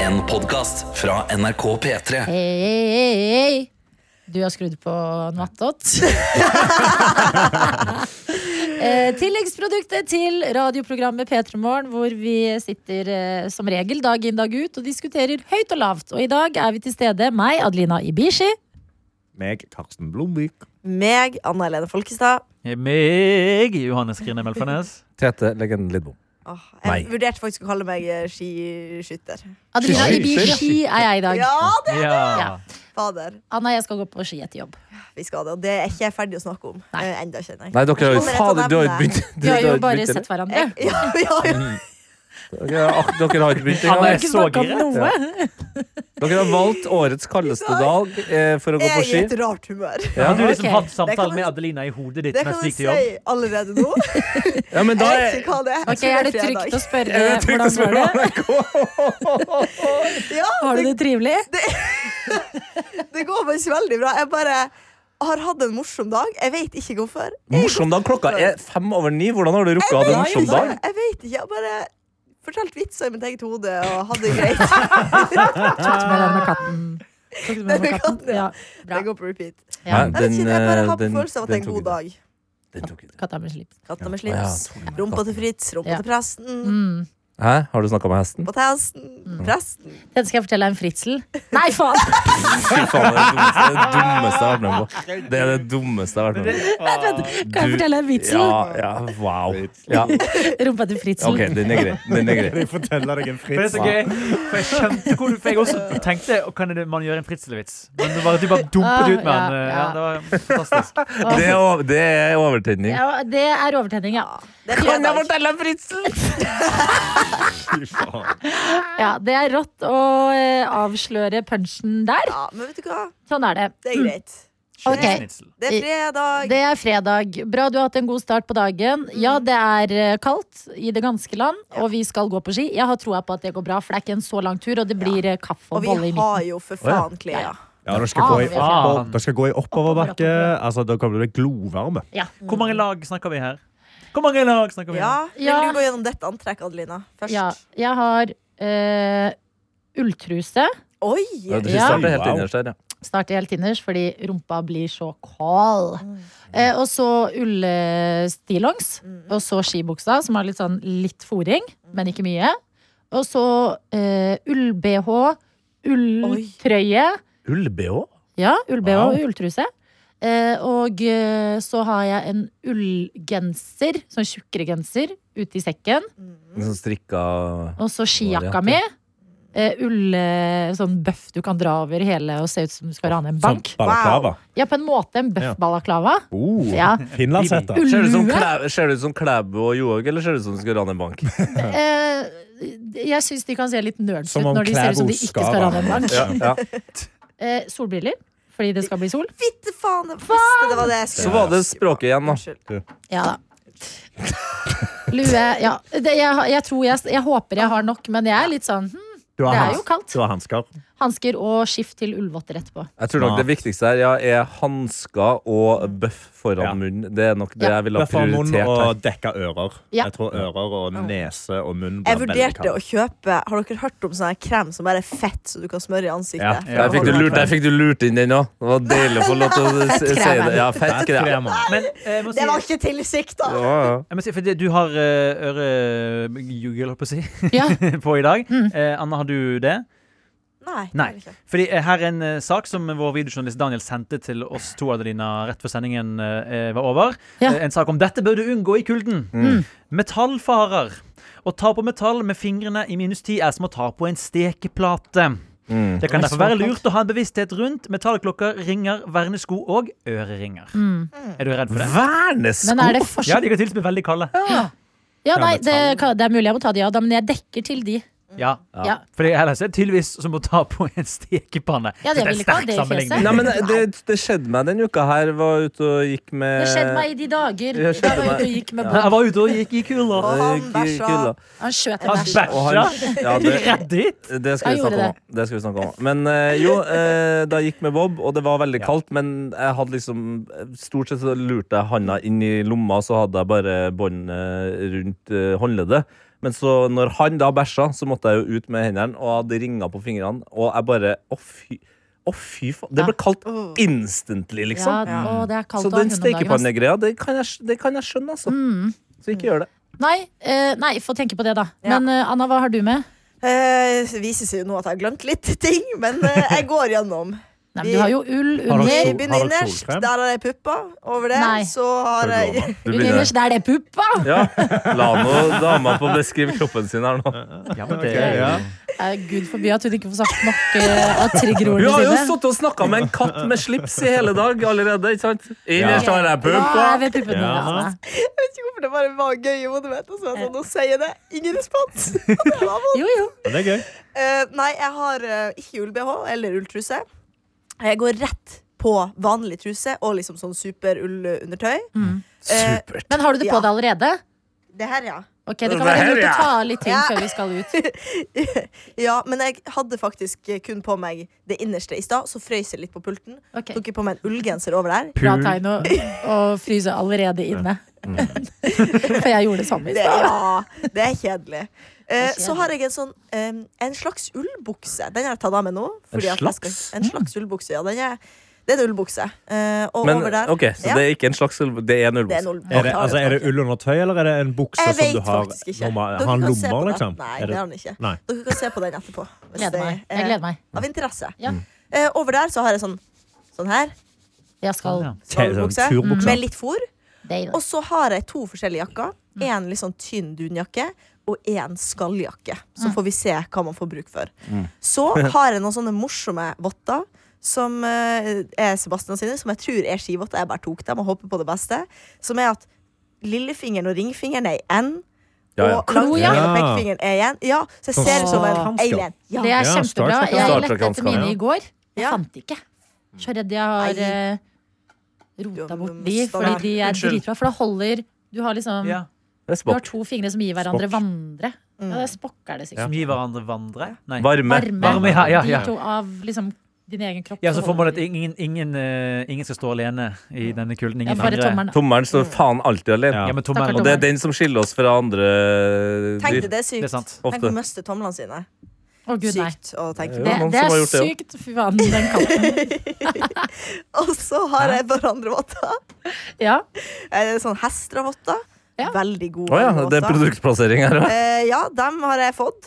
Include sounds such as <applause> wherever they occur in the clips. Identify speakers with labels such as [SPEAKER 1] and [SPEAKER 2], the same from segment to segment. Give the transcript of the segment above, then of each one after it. [SPEAKER 1] En podkast fra NRK P3.
[SPEAKER 2] Hei, hei, hei, hei. Du har skrudd på Noattot. <laughs> Eh, Tilleggsproduktet til radioprogrammet P3 Morgen, hvor vi sitter eh, som regel dag inn dag ut og diskuterer høyt og lavt. Og i dag er vi til stede, meg, Adelina Ibishi.
[SPEAKER 3] meg, Karsten Blomvik.
[SPEAKER 4] meg, Anna Helene Folkestad.
[SPEAKER 5] Meg, Johannes Grine Melfarnes.
[SPEAKER 3] Tete Legenden Lidbom.
[SPEAKER 4] Åh,
[SPEAKER 3] Meg.
[SPEAKER 4] jeg vurderte faktisk å kalle meg eh, skiskytter.
[SPEAKER 2] Adelina
[SPEAKER 3] Oi,
[SPEAKER 2] Ibishi er jeg i dag.
[SPEAKER 4] Ja, det
[SPEAKER 5] Ja.
[SPEAKER 4] fader.
[SPEAKER 2] Anna, jeg skal gå på ski etter jobb.
[SPEAKER 4] Vi skal det. Og det er ikke jeg ferdig å snakke om
[SPEAKER 2] Nei.
[SPEAKER 4] eh, enda, kjenner jeg.
[SPEAKER 3] Nei, dere har jo
[SPEAKER 4] Kommer rett
[SPEAKER 3] fader,
[SPEAKER 4] og
[SPEAKER 3] du har jo
[SPEAKER 4] nevner. <laughs>
[SPEAKER 3] begynt.
[SPEAKER 2] Vi har jo bare
[SPEAKER 3] begynt,
[SPEAKER 2] sett hverandre.
[SPEAKER 4] Ja, ja, ja.
[SPEAKER 3] eller? Dere har, ak- dere har ikke begynt
[SPEAKER 5] Han
[SPEAKER 3] engang.
[SPEAKER 5] er så giret.
[SPEAKER 2] noe.
[SPEAKER 3] Dere har valgt årets kaldeste dag eh, for å gå
[SPEAKER 4] Jeg
[SPEAKER 3] på
[SPEAKER 4] er i
[SPEAKER 3] ski.
[SPEAKER 4] et rart humør.
[SPEAKER 5] Har du liksom
[SPEAKER 2] Ok.
[SPEAKER 5] hatt
[SPEAKER 4] Det kan
[SPEAKER 5] samtale
[SPEAKER 4] man-
[SPEAKER 5] med Adelina i hodet ditt
[SPEAKER 4] Det
[SPEAKER 5] mens
[SPEAKER 4] kan
[SPEAKER 5] du
[SPEAKER 4] du
[SPEAKER 5] gikk til
[SPEAKER 4] si
[SPEAKER 5] jobb?
[SPEAKER 4] allerede
[SPEAKER 3] <laughs>
[SPEAKER 4] nå.
[SPEAKER 3] Ja, men da
[SPEAKER 4] Jeg vet
[SPEAKER 3] er
[SPEAKER 4] ikke hva det er. Jeg
[SPEAKER 2] Ok,
[SPEAKER 4] tror
[SPEAKER 2] Er det
[SPEAKER 4] fredag.
[SPEAKER 2] trygt å
[SPEAKER 3] <laughs>
[SPEAKER 2] spørre
[SPEAKER 3] er det trygt å
[SPEAKER 2] hvordan går
[SPEAKER 3] spørre
[SPEAKER 2] det?
[SPEAKER 3] om
[SPEAKER 2] <laughs>
[SPEAKER 3] NRK.
[SPEAKER 4] Ja,
[SPEAKER 2] Har du det trivelig?
[SPEAKER 4] det går faktisk veldig bra. Jeg bare har hatt en morsom dag. Jeg vet ikke hvorfor.
[SPEAKER 3] Morsom dag. Klokka er fem over ni. Hvordan har du rukket å ha det morsom dag?
[SPEAKER 4] Jeg vet ikke. Jeg bare fortalte vitser i mitt eget hode og hadde det greit. <laughs>
[SPEAKER 2] Tok du med den med Ah. katten? Tok du med den med katten? Ja, bra.
[SPEAKER 4] Det går på repeat.
[SPEAKER 2] Ja.
[SPEAKER 3] Nei,
[SPEAKER 4] Jeg vet ikke, jeg bare har på
[SPEAKER 3] den-
[SPEAKER 4] følelsen av at det er en
[SPEAKER 3] den
[SPEAKER 4] god
[SPEAKER 3] tok
[SPEAKER 4] dag.
[SPEAKER 3] ikke- Den tok ikke.
[SPEAKER 2] Katta med slips.
[SPEAKER 4] Katta med
[SPEAKER 3] Ja,
[SPEAKER 4] slips,
[SPEAKER 3] tok ikke.
[SPEAKER 4] rumpa til Fritz, rumpa
[SPEAKER 2] Ja.
[SPEAKER 4] til presten,
[SPEAKER 2] Mm.
[SPEAKER 3] Hæ? Har du snakka med hesten?
[SPEAKER 4] på testen,
[SPEAKER 3] Mm.
[SPEAKER 4] presten.
[SPEAKER 2] Den skal jeg fortelle deg en fritsel. <laughs> Nei, faen!
[SPEAKER 3] Fy faen, det er det dummeste jeg har vært med på. Det er det dummeste jeg har vært med på.
[SPEAKER 5] Ah,
[SPEAKER 2] Kan jeg
[SPEAKER 3] Du-
[SPEAKER 2] fortelle deg en vitsel?
[SPEAKER 3] Ja, ja, wow. Ja,
[SPEAKER 2] Rumpa til fritzel.
[SPEAKER 3] OK, den er grei. Den er grei.
[SPEAKER 6] Jeg forteller deg en
[SPEAKER 5] For det er
[SPEAKER 6] frits.
[SPEAKER 5] så gøy. For jeg skjønte hvor du For jeg også tenkte å, Kan det- man gjøre en fritzelvits? Men du bare, du bare dumpet ut med
[SPEAKER 2] Ah,
[SPEAKER 5] den.
[SPEAKER 2] ja,
[SPEAKER 5] Ja, det
[SPEAKER 4] <laughs>
[SPEAKER 5] var fantastisk.
[SPEAKER 2] Åh.
[SPEAKER 3] Det er, o- det er overtenning.
[SPEAKER 2] Ja, det er overtenning, ja.
[SPEAKER 4] Det er fredag.
[SPEAKER 3] fortelle en fritsel?
[SPEAKER 2] ja. Det er rått å eh, avsløre punchen der.
[SPEAKER 4] Ja, men vet du hva?
[SPEAKER 2] Sånn er det.
[SPEAKER 4] Det er greit.
[SPEAKER 2] Ok.
[SPEAKER 5] Kjøttfnitsel.
[SPEAKER 4] Det er fredag.
[SPEAKER 2] Det er fredag. Bra du har hatt en god start på dagen. Ja, det er eh, kaldt i det ganske land, og vi skal gå på ski. Jeg har troa på at det går bra, for det er ikke en så lang tur, og det blir eh, kaffe og
[SPEAKER 4] Og
[SPEAKER 2] bolle
[SPEAKER 4] vi
[SPEAKER 2] i midten.
[SPEAKER 4] har jo for faen klær.
[SPEAKER 6] Ja, dere skal gå i,
[SPEAKER 5] Ah.
[SPEAKER 6] dere skal gå i oppoverbakke. Altså, da kommer det glovarme.
[SPEAKER 2] Ja.
[SPEAKER 5] Hvor mange lag snakker vi her? Hvor mange lag snakker vi her?
[SPEAKER 4] Ja, vil
[SPEAKER 2] Ja.
[SPEAKER 4] du gå gjennom dette antrekket, Adelina?
[SPEAKER 2] ja.
[SPEAKER 4] Først.
[SPEAKER 2] Jeg har eh, ulltruse.
[SPEAKER 4] Oi!
[SPEAKER 3] Ja, du
[SPEAKER 2] Ja.
[SPEAKER 3] starter helt
[SPEAKER 6] Wow.
[SPEAKER 3] innerst der, ja.
[SPEAKER 2] Starter helt innerst, fordi rumpa blir så kald. Eh, og så ullstillongs. Og så skibuksa, som har litt sånn litt foring, men ikke mye. Og så eh, ull-BH, ulltrøye.
[SPEAKER 3] Ull-BH?
[SPEAKER 2] Ja, ull-BH
[SPEAKER 6] Wow.
[SPEAKER 2] og ulltruse. Eh, og eh, så har jeg en ullgenser, sånn tjukkere genser, ute i sekken.
[SPEAKER 3] En sånn strikka
[SPEAKER 2] Og så skijakka
[SPEAKER 3] Variant,
[SPEAKER 2] mi.
[SPEAKER 3] ja.
[SPEAKER 2] Eh, ull, eh, sånn bøff du kan dra over hele og se ut som du skal rane en bank.
[SPEAKER 6] Sånn Balaklava.
[SPEAKER 2] Ja, på en måte en bøff-balaklava.
[SPEAKER 6] Oh,
[SPEAKER 2] Ja.
[SPEAKER 6] Finlandshette.
[SPEAKER 2] Ull-
[SPEAKER 3] Ser du ut som
[SPEAKER 2] Ullue?
[SPEAKER 3] Klæ- ser du ut som Klæbo og Johaug, eller ser du ut som du skal rane en bank?
[SPEAKER 2] Eh, jeg syns de kan se litt nerds ut
[SPEAKER 6] Som om
[SPEAKER 2] når de ser ut som de
[SPEAKER 6] Klæbo
[SPEAKER 2] ikke
[SPEAKER 6] skal
[SPEAKER 2] skal rane en
[SPEAKER 6] være
[SPEAKER 2] bank.
[SPEAKER 3] Ja, ja.
[SPEAKER 2] Eh, solbriller, fordi det skal bli sol.
[SPEAKER 4] Fitte faen! Jeg visste det var det jeg skulle
[SPEAKER 3] Så var det språket igjen, da.
[SPEAKER 4] Unnskyld.
[SPEAKER 2] Ja da. Lue Ja. Det, jeg, har- jeg tror jeg, jeg håper jeg har nok, men jeg er litt sånn hm,
[SPEAKER 6] Du
[SPEAKER 2] Det
[SPEAKER 6] har
[SPEAKER 2] er jo
[SPEAKER 6] hans-
[SPEAKER 2] kaldt.
[SPEAKER 6] Du har hansker.
[SPEAKER 2] Hansker og skift til ullvotter etterpå.
[SPEAKER 3] Jeg tror nok det viktigste her ja, er hansker og bøff foran
[SPEAKER 6] Ja.
[SPEAKER 3] munnen. Det er nok det
[SPEAKER 2] Mm. Ja.
[SPEAKER 3] jeg ville ha
[SPEAKER 6] Derfor har munn
[SPEAKER 3] prioritert her.
[SPEAKER 6] og dekka ører.
[SPEAKER 2] Ja.
[SPEAKER 6] Jeg tror ører og nese og munn blir
[SPEAKER 4] Jeg
[SPEAKER 6] veldig
[SPEAKER 4] vurderte
[SPEAKER 6] kaldt.
[SPEAKER 4] å kjøpe Har dere hørt om sånn her krem som bare er fett, så du kan smøre i
[SPEAKER 6] Ja.
[SPEAKER 4] ansiktet?
[SPEAKER 3] Der fikk du lurt, der fikk du lurt inn den òg. Det var deilig å få lov til å s- si det. Ja, fettkrem.
[SPEAKER 6] Fettkrem, mann.
[SPEAKER 5] Men eh, jeg må si,
[SPEAKER 4] Det var ikke tilsikta!
[SPEAKER 3] Ja, ja.
[SPEAKER 5] jeg må si for det, du har uh, ørejugel, holdt på å si, <laughs>
[SPEAKER 2] Ja,
[SPEAKER 5] på i dag.
[SPEAKER 4] Mm.
[SPEAKER 5] Eh, Anna, har du det?
[SPEAKER 4] Nei. det er
[SPEAKER 5] Nei.
[SPEAKER 4] det ikke.
[SPEAKER 5] Fordi eh, her er en eh, sak som vår videojournalist Daniel sendte til oss to Adelina rett før sendingen eh, var over.
[SPEAKER 2] Ja. Mm.
[SPEAKER 5] Eh, En sak om 'dette bør du unngå i kulden'. Metallfarer. Å ta på metall med fingrene i minus 10 er som å ta på en stekeplate. Det kan derfor være lurt å ha en bevissthet rundt metallklokker, ringer, vernesko og øreringer. Er du redd for det?
[SPEAKER 3] Vernesko!
[SPEAKER 2] Mm. men er det
[SPEAKER 5] Ja,
[SPEAKER 2] forskjell
[SPEAKER 5] de kan til og med veldig kalde.
[SPEAKER 2] Ja, nei, det, kan- det er mulig jeg må ta de, ja da, men jeg dekker til de.
[SPEAKER 5] Ja.
[SPEAKER 2] Ja.
[SPEAKER 5] For ellers er det tydeligvis som å ta på en stekepanne.
[SPEAKER 2] Ja, det
[SPEAKER 5] er
[SPEAKER 2] vil ikke ha
[SPEAKER 5] sterk
[SPEAKER 2] det i fjeset.
[SPEAKER 5] sammenligning.
[SPEAKER 3] Nei, men det, det skjedde meg denne uka her. Var ute og gikk med
[SPEAKER 2] Det skjedde meg i de dager da
[SPEAKER 3] det skjedde
[SPEAKER 2] jeg var ute
[SPEAKER 3] meg.
[SPEAKER 2] og gikk med
[SPEAKER 5] Nei,
[SPEAKER 2] båt.
[SPEAKER 5] Jeg var ute og gikk i kulda.
[SPEAKER 4] Og han
[SPEAKER 3] Gikk i
[SPEAKER 4] bæsja.
[SPEAKER 3] kulda.
[SPEAKER 2] Han skjøt en
[SPEAKER 5] Han
[SPEAKER 2] bæsj.
[SPEAKER 5] bæsja.
[SPEAKER 3] Og han- ja, det,
[SPEAKER 5] Reddit?
[SPEAKER 3] det, skal vi
[SPEAKER 2] Han gjorde
[SPEAKER 3] snakke om. det skal vi snakke om. Men eh, jo, eh, da jeg gikk med Bob, og det var veldig kaldt, men jeg hadde liksom Stort sett så lurte jeg handa inn i lomma, så hadde jeg bare båndet rundt eh, håndleddet. Men så når han da bæsja, så måtte jeg jo ut med hendene og hadde ringer på fingrene. Og jeg bare Å, fy, å, fy faen. Det ble kalt
[SPEAKER 4] Åh.
[SPEAKER 3] instantly,
[SPEAKER 2] Ja,
[SPEAKER 3] liksom.
[SPEAKER 2] å, det er kaldt
[SPEAKER 3] Så
[SPEAKER 2] å ha
[SPEAKER 3] den
[SPEAKER 2] hund om dagen. ass. Mm.
[SPEAKER 3] stekepannegreia, det, kan jeg- det kan jeg skjønne, altså. Så ikke gjør det.
[SPEAKER 2] Nei, eh, nei, få tenke på det, da.
[SPEAKER 4] Ja.
[SPEAKER 2] Men eh, Anna, hva har du med?
[SPEAKER 4] Eh, det viser seg jo nå at jeg har glemt litt <laughs> ting, men eh, jeg går gjennom.
[SPEAKER 2] Nei, men du har jo ull
[SPEAKER 6] Har dere
[SPEAKER 2] under.
[SPEAKER 6] sol-
[SPEAKER 4] Jeg begynner
[SPEAKER 6] har dere
[SPEAKER 4] innerst.
[SPEAKER 6] solkrem?
[SPEAKER 4] Der har jeg puppa. Over det
[SPEAKER 2] Nei.
[SPEAKER 4] så har jeg
[SPEAKER 6] Du
[SPEAKER 4] <laughs>
[SPEAKER 2] Ull
[SPEAKER 6] begynner-
[SPEAKER 2] innerst, der det er puppa!
[SPEAKER 3] Ja, <laughs> La nå dama få beskrive kroppen sin her nå.
[SPEAKER 5] Ja, men
[SPEAKER 6] Ok,
[SPEAKER 5] det er jo
[SPEAKER 6] ja.
[SPEAKER 2] Eh, Gud forby at hun ikke får sagt nok eh, av triggerordene
[SPEAKER 3] Hun har jo
[SPEAKER 2] sine.
[SPEAKER 3] sittet og snakka med en katt med slips i hele dag allerede. ikke sant? Innerst har jeg
[SPEAKER 2] Hva er
[SPEAKER 3] puppa.
[SPEAKER 2] ved puppene
[SPEAKER 6] Ja.
[SPEAKER 2] Anna?
[SPEAKER 4] Jeg vet ikke hvorfor det bare var gøy i hodet mitt. Og så var jeg sånn, nå sier jeg det. Ingen respons. <laughs>
[SPEAKER 2] Jo, jo.
[SPEAKER 6] Ja, Det er gøy.
[SPEAKER 4] Eh, nei, jeg har eh, ikke ull-BH eller ulltruse. Jeg går rett på vanlig truse og liksom sånn super-ull-undertøy.
[SPEAKER 2] Mm.
[SPEAKER 4] Eh,
[SPEAKER 3] Supert.
[SPEAKER 2] Men har du det på
[SPEAKER 4] Ja.
[SPEAKER 2] deg allerede?
[SPEAKER 4] det her, ja.
[SPEAKER 2] Ok, Det
[SPEAKER 3] Det
[SPEAKER 2] kan være
[SPEAKER 3] her,
[SPEAKER 2] lurt å
[SPEAKER 3] ja.
[SPEAKER 2] ta av litt ting
[SPEAKER 4] Ja.
[SPEAKER 2] før vi skal ut.
[SPEAKER 4] ja. Men jeg hadde faktisk eh, kun på meg det innerste i stad, så frøys jeg litt på pulten.
[SPEAKER 2] Ok,
[SPEAKER 4] Tok jeg på meg en ullgenser over der.
[SPEAKER 2] Bra
[SPEAKER 5] Pul.
[SPEAKER 2] tegn å, å fryse allerede inne.
[SPEAKER 3] Mm.
[SPEAKER 2] <laughs> For jeg gjorde det samme i
[SPEAKER 4] Det,
[SPEAKER 2] stad.
[SPEAKER 4] ja, <laughs> det er kjedelig. Eh,
[SPEAKER 2] Det er
[SPEAKER 4] så har jeg en sånn em, En slags ullbukse. Den har jeg tatt av meg nå. fordi at jeg skal-
[SPEAKER 3] slags?
[SPEAKER 4] en slags ullbukse, ja. Den er, det er en ullbukse. Eh, og
[SPEAKER 3] Men
[SPEAKER 4] over der
[SPEAKER 3] ok, Så
[SPEAKER 4] ja,
[SPEAKER 3] det er ikke en slags Det er en
[SPEAKER 4] det er
[SPEAKER 3] ullbukse.
[SPEAKER 4] en ullbukse.
[SPEAKER 6] Er det, altså, er det ull under tøy, eller er det en bukse
[SPEAKER 4] Jeg
[SPEAKER 6] som du
[SPEAKER 4] vet
[SPEAKER 6] har
[SPEAKER 4] faktisk ikke.
[SPEAKER 6] normal-
[SPEAKER 4] Dere
[SPEAKER 6] Har han
[SPEAKER 4] kan se på
[SPEAKER 6] lommer,
[SPEAKER 4] den.
[SPEAKER 6] liksom?
[SPEAKER 4] Nei,
[SPEAKER 6] Er
[SPEAKER 4] det har han ikke.
[SPEAKER 6] Nei.
[SPEAKER 4] Dere kan se på den etterpå. hvis det
[SPEAKER 2] Gleder meg.
[SPEAKER 4] er
[SPEAKER 2] Jeg gleder meg.
[SPEAKER 4] Av interesse.
[SPEAKER 2] Ja. Mm.
[SPEAKER 4] Eh, over der så har jeg sånn Sånn her.
[SPEAKER 2] Jeg skal
[SPEAKER 5] Ja.
[SPEAKER 6] Te- sånn
[SPEAKER 4] Svalbukse.
[SPEAKER 6] turbukse.
[SPEAKER 4] Med litt fôr.
[SPEAKER 2] date.
[SPEAKER 4] Og så har jeg to forskjellige jakker.
[SPEAKER 2] Mm.
[SPEAKER 4] En litt sånn tynn dunjakke og en skalljakke. Så
[SPEAKER 2] Mm.
[SPEAKER 4] får vi se hva man får bruk for. Så har jeg noen sånne morsomme votter. Som eh, er Sebastian sine, som jeg tror er skivotter. Jeg bare tok dem og håper på det beste. Som er at lillefingeren og ringfingeren er i N.
[SPEAKER 3] Ja, ja.
[SPEAKER 4] Og langfingeren
[SPEAKER 6] Ja.
[SPEAKER 4] og pekefingeren er igjen. Ja, så jeg
[SPEAKER 6] Sånn
[SPEAKER 4] ser ut som en
[SPEAKER 6] Stark-hansker.
[SPEAKER 4] alien. Ja.
[SPEAKER 2] Det er
[SPEAKER 6] Ja,
[SPEAKER 2] kjempebra.
[SPEAKER 6] Star Trek,
[SPEAKER 2] Jeg
[SPEAKER 3] Star Trek
[SPEAKER 2] lette etter
[SPEAKER 3] hansker,
[SPEAKER 2] mine
[SPEAKER 3] ja.
[SPEAKER 2] i går. Jeg
[SPEAKER 4] Ja.
[SPEAKER 2] fant ikke. Så redd jeg har
[SPEAKER 4] Nei.
[SPEAKER 2] eh,
[SPEAKER 4] Du-
[SPEAKER 2] rota
[SPEAKER 4] du
[SPEAKER 2] bort
[SPEAKER 4] må
[SPEAKER 2] de,
[SPEAKER 4] stå
[SPEAKER 2] fordi
[SPEAKER 4] der.
[SPEAKER 2] de er
[SPEAKER 5] Unnskyld.
[SPEAKER 2] dritbra. For da holder Du har liksom
[SPEAKER 5] Ja.
[SPEAKER 3] Det er
[SPEAKER 2] Du har
[SPEAKER 3] spokk.
[SPEAKER 2] to fingre som gir hverandre
[SPEAKER 6] Spokk.
[SPEAKER 2] vandre.
[SPEAKER 4] Mm.
[SPEAKER 2] Ja, det er spokk er det sikkert.
[SPEAKER 5] Som gir hverandre vandre? Nei.
[SPEAKER 3] Varme.
[SPEAKER 2] Varme.
[SPEAKER 5] Varme, ja, ja, ja.
[SPEAKER 2] De to av liksom din egen kropp.
[SPEAKER 5] Ja, så får man
[SPEAKER 2] holder
[SPEAKER 5] at
[SPEAKER 2] de.
[SPEAKER 5] ingen, ingen, eh, ingen skal stå alene i denne kulden.
[SPEAKER 2] Jeg
[SPEAKER 5] Ingen
[SPEAKER 2] får et
[SPEAKER 5] andre.
[SPEAKER 2] tommelen.
[SPEAKER 3] Tommelen står faen alltid alene.
[SPEAKER 5] Ja, men tommelen-
[SPEAKER 2] Stakkars
[SPEAKER 3] Og det er den som skiller oss fra andre
[SPEAKER 4] Tenk
[SPEAKER 3] dyr.
[SPEAKER 4] deg det er sykt.
[SPEAKER 5] Det er sant.
[SPEAKER 4] Tenk å
[SPEAKER 3] Ofte.
[SPEAKER 4] miste tomlene sine.
[SPEAKER 2] Å, Gud, nei.
[SPEAKER 4] sykt å tenke
[SPEAKER 3] Jo,
[SPEAKER 4] på.
[SPEAKER 2] Det,
[SPEAKER 3] noen
[SPEAKER 2] det
[SPEAKER 3] som har
[SPEAKER 2] er
[SPEAKER 3] gjort det, ja.
[SPEAKER 2] sykt. Fy faen, den katten.
[SPEAKER 4] <laughs> Og så har jeg hverandrevotter.
[SPEAKER 2] Ja.
[SPEAKER 4] Sånn hestrevotter.
[SPEAKER 2] Ja.
[SPEAKER 4] Veldig gode
[SPEAKER 3] Å ja, det er
[SPEAKER 4] votter.
[SPEAKER 3] produktplassering her òg.
[SPEAKER 4] Eh, ja, dem har jeg fått.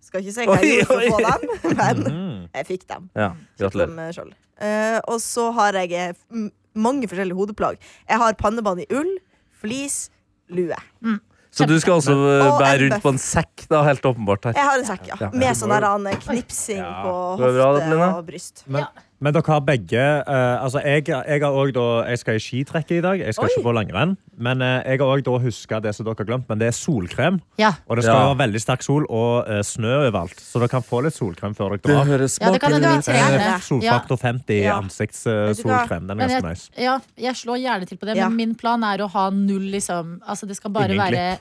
[SPEAKER 4] Skal ikke si hva
[SPEAKER 3] Mhm. Oi,
[SPEAKER 4] jeg gjorde for å
[SPEAKER 3] oi. Mhm.
[SPEAKER 4] få dem, <laughs> men jeg fikk dem.
[SPEAKER 3] Ja, gratulerer.
[SPEAKER 4] dem eh, selv. Eh, og så har jeg eh, m- mange forskjellige hodeplagg. Jeg har pannebånd i ull, flis, lue.
[SPEAKER 3] Så du skal altså eh,
[SPEAKER 4] Og en
[SPEAKER 3] bære rundt
[SPEAKER 4] bøff.
[SPEAKER 3] på en sekk, da, helt åpenbart her.
[SPEAKER 4] Jeg har en sekk, ja.
[SPEAKER 3] Ja.
[SPEAKER 4] Med sånn der eh, knipsing
[SPEAKER 6] Ja.
[SPEAKER 4] på
[SPEAKER 3] Går det bra,
[SPEAKER 4] hofte
[SPEAKER 3] Adelina?
[SPEAKER 4] og bryst.
[SPEAKER 6] Men, men dere har begge eh, Altså, jeg, jeg har òg da Jeg skal i skitrekket i dag. Jeg skal
[SPEAKER 4] Oi.
[SPEAKER 6] ikke på langrenn. Men eh, jeg har òg da huska det som dere har glemt, men det er solkrem.
[SPEAKER 2] Ja.
[SPEAKER 6] Og det skal
[SPEAKER 3] Ja.
[SPEAKER 6] være veldig sterk sol og eh, snø overalt, så dere kan få litt solkrem før dere
[SPEAKER 3] Det
[SPEAKER 6] drar.
[SPEAKER 3] høres
[SPEAKER 2] Ja, det kan hende vi
[SPEAKER 6] Eh,
[SPEAKER 2] trenger det. Ja.
[SPEAKER 6] Solfaktor 50
[SPEAKER 4] Ja. Vet du hva?
[SPEAKER 6] ansiktssolkrem. eh, Den
[SPEAKER 2] Men
[SPEAKER 6] er
[SPEAKER 2] jeg,
[SPEAKER 6] ganske nice.
[SPEAKER 2] ja, jeg slår gjerne til på det,
[SPEAKER 4] Ja.
[SPEAKER 2] men min plan er å ha null, liksom. Altså, det skal bare
[SPEAKER 6] Ingen
[SPEAKER 2] være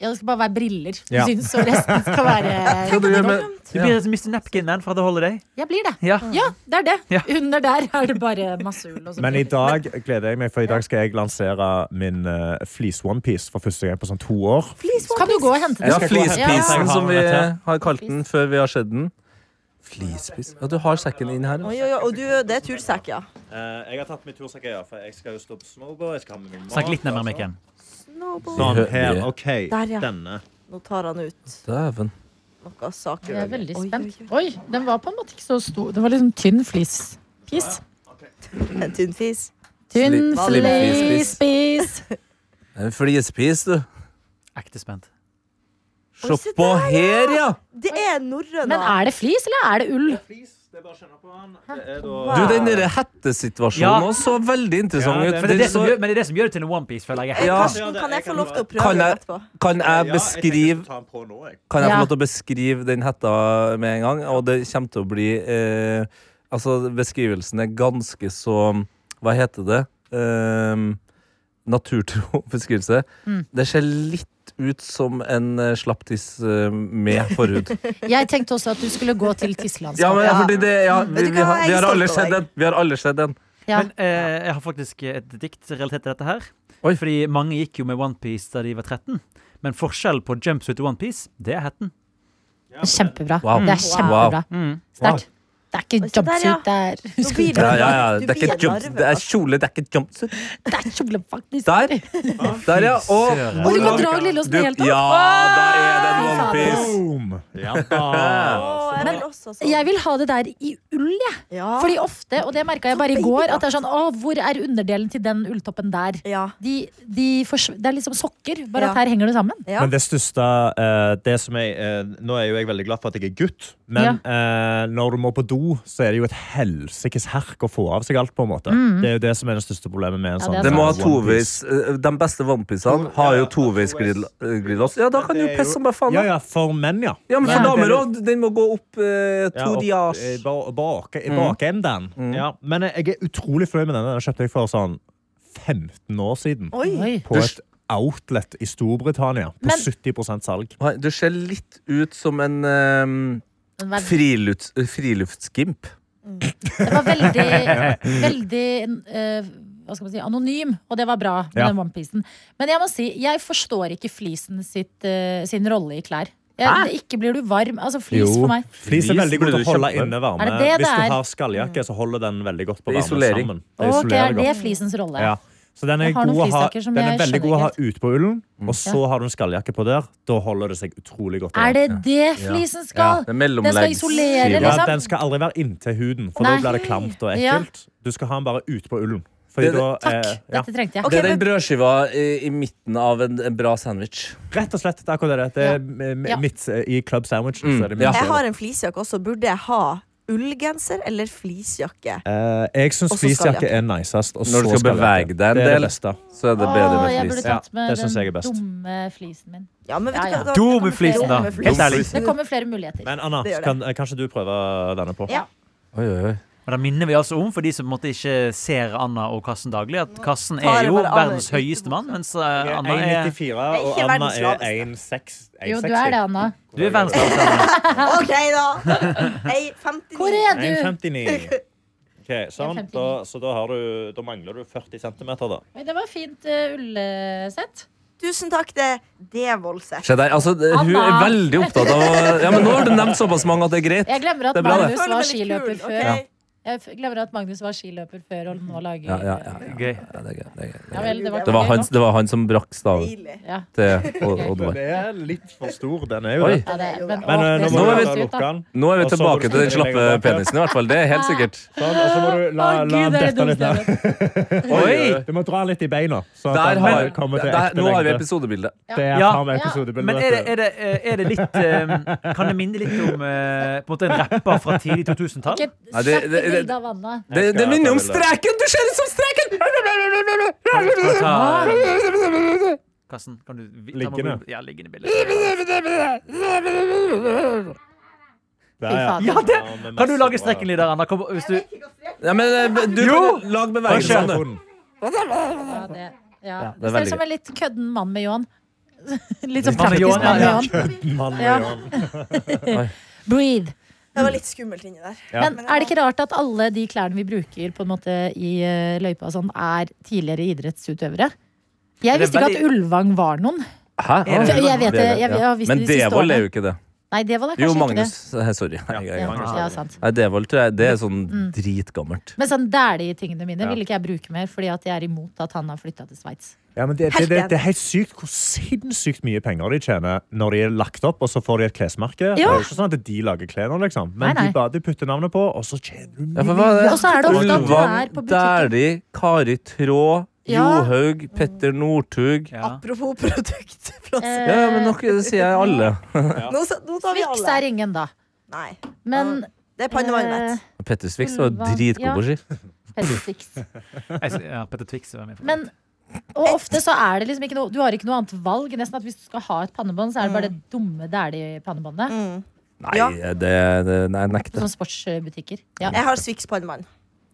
[SPEAKER 2] ja, det skal bare være briller, <laughs>
[SPEAKER 6] Ja.
[SPEAKER 2] syns, og resten skal
[SPEAKER 4] <laughs>
[SPEAKER 2] være
[SPEAKER 3] Hva du gjør med
[SPEAKER 5] Du blir som Mr. Napkin-man fra The Holiday.
[SPEAKER 2] Jeg blir det.
[SPEAKER 5] Ja.
[SPEAKER 2] Ja, det er det.
[SPEAKER 5] Ja.
[SPEAKER 2] Under der er det bare masse ull. Og så-
[SPEAKER 6] Men i dag gleder jeg meg, for i dag skal jeg lansere min uh, fleece-onepiece for første gang på sånn to år.
[SPEAKER 4] Flis,
[SPEAKER 2] Kan du gå og hente
[SPEAKER 3] Ja,
[SPEAKER 2] det?
[SPEAKER 3] flispisen
[SPEAKER 6] Ja.
[SPEAKER 3] som vi
[SPEAKER 6] Ja.
[SPEAKER 3] har kalt den før vi har sett den. Flispis Ja, du har sekken inn her.
[SPEAKER 4] Oi, oi, oi, og du, det er tursekk, ja.
[SPEAKER 6] Eh, jeg har tatt med tursekker, ja, for jeg skal jo stå på snowboard. Jeg skal ha med min
[SPEAKER 5] Snakk litt nærmere mikken.
[SPEAKER 4] Snowboard.
[SPEAKER 6] Sånn, her, OK.
[SPEAKER 4] Der, ja.
[SPEAKER 6] Denne.
[SPEAKER 4] Nå tar han ut
[SPEAKER 3] Dæven.
[SPEAKER 4] noe saker.
[SPEAKER 2] Jeg er veldig
[SPEAKER 4] Oi,
[SPEAKER 2] spent.
[SPEAKER 4] oi,
[SPEAKER 2] Oi, den var på en måte ikke så stor. Den var liksom tynn flispis.
[SPEAKER 4] oi. En tynn fis.
[SPEAKER 2] Tynn
[SPEAKER 3] Slim- slim flispis.
[SPEAKER 2] flispis.
[SPEAKER 4] <laughs>
[SPEAKER 3] En flispis, du.
[SPEAKER 5] Ekte spent.
[SPEAKER 4] Oi,
[SPEAKER 3] Se
[SPEAKER 4] se
[SPEAKER 3] på
[SPEAKER 4] der, ja.
[SPEAKER 3] her, ja!
[SPEAKER 4] Det er norrøn.
[SPEAKER 2] Men er det flis, eller er det ull?
[SPEAKER 4] Wow.
[SPEAKER 3] Du, den der hettesituasjonen
[SPEAKER 5] Ja.
[SPEAKER 3] òg så veldig interessant
[SPEAKER 6] Ja,
[SPEAKER 3] ut.
[SPEAKER 6] det-
[SPEAKER 5] Men det er det
[SPEAKER 3] Den
[SPEAKER 5] som
[SPEAKER 3] så-
[SPEAKER 5] gjør, men det, er det som gjør det til en onepiece, føler jeg.
[SPEAKER 3] sånn- Ja.
[SPEAKER 4] Karsten, kan jeg få lov til å prøve
[SPEAKER 3] Kan jeg-
[SPEAKER 4] etterpå?
[SPEAKER 3] Kan jeg beskrive Kan jeg
[SPEAKER 2] Ja.
[SPEAKER 3] få lov til å beskrive den hetta med en gang? Og det kommer til å bli eh, Altså, beskrivelsen er ganske så Hva heter det? Eh, naturtro beskrivelse.
[SPEAKER 4] Mm.
[SPEAKER 3] Det ser litt ut som en eh, slapp tiss eh, med
[SPEAKER 4] <laughs>
[SPEAKER 3] forhud.
[SPEAKER 2] Jeg tenkte også at du skulle gå til tisselandskapet.
[SPEAKER 3] Ja, men
[SPEAKER 4] Ja.
[SPEAKER 3] fordi det ja, vi,
[SPEAKER 4] Vet du
[SPEAKER 3] vi,
[SPEAKER 4] hva,
[SPEAKER 3] har,
[SPEAKER 4] jeg
[SPEAKER 3] vi har
[SPEAKER 4] er
[SPEAKER 3] alle
[SPEAKER 4] stolt av
[SPEAKER 3] sett
[SPEAKER 4] deg.
[SPEAKER 3] den. Vi har alle sett den.
[SPEAKER 2] Ja.
[SPEAKER 5] Men eh, jeg har faktisk et dikt relatert til dette her.
[SPEAKER 3] Oi.
[SPEAKER 5] Fordi mange gikk jo med onepiece da de var 13. Men forskjellen på jumpsuit og onepiece, det er hetten.
[SPEAKER 2] Kjempebra.
[SPEAKER 3] Wow.
[SPEAKER 2] Det er kjempebra.
[SPEAKER 5] Mm.
[SPEAKER 2] Sterkt. Det er ikke
[SPEAKER 4] Oi, se der, ja.
[SPEAKER 2] jumpsuit, det er
[SPEAKER 4] Nå blir du-
[SPEAKER 3] Ja, ja, ja.
[SPEAKER 4] du
[SPEAKER 3] Det er ikke
[SPEAKER 4] blir en
[SPEAKER 3] jumps,
[SPEAKER 4] larve,
[SPEAKER 3] det er
[SPEAKER 4] altså.
[SPEAKER 3] kjole, det er ikke jumpsuit.
[SPEAKER 2] <laughs> Det er kjole, faktisk.
[SPEAKER 3] Der! Der, ja. Og,
[SPEAKER 5] søren.
[SPEAKER 2] Og du kan dra Lillåsen
[SPEAKER 3] Du-
[SPEAKER 2] helt opp.
[SPEAKER 3] Ja, da er det en
[SPEAKER 2] Fy fader.
[SPEAKER 3] onepiece.
[SPEAKER 6] Boom! Ja. <laughs>
[SPEAKER 4] Å, jeg vil også sånn.
[SPEAKER 2] Jeg vil ha det der i ull, jeg.
[SPEAKER 4] Ja.
[SPEAKER 2] Fordi ofte, og det merka jeg bare i går, at det er sånn Å, hvor er underdelen til den ulltoppen der?
[SPEAKER 4] ja.
[SPEAKER 2] De, de forsv... Det er liksom sokker, bare
[SPEAKER 4] Ja.
[SPEAKER 2] at her henger det sammen.
[SPEAKER 4] Ja.
[SPEAKER 6] Men det største eh, det som jeg, eh, Nå er jo jeg veldig glad for at jeg er gutt, men eh, når du må på do, så er det jo et helsikes herk å få av seg alt. på en måte. Det er jo det som er det største problemet med en
[SPEAKER 2] Mm. Ja,
[SPEAKER 6] sånn.
[SPEAKER 2] det er
[SPEAKER 3] Det må ha
[SPEAKER 6] eh, One
[SPEAKER 3] toveis.
[SPEAKER 6] Piece.
[SPEAKER 3] eh, De beste onepiecene har jo toveisglidelås. Ja, da kan du pisse som bare faen.
[SPEAKER 6] Ja,
[SPEAKER 3] da.
[SPEAKER 6] ja, for menn, ja.
[SPEAKER 3] Ja, men
[SPEAKER 6] Men
[SPEAKER 3] for damer
[SPEAKER 6] det-
[SPEAKER 3] òg. Den må gå opp eh,
[SPEAKER 6] Ja,
[SPEAKER 3] to Mm.
[SPEAKER 6] opp,
[SPEAKER 3] dias.
[SPEAKER 6] eh, ba- bak, i bakenden. Ja. Men eh, jeg er utrolig fornøyd med denne. Den kjøpte jeg for sånn 15 år siden.
[SPEAKER 2] Oi.
[SPEAKER 6] På et outlet i Storbritannia. På
[SPEAKER 2] Men-
[SPEAKER 6] 70 salg.
[SPEAKER 3] Oi, Du ser litt ut som en eh,
[SPEAKER 2] Den var,
[SPEAKER 3] Frilufts, friluftsgimp.
[SPEAKER 2] den var veldig,
[SPEAKER 3] <laughs>
[SPEAKER 2] veldig eh, hva skal man si, anonym, og det var bra med
[SPEAKER 6] Ja.
[SPEAKER 2] den onepiecen. Men jeg må si, jeg forstår ikke flisen sitt, eh, sin rolle i klær. Jeg, ikke blir du varm. Altså, flis for meg.
[SPEAKER 6] Flis er
[SPEAKER 3] Flis
[SPEAKER 6] veldig god
[SPEAKER 3] burde du
[SPEAKER 6] til å holde
[SPEAKER 3] kjøpe.
[SPEAKER 6] inne
[SPEAKER 2] Er
[SPEAKER 6] varme.
[SPEAKER 2] det det det
[SPEAKER 6] Hvis
[SPEAKER 2] er?
[SPEAKER 6] du har skalljakke, så holder den veldig godt på
[SPEAKER 3] Det er
[SPEAKER 6] varme
[SPEAKER 3] isolering.
[SPEAKER 6] sammen. Det
[SPEAKER 2] Ok,
[SPEAKER 6] isolerer
[SPEAKER 2] er det
[SPEAKER 6] godt.
[SPEAKER 2] flisens rolle?
[SPEAKER 6] Ja. Så den er,
[SPEAKER 2] Jeg har noen
[SPEAKER 6] god å ha,
[SPEAKER 2] flisjakker som
[SPEAKER 6] den er
[SPEAKER 2] jeg
[SPEAKER 6] veldig
[SPEAKER 2] skjønner
[SPEAKER 6] god å ha
[SPEAKER 2] ikke
[SPEAKER 6] ute på ullen,
[SPEAKER 3] Mm.
[SPEAKER 6] og så har du en skalljakke på der. Da holder det seg utrolig godt.
[SPEAKER 2] Er det
[SPEAKER 6] varmt.
[SPEAKER 2] det flisen skal?
[SPEAKER 3] Det er
[SPEAKER 2] Den skal
[SPEAKER 3] mellomleggs-
[SPEAKER 2] isolere,
[SPEAKER 3] fiber.
[SPEAKER 2] liksom.
[SPEAKER 6] Ja, den skal aldri være inntil huden, for
[SPEAKER 2] Nei.
[SPEAKER 6] da blir det klamt og
[SPEAKER 2] Ja.
[SPEAKER 6] ekkelt. Du skal ha den bare ute på ullen.
[SPEAKER 3] Det-
[SPEAKER 6] Fordi da,
[SPEAKER 2] Takk,
[SPEAKER 6] eh, ja.
[SPEAKER 2] dette trengte jeg.
[SPEAKER 4] Ok,
[SPEAKER 3] Det er den
[SPEAKER 4] men-
[SPEAKER 3] brødskiva i, i midten av en, en bra sandwich.
[SPEAKER 6] Rett og slett. Det er akkurat det. det er m-
[SPEAKER 2] Ja.
[SPEAKER 6] midt eh, i club sandwichen.
[SPEAKER 3] Mm.
[SPEAKER 6] Så er det
[SPEAKER 3] Ja.
[SPEAKER 6] mitt.
[SPEAKER 4] Jeg har en fleecejakke også. Burde jeg ha ullgenser eller fleecejakke?
[SPEAKER 6] Eh, jeg syns
[SPEAKER 4] Og så
[SPEAKER 6] flisjakke
[SPEAKER 4] skalljakke.
[SPEAKER 6] er nicest. Og
[SPEAKER 3] Når du
[SPEAKER 6] så
[SPEAKER 3] skal
[SPEAKER 6] skalljakke.
[SPEAKER 3] bevege deg en
[SPEAKER 6] Det er
[SPEAKER 3] del.
[SPEAKER 6] det beste.
[SPEAKER 3] Så er det bedre
[SPEAKER 2] Åh, jeg
[SPEAKER 3] med
[SPEAKER 2] burde
[SPEAKER 3] flis.
[SPEAKER 6] Ja,
[SPEAKER 2] tatt med
[SPEAKER 6] det synes jeg er
[SPEAKER 2] den
[SPEAKER 6] best.
[SPEAKER 2] dumme flisen min.
[SPEAKER 4] Ja, men vet
[SPEAKER 2] Ja, ja.
[SPEAKER 4] du hva? Da-
[SPEAKER 5] Dum
[SPEAKER 4] da
[SPEAKER 5] i flisen, da.
[SPEAKER 4] kommer flere-
[SPEAKER 5] Helt ærlig.
[SPEAKER 2] Det kommer flere muligheter.
[SPEAKER 6] Men Anna,
[SPEAKER 4] Det gjør det.
[SPEAKER 6] kan, eh, kanskje du prøve denne på?
[SPEAKER 4] Ja.
[SPEAKER 3] Oi, oi, oi.
[SPEAKER 5] Og da minner vi altså om, for de som måtte ikke ser Anna og Karsten daglig, at Karsten
[SPEAKER 4] Ta
[SPEAKER 5] er
[SPEAKER 4] det
[SPEAKER 5] jo
[SPEAKER 4] bare av med
[SPEAKER 5] verdens høyeste mann, mens eh,
[SPEAKER 6] Jeg
[SPEAKER 5] Anna
[SPEAKER 6] er
[SPEAKER 5] er
[SPEAKER 6] 1,94,
[SPEAKER 4] Jeg er
[SPEAKER 6] og
[SPEAKER 4] ikke
[SPEAKER 6] Anna
[SPEAKER 4] verdens
[SPEAKER 6] er
[SPEAKER 4] laveste.
[SPEAKER 6] 1,6.
[SPEAKER 2] Jo, du er det, Anna.
[SPEAKER 5] Du er verdens laveste. mann.
[SPEAKER 4] <laughs> OK, da. Hei, 59.
[SPEAKER 2] Hvor er du? <laughs>
[SPEAKER 6] 1,59. Ok, sånn.
[SPEAKER 2] 1,59.
[SPEAKER 6] Da, så da, har du, da mangler du 40 cm, da.
[SPEAKER 2] Oi, Det var fint uh, ullsett.
[SPEAKER 4] Tusen takk, det det er voldsomt.
[SPEAKER 3] Se der, altså, det- hun er
[SPEAKER 2] Anna.
[SPEAKER 3] veldig opptatt av å- ja, men Nå har du nevnt såpass mange at det er greit.
[SPEAKER 2] Jeg glemmer at
[SPEAKER 3] Det er bra, det.
[SPEAKER 2] Magnus var skiløper før.
[SPEAKER 4] Ja.
[SPEAKER 2] Jeg f- glemmer at Magnus var skiløper før og nå lager
[SPEAKER 3] Ja, ja, ja, ja. Ja,
[SPEAKER 5] Gøy.
[SPEAKER 3] det, er greit, det, er greit, det, er
[SPEAKER 2] Ja,
[SPEAKER 3] greit.
[SPEAKER 2] vel, det, var
[SPEAKER 3] det, var
[SPEAKER 2] gøy
[SPEAKER 3] han,
[SPEAKER 2] nok.
[SPEAKER 3] det var han som brakk staven
[SPEAKER 4] Deilig.
[SPEAKER 2] Ja.
[SPEAKER 3] til Odd- Oddvar.
[SPEAKER 6] er litt for stor, den er
[SPEAKER 3] Oi.
[SPEAKER 2] Ja, det, men, å, det så
[SPEAKER 6] Men eh, nå må
[SPEAKER 3] Nå er
[SPEAKER 6] du
[SPEAKER 2] godt
[SPEAKER 6] ta
[SPEAKER 2] ut, da.
[SPEAKER 6] lukke den.
[SPEAKER 3] Nå er vi
[SPEAKER 6] Og så
[SPEAKER 3] tilbake
[SPEAKER 6] må du
[SPEAKER 3] til den
[SPEAKER 6] legge
[SPEAKER 3] slappe
[SPEAKER 6] den bak.
[SPEAKER 3] penisen, i hvert fall. Det er helt sikkert.
[SPEAKER 6] Sånn, og så må du la,
[SPEAKER 2] Å,
[SPEAKER 6] la
[SPEAKER 2] Gud,
[SPEAKER 6] den
[SPEAKER 2] det er det
[SPEAKER 6] dette litt
[SPEAKER 2] dummeste jeg
[SPEAKER 6] ned.
[SPEAKER 2] vet.
[SPEAKER 3] Oi!
[SPEAKER 6] Du må dra litt i beina. Så at
[SPEAKER 3] Der
[SPEAKER 6] den
[SPEAKER 3] har,
[SPEAKER 6] kommer til
[SPEAKER 3] der,
[SPEAKER 6] ekte
[SPEAKER 3] nå har vi
[SPEAKER 6] lengde.
[SPEAKER 3] episodebildet.
[SPEAKER 6] Det er
[SPEAKER 5] Ja.
[SPEAKER 6] faen meg
[SPEAKER 2] Ja.
[SPEAKER 6] episodebildet,
[SPEAKER 5] Men er det,
[SPEAKER 6] vet du.
[SPEAKER 5] er, det, eh, er det litt eh, Kan det minne litt om eh, på en måte en rapper fra tidlig 2000-tall?
[SPEAKER 2] Ikke
[SPEAKER 3] Nei, det-
[SPEAKER 2] snakk
[SPEAKER 3] det-
[SPEAKER 2] til
[SPEAKER 3] det-
[SPEAKER 2] bildet av Anna.
[SPEAKER 3] Det,
[SPEAKER 6] Jeg skal
[SPEAKER 3] det minner om
[SPEAKER 6] ta bildet.
[SPEAKER 3] streken! Du ser ut som streken!
[SPEAKER 5] Kan du ta- Karsten, kan du vi- ta med-
[SPEAKER 6] Liggende.
[SPEAKER 5] Ja, liggende bilde.
[SPEAKER 6] Der,
[SPEAKER 2] Fy faen.
[SPEAKER 5] Ja, det
[SPEAKER 6] Ja, med
[SPEAKER 5] Kan du
[SPEAKER 6] masse
[SPEAKER 5] lage
[SPEAKER 6] bra-
[SPEAKER 5] streken litt der, Anna? Kom, hvis du
[SPEAKER 3] Ja, men eh, du,
[SPEAKER 5] Jo!
[SPEAKER 3] lag bevegelser. du.
[SPEAKER 2] Ja, det, ja.
[SPEAKER 3] Ja, det er
[SPEAKER 2] det ser
[SPEAKER 3] veldig
[SPEAKER 2] ut som en litt kødden mann med Johan. <laughs> Litt sånn
[SPEAKER 5] Mann med
[SPEAKER 2] praktisk
[SPEAKER 5] Johan,
[SPEAKER 2] mann med
[SPEAKER 5] ja,
[SPEAKER 2] Johan.
[SPEAKER 6] Mann med
[SPEAKER 2] Ja.
[SPEAKER 6] Johan.
[SPEAKER 2] Breathe.
[SPEAKER 4] Det var litt skummelt inni der.
[SPEAKER 6] Ja.
[SPEAKER 2] Men er det ikke rart at alle de klærne vi bruker på en måte i eh, løypa, og sånn, er tidligere idrettsutøvere? Jeg
[SPEAKER 5] Er det
[SPEAKER 2] visste ikke at
[SPEAKER 5] veldig-
[SPEAKER 2] Ulvang var noen.
[SPEAKER 3] Hæ?
[SPEAKER 5] Er det-
[SPEAKER 2] Jeg vet det, jeg- jeg har visst
[SPEAKER 3] Men
[SPEAKER 2] det de siste
[SPEAKER 3] Devold
[SPEAKER 2] årene.
[SPEAKER 3] er jo ikke det.
[SPEAKER 2] Nei, det var da kanskje
[SPEAKER 3] Jo,
[SPEAKER 2] ikke det.
[SPEAKER 3] Magnus. eh, Sorry. Jeg- jeg-
[SPEAKER 2] Ja, Mm.
[SPEAKER 3] jeg-
[SPEAKER 2] ja, sant.
[SPEAKER 3] Nei, Devold tror jeg det er sånn dritgammelt.
[SPEAKER 2] Men sånn dælige-tingene mine
[SPEAKER 6] Ja.
[SPEAKER 2] vil ikke jeg bruke mer, fordi at jeg er imot at han har flytta til Sveits.
[SPEAKER 6] Ja, men det, det, det, det er helt sykt hvor sinnssykt mye penger de tjener når de er lagt opp, og så får de et klesmerke. Det er jo ikke sånn at de lager klærne, liksom. Men
[SPEAKER 2] Nei, nei.
[SPEAKER 6] de bare de putter navnet på, og så tjener du
[SPEAKER 3] Ja,
[SPEAKER 6] mye.
[SPEAKER 3] for hva er det?
[SPEAKER 2] Og så er det ofte at du er på
[SPEAKER 3] Ulvang,
[SPEAKER 2] butikken.
[SPEAKER 3] Dæhlie, Kari Traa,
[SPEAKER 2] Ja.
[SPEAKER 3] Johaug, Petter Northug ja.
[SPEAKER 5] ja.
[SPEAKER 4] Apropos produkt.
[SPEAKER 2] Eh,
[SPEAKER 3] ja, men nok det sier jeg alle.
[SPEAKER 4] Nå, sa- nå tar vi
[SPEAKER 2] Swix
[SPEAKER 4] alle.
[SPEAKER 2] er ingen, da.
[SPEAKER 4] Nei.
[SPEAKER 2] Men
[SPEAKER 4] Det er pannevarmet.
[SPEAKER 2] eh,
[SPEAKER 3] Petter Swix var
[SPEAKER 2] Ulvang,
[SPEAKER 3] dritgod på ski.
[SPEAKER 2] Petter Swix.
[SPEAKER 5] Jeg s- Ja, Petter Twix var med.
[SPEAKER 2] eh, Men og ofte så er det liksom ikke noe Du har ikke noe annet valg. Nesten at Hvis du skal ha et pannebånd, så er det bare det dumme, dælige
[SPEAKER 3] Eh.
[SPEAKER 2] pannebåndet.
[SPEAKER 4] Mm.
[SPEAKER 3] Nei,
[SPEAKER 4] Ja.
[SPEAKER 3] det, det nei, jeg
[SPEAKER 2] På
[SPEAKER 3] nekter.
[SPEAKER 2] sånne sportsbutikker. Ja,
[SPEAKER 4] Jeg har Swix pannemann.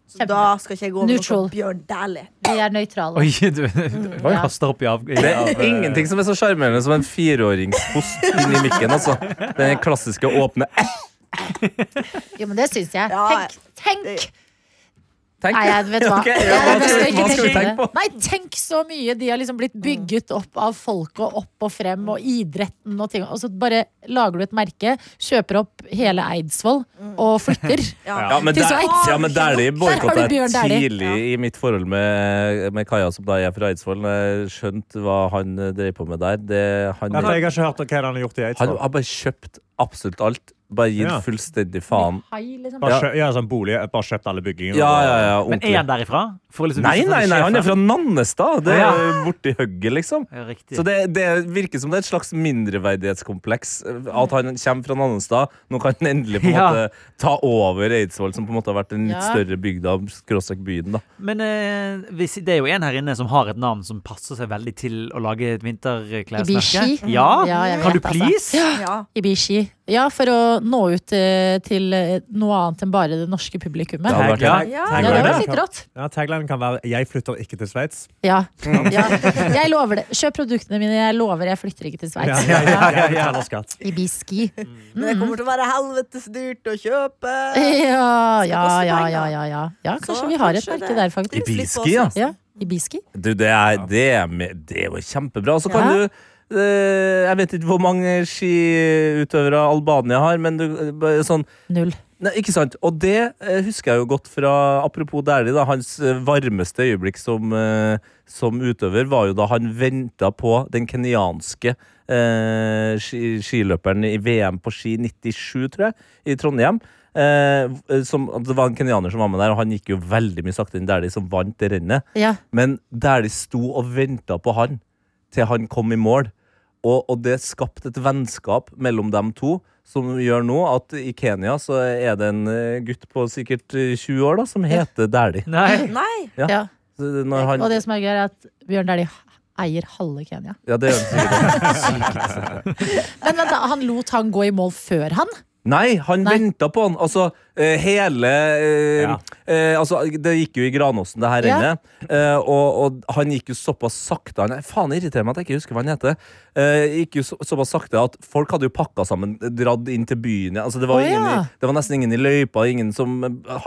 [SPEAKER 4] Så
[SPEAKER 2] Kjempebra.
[SPEAKER 4] da skal ikke jeg gå med noe
[SPEAKER 2] Neutral.
[SPEAKER 4] sånn Bjørn Dæhlie.
[SPEAKER 2] De er nøytrale.
[SPEAKER 5] Oi, du, du kaster opp i av... i
[SPEAKER 3] Det
[SPEAKER 5] av-
[SPEAKER 3] er ingenting som er så sjarmerende som en fireåringshost inni mikken. Altså. Den klassiske åpne
[SPEAKER 2] Jo, men det syns jeg.
[SPEAKER 4] Ja,
[SPEAKER 2] Tenk! tenk
[SPEAKER 3] Tenk.
[SPEAKER 2] Nei, jeg vet hva.
[SPEAKER 3] <laughs> Ok, ja,
[SPEAKER 2] Det er
[SPEAKER 3] hva
[SPEAKER 2] best
[SPEAKER 3] skal-
[SPEAKER 2] å ikke
[SPEAKER 3] hva skal vi
[SPEAKER 2] tenke på
[SPEAKER 3] tenke Mm.
[SPEAKER 2] det. Nei, tenk så mye de har liksom blitt bygget opp av folk og opp og frem og idretten og ting. Og så bare lager du et merke, kjøper opp hele Eidsvoll og flytter.
[SPEAKER 3] Mm. <laughs> Ja, men
[SPEAKER 2] Til
[SPEAKER 3] der,
[SPEAKER 2] Sveits.
[SPEAKER 3] ja, men Dæhlie boikotta jeg
[SPEAKER 2] har du Bjørn Dæhlie.
[SPEAKER 3] tidlig i mitt forhold med, med Kaja, som da er fra Eidsvoll. Jeg skjønte hva han eh, drev på med der. Det, han,
[SPEAKER 6] Ja, for
[SPEAKER 3] han
[SPEAKER 6] jeg har ikke hørt om hva han har gjort i Eidsvoll.
[SPEAKER 3] har bare kjøpt absolutt alt. Bare gitt
[SPEAKER 6] Ja.
[SPEAKER 3] fullstendig faen.
[SPEAKER 2] Hai, liksom.
[SPEAKER 6] Bare,
[SPEAKER 3] Ja.
[SPEAKER 6] kjø, ja, sånn bolig, bare kjøpt alle byggingene.
[SPEAKER 3] Ja, ja, ja,
[SPEAKER 5] Men er
[SPEAKER 3] ordentlig.
[SPEAKER 5] han derifra? For å liksom
[SPEAKER 3] Nei,
[SPEAKER 5] vise
[SPEAKER 3] nei,
[SPEAKER 5] at
[SPEAKER 3] nei, han er
[SPEAKER 5] sjef
[SPEAKER 3] fra Nannestad. Det
[SPEAKER 5] Ja.
[SPEAKER 3] er borti hugget, liksom.
[SPEAKER 5] Ja, riktig.
[SPEAKER 3] Så det, det virker som det er et slags mindreverdighetskompleks. eh, At han kommer fra Nannestad. Nå kan han endelig på en
[SPEAKER 5] Ja.
[SPEAKER 3] måte ta over Eidsvoll, som på en måte har vært den litt
[SPEAKER 2] Ja.
[SPEAKER 3] større bygda, skråstrek byen. da
[SPEAKER 5] Men eh, hvis, det er jo en her inne som har et navn som passer seg veldig til å lage et vinterklesmerke.
[SPEAKER 2] Ibishi.
[SPEAKER 5] Ja.
[SPEAKER 2] Ja, jeg
[SPEAKER 5] Kan du
[SPEAKER 2] vet, altså.
[SPEAKER 5] please?
[SPEAKER 4] Ja.
[SPEAKER 2] Ibishi. Ja, for å nå ut eh, til eh, noe annet enn bare det norske publikummet.
[SPEAKER 3] Det
[SPEAKER 2] Ja,
[SPEAKER 3] hadde vært
[SPEAKER 5] Ja.
[SPEAKER 4] Ja.
[SPEAKER 2] det
[SPEAKER 6] Taglinen
[SPEAKER 2] var litt
[SPEAKER 6] kan-
[SPEAKER 2] rått.
[SPEAKER 6] Ja, taglinen kan være 'Jeg flytter ikke til Sveits'.
[SPEAKER 2] Ja. ja. Jeg lover det. Kjøp produktene mine, jeg lover. Jeg flytter ikke til
[SPEAKER 6] Ja,
[SPEAKER 2] Sveits.
[SPEAKER 6] ja, ja, ja, betaler skatt.
[SPEAKER 2] Ibiski.
[SPEAKER 4] Men
[SPEAKER 2] Mm.
[SPEAKER 4] det kommer til å være helvetes dyrt å kjøpe.
[SPEAKER 2] <laughs>
[SPEAKER 5] <laughs>
[SPEAKER 2] Ja, ja,
[SPEAKER 4] koste
[SPEAKER 2] ja,
[SPEAKER 4] penger.
[SPEAKER 2] ja, ja, ja. ja
[SPEAKER 4] Så
[SPEAKER 2] kanskje vi har et
[SPEAKER 4] kanskje
[SPEAKER 2] merke
[SPEAKER 4] det-
[SPEAKER 2] der, faktisk.
[SPEAKER 3] Ibiski, ja.
[SPEAKER 2] Ja, Ibiski.
[SPEAKER 3] Du, det er, det er, me- det er jo kjempebra. Og så kan
[SPEAKER 2] Ja.
[SPEAKER 3] du eh, Jeg vet ikke hvor mange skiutøvere Albania har, men du, eh, bare sånn
[SPEAKER 2] Null.
[SPEAKER 3] Nei, ikke sant? Og det eh, husker jeg jo godt fra Apropos Dæhlie, da. Hans eh, varmeste øyeblikk som, eh, som utøver var jo da han venta på den kenyanske eh, ski, skiløperen i VM på ski 97, tror jeg, i Trondheim. Eh, som, det var en kenyaner som var med der, og han gikk jo veldig mye saktere enn Dæhlie, som vant det rennet.
[SPEAKER 2] Ja.
[SPEAKER 3] Men der de sto og venta på han til han kom i mål. Og, og det skapte et vennskap mellom dem to som gjør nå at i Kenya så er det en eh, gutt på sikkert eh, 20 år da som heter Dæhlie.
[SPEAKER 5] Nei.
[SPEAKER 4] Nei.
[SPEAKER 2] Ja.
[SPEAKER 3] Så Når han
[SPEAKER 2] Og det som er gøy, er at Bjørn Dæhlie eier halve Kenya.
[SPEAKER 3] Ja, det gjør han sikkert.
[SPEAKER 2] Men vent, da, han lot han gå i mål før han?
[SPEAKER 3] Nei, han
[SPEAKER 2] Nei.
[SPEAKER 3] venta på han. Altså, eh, hele eh,
[SPEAKER 6] Ja.
[SPEAKER 3] eh, Altså, det gikk jo i Granåsen, det her
[SPEAKER 2] Ja.
[SPEAKER 3] rennet. Eh, og, og han gikk jo såpass sakte han, Faen, det irriterer meg at jeg ikke husker hva han heter. Eh, gikk jo så, såpass sakte at folk hadde jo pakka sammen, dratt inn til byen. ja. Altså, det, var
[SPEAKER 2] Å,
[SPEAKER 3] ingen,
[SPEAKER 2] ja.
[SPEAKER 3] i- det var nesten ingen i løypa. Ingen som,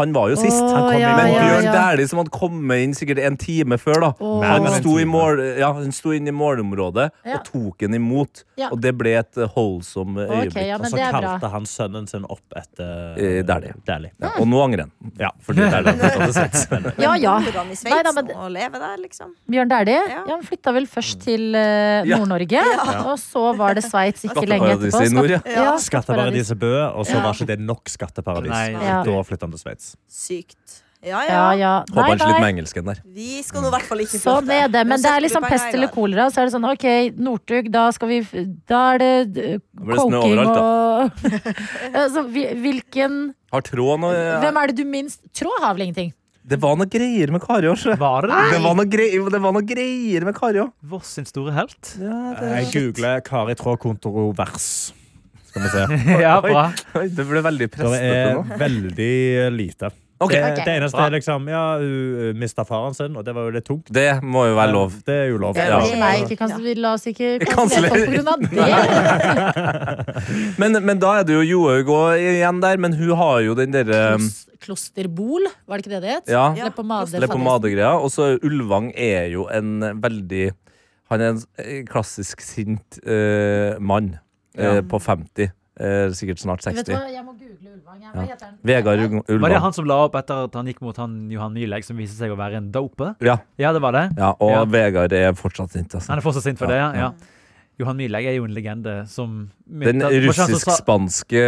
[SPEAKER 3] han var jo sist.
[SPEAKER 2] Å,
[SPEAKER 3] han kom
[SPEAKER 2] ja,
[SPEAKER 3] inn. Men
[SPEAKER 2] ja,
[SPEAKER 3] Bjørn
[SPEAKER 2] ja.
[SPEAKER 3] Dæhlie, som hadde kommet inn sikkert en time før, da.
[SPEAKER 2] Å.
[SPEAKER 3] Han
[SPEAKER 6] Men-
[SPEAKER 3] sto, i mål, ja, han sto inn i målområdet
[SPEAKER 2] Ja.
[SPEAKER 3] og tok han imot.
[SPEAKER 2] Ja.
[SPEAKER 3] Og det ble et eh, wholesome eh, øyeblikk.
[SPEAKER 2] Ok, ja, Mm.
[SPEAKER 6] Og
[SPEAKER 2] men
[SPEAKER 6] så
[SPEAKER 2] det er bra.
[SPEAKER 6] kalte han sønnen sin opp etter
[SPEAKER 3] Eh, Dæhlie.
[SPEAKER 6] Dæhlie.
[SPEAKER 3] Ja, og nå angrer han.
[SPEAKER 6] Ja.
[SPEAKER 3] Fordi det er det han hadde sett.
[SPEAKER 2] Ja, ja.
[SPEAKER 4] Bor han i Sveits
[SPEAKER 2] Nei, da, men-
[SPEAKER 4] nå og lever der, liksom?
[SPEAKER 2] Bjørn Dæhlie ja.
[SPEAKER 4] Ja.
[SPEAKER 2] han flytta vel først til eh,
[SPEAKER 3] Ja.
[SPEAKER 2] Nord-Norge, og så var det Sveits ikke lenge
[SPEAKER 3] Skatteparadiset
[SPEAKER 2] etterpå.
[SPEAKER 3] i nord, ja.
[SPEAKER 2] skatteparadis.
[SPEAKER 6] Skatteparadiset Bø, og så var ikke det nok skatteparadis.
[SPEAKER 5] Nei.
[SPEAKER 2] Ja.
[SPEAKER 6] Da flytta han til Sveits.
[SPEAKER 4] Sykt. Ja,
[SPEAKER 2] Ja,
[SPEAKER 4] ja.
[SPEAKER 2] ja.
[SPEAKER 3] Håper
[SPEAKER 2] Nei,
[SPEAKER 3] han sliter
[SPEAKER 2] nei.
[SPEAKER 3] med engelsken der.
[SPEAKER 4] Vi skal nå i hvert fall ikke
[SPEAKER 2] Sånn er det. Men det er liksom pest eller kolera. Så er det sånn, ok, Northug, da skal vi f- Da er det eh,
[SPEAKER 3] blir det snø
[SPEAKER 2] coking
[SPEAKER 3] overalt,
[SPEAKER 2] og <laughs> altså, vi- Hvilken
[SPEAKER 3] Har tråd nå
[SPEAKER 2] Hvem er det du minst Tråd har vel ingenting?
[SPEAKER 3] Det var noe greier med Kari òg, sjø.
[SPEAKER 5] Var det det?
[SPEAKER 3] Det var noe greier, det var noe greier med Kari òg.
[SPEAKER 5] Voss sin store helt.
[SPEAKER 6] Jeg googler Kari Traa kontrovers. Skal vi se.
[SPEAKER 3] <laughs>
[SPEAKER 5] <laughs> Ja, bra.
[SPEAKER 3] Oi, Det ble veldig
[SPEAKER 6] Det er
[SPEAKER 3] prestete nå.
[SPEAKER 6] veldig lite.
[SPEAKER 3] Ok.
[SPEAKER 6] Det,
[SPEAKER 2] Ok.
[SPEAKER 6] det eneste
[SPEAKER 5] Bra.
[SPEAKER 6] er liksom Ja, hun mista faren sin, og det var jo litt tungt.
[SPEAKER 3] Det må jo være lov.
[SPEAKER 6] Det er jo lov.
[SPEAKER 3] Det er lov.
[SPEAKER 2] Ikke meg. Vi kan, vi la oss ikke
[SPEAKER 3] Kansler.
[SPEAKER 2] kansellere folk på grunn av det.
[SPEAKER 3] Men, men da er det jo Johaug òg igjen der, men hun har jo den
[SPEAKER 2] <laughs>
[SPEAKER 3] derre um,
[SPEAKER 2] Klos- Klosterbol, var det ikke det det het?
[SPEAKER 3] Ja.
[SPEAKER 2] Leppepomade.
[SPEAKER 3] Leppepomade-greia. Og så Ulvang er jo en veldig Han er en eh, klassisk sint eh, mann eh, på 50. eh, sikkert snart
[SPEAKER 2] Vet du
[SPEAKER 3] 60.
[SPEAKER 2] hva, jeg må google Ulvang. jeg. Hva heter den?
[SPEAKER 3] Vegard Ung-
[SPEAKER 5] Var det
[SPEAKER 3] Ulvang.
[SPEAKER 5] han som la opp etter at han gikk mot han Johan Nylegg, som viste seg å være en doper?
[SPEAKER 3] Ja,
[SPEAKER 5] Ja, det var det.
[SPEAKER 3] ja, og
[SPEAKER 5] Ja.
[SPEAKER 3] Vegard er fortsatt sint. altså.
[SPEAKER 5] Han er fortsatt sint for det,
[SPEAKER 3] Ja,
[SPEAKER 5] ja. ja. Johan Nylegg er jo en legende som
[SPEAKER 3] Den
[SPEAKER 5] at- for han som sa-
[SPEAKER 3] russisk-spanske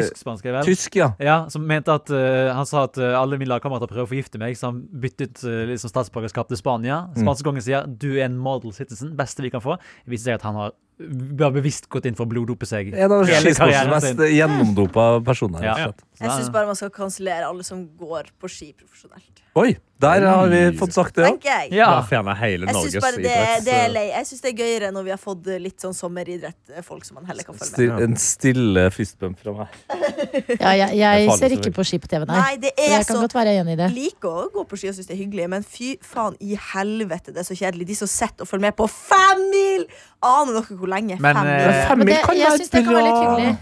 [SPEAKER 5] Tysk-spansk, er det vel?
[SPEAKER 3] Tysk, ja.
[SPEAKER 5] Ja, som mente at eh, Han sa at eh, alle mine lagkamerater prøver å forgifte meg, så han byttet eh, liksom statsborgerskap til Spania.
[SPEAKER 3] Mm.
[SPEAKER 5] Spanskekongen sier du er en model citizen, beste vi kan få. Det viser seg at han har eh, bare bevisst gått inn for å bloddope seg.
[SPEAKER 3] En av
[SPEAKER 5] Hele
[SPEAKER 3] skisportens
[SPEAKER 5] karrieren
[SPEAKER 3] mest
[SPEAKER 5] sin.
[SPEAKER 3] gjennomdopa personer.
[SPEAKER 5] Ja.
[SPEAKER 3] rett og slett.
[SPEAKER 4] Jeg
[SPEAKER 5] Så-
[SPEAKER 4] syns bare man skal kansellere alle som går på ski profesjonelt.
[SPEAKER 3] Oi, der har vi fått sagt det òg.
[SPEAKER 4] Tenker jeg.
[SPEAKER 5] Ja.
[SPEAKER 6] Bare fjerne hele
[SPEAKER 4] Jeg syns
[SPEAKER 6] Norges
[SPEAKER 4] bare det,
[SPEAKER 6] idretts-
[SPEAKER 4] det er lei. Jeg syns det er gøyere når vi har fått litt sånn sommeridrett-folk som man heller kan følge med.
[SPEAKER 3] Stil, en stille fistbump fra meg.
[SPEAKER 2] Ja, jeg
[SPEAKER 3] Det er
[SPEAKER 2] jeg
[SPEAKER 3] farlig,
[SPEAKER 2] ser ikke
[SPEAKER 3] selvfølgelig.
[SPEAKER 2] på ski på TV, nei.
[SPEAKER 4] Nei, det
[SPEAKER 2] Så
[SPEAKER 4] er
[SPEAKER 2] jeg kan
[SPEAKER 4] så
[SPEAKER 2] godt være enig i det.
[SPEAKER 4] liker å gå på ski og syns det er hyggelig, men fy faen i helvete, det er så kjedelig. De som sitter og følger med på fem mil! Aner dere hvor lenge?
[SPEAKER 5] Men,
[SPEAKER 4] fem
[SPEAKER 5] eh,
[SPEAKER 4] mil? er?
[SPEAKER 2] Men det, jeg syns det kan være litt hyggelig.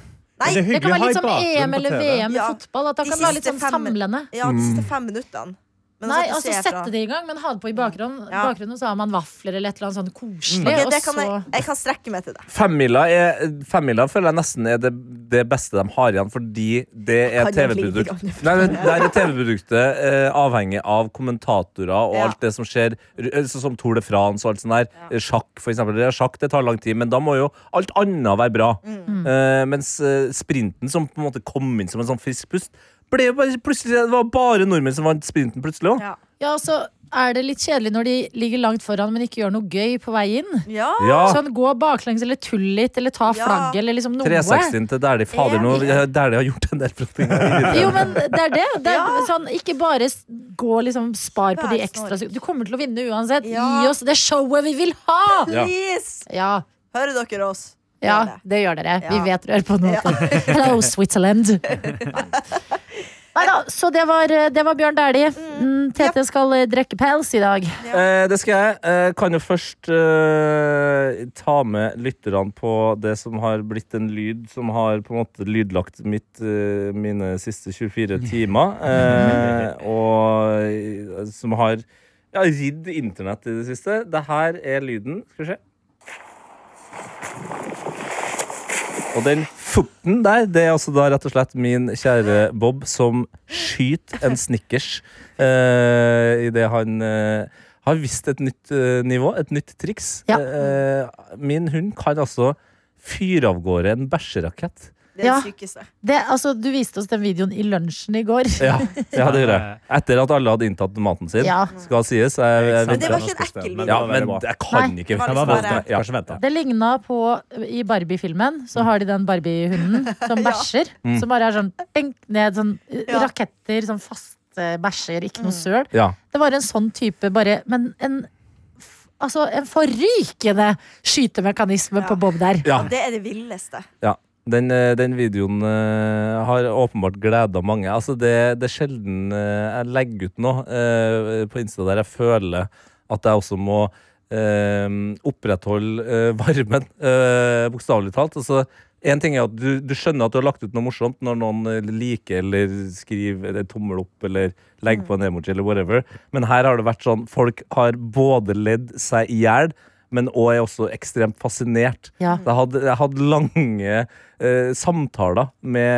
[SPEAKER 6] Men det
[SPEAKER 4] Nei,
[SPEAKER 6] er
[SPEAKER 2] Det
[SPEAKER 6] hyggelig
[SPEAKER 4] sånn
[SPEAKER 2] kan være
[SPEAKER 6] å ha i
[SPEAKER 2] litt som
[SPEAKER 6] bakgrunnen
[SPEAKER 2] EM
[SPEAKER 6] på
[SPEAKER 2] eller
[SPEAKER 6] TV.
[SPEAKER 2] VM i
[SPEAKER 4] Ja.
[SPEAKER 2] fotball. At det
[SPEAKER 4] De
[SPEAKER 2] kan være litt
[SPEAKER 4] siste
[SPEAKER 2] sånn
[SPEAKER 4] fem-
[SPEAKER 2] samlende.
[SPEAKER 4] Ja, de siste fem minuttene. Men
[SPEAKER 2] Nei,
[SPEAKER 4] at du
[SPEAKER 2] altså
[SPEAKER 4] ser fra-
[SPEAKER 2] sette det i gang, men ha det på i bakgrunnen.
[SPEAKER 4] Ja.
[SPEAKER 2] bakgrunnen så har man vafler eller et eller annet sånn koselig.
[SPEAKER 4] Ok,
[SPEAKER 2] og
[SPEAKER 4] det kan jeg,
[SPEAKER 2] så-
[SPEAKER 4] jeg kan strekke meg til det.
[SPEAKER 3] Femmila, er, femmila føler jeg nesten er det, det beste de har igjen, fordi det er
[SPEAKER 4] Kan jeg
[SPEAKER 3] TV-produkt.
[SPEAKER 4] lite grann?
[SPEAKER 3] Nei, men der er TV-produktet eh, avhengig av kommentatorer og
[SPEAKER 4] Ja.
[SPEAKER 3] alt det som skjer, ru- eh, sånn som Tour de France og alt sånt der. Eh, Sjakk, for eksempel. Det, er sjakk, det tar lang tid, men da må jo alt annet være bra.
[SPEAKER 4] Mm.
[SPEAKER 3] Eh, mens eh, sprinten, som på en måte kom inn som en sånn frisk pust, ble jo bare, plutselig, det var bare nordmenn som vant sprinten plutselig òg.
[SPEAKER 4] Ja.
[SPEAKER 2] Ja, og så er det litt kjedelig når de ligger langt foran, men ikke gjør noe gøy på vei inn.
[SPEAKER 4] Ja.
[SPEAKER 3] Ja.
[SPEAKER 2] Sånn gå baklengs eller tull litt, eller ta
[SPEAKER 4] Ja.
[SPEAKER 2] flagget, eller liksom noe.
[SPEAKER 3] 360 til Dæhlie. Fader, nå Dæhlie har gjort en del bra
[SPEAKER 4] <laughs>
[SPEAKER 3] ting.
[SPEAKER 2] Jo, men det er det. det er,
[SPEAKER 4] Ja.
[SPEAKER 2] sånn, ikke bare s- gå liksom spar på de
[SPEAKER 4] Vær
[SPEAKER 2] ekstra
[SPEAKER 4] snill.
[SPEAKER 2] sekundene. Du kommer til å vinne uansett.
[SPEAKER 4] Ja.
[SPEAKER 2] Gi oss det showet vi vil ha!
[SPEAKER 3] Ja.
[SPEAKER 4] Please!
[SPEAKER 2] Ja,
[SPEAKER 4] Hører dere oss?
[SPEAKER 2] ja
[SPEAKER 4] Gjør det.
[SPEAKER 2] det gjør dere. Vi
[SPEAKER 4] Ja.
[SPEAKER 2] vet dere hører på noe. <laughs> Hello, <laughs> Switzerland. Neida, så det var, eh, det var Bjørn Dæhlie. Mm, Tete skal eh, drikke pels i dag.
[SPEAKER 3] Eh, det skal jeg. Eh, kan jo først eh, ta med lytterne på det som har blitt en lyd som har på en måte lydlagt mitt, eh, mine siste 24 timer. Eh, og eh, som har ja, ridd internett i det siste. Det her er lyden. Skal vi se. Og den furten der, det er altså da rett og slett min kjære Bob som skyter en snickers eh, idet han eh, har visst et nytt eh, nivå, et nytt triks.
[SPEAKER 2] Ja.
[SPEAKER 3] Eh, min hund kan altså fyre av gårde en bæsjerakett.
[SPEAKER 4] Det er
[SPEAKER 2] Ja.
[SPEAKER 4] det sykeste.
[SPEAKER 2] Det, altså, du viste oss den videoen i lunsjen i går.
[SPEAKER 3] Ja, ja, det gjorde jeg. Etter at alle hadde inntatt maten sin,
[SPEAKER 2] Ja.
[SPEAKER 3] skal sies. Jeg, jeg,
[SPEAKER 4] Men det var
[SPEAKER 3] venter.
[SPEAKER 4] ikke en ekkel video.
[SPEAKER 3] ja, men
[SPEAKER 6] det
[SPEAKER 3] jeg kan
[SPEAKER 2] Nei.
[SPEAKER 3] ikke.
[SPEAKER 4] var
[SPEAKER 6] var
[SPEAKER 4] liksom
[SPEAKER 6] verdt
[SPEAKER 4] bare-
[SPEAKER 6] det. Kanskje vente.
[SPEAKER 2] Det ligna på I Barbie-filmen så har de den Barbie-hunden <laughs> som bæsjer. Som bare er sånn benk ned, sånn eh,
[SPEAKER 4] Ja.
[SPEAKER 2] raketter, sånn faste bæsjer, ikke noe søl.
[SPEAKER 3] Ja.
[SPEAKER 2] Det var en sånn type, bare Men en f- Altså, en forrykende skytemekanisme
[SPEAKER 4] Ja.
[SPEAKER 2] på Bob der.
[SPEAKER 3] Ja.
[SPEAKER 4] Det er det villeste.
[SPEAKER 3] Ja. Den, eh, den videoen eh, har åpenbart gleda mange. Altså det, det er sjelden eh, jeg legger ut noe eh, på Insta der jeg føler at jeg også må eh, opprettholde eh, varmen, uh, bokstavelig talt. Altså, en ting er at du, du skjønner at du har lagt ut noe morsomt når noen eh, liker eller skriver eller tommel opp eller legger på en emoji eller whatever, men her har det vært sånn folk har både ledd seg i hjel, men òg er også ekstremt fascinert.
[SPEAKER 2] Ja.
[SPEAKER 3] Jeg hadde, jeg hadde lange eh, samtaler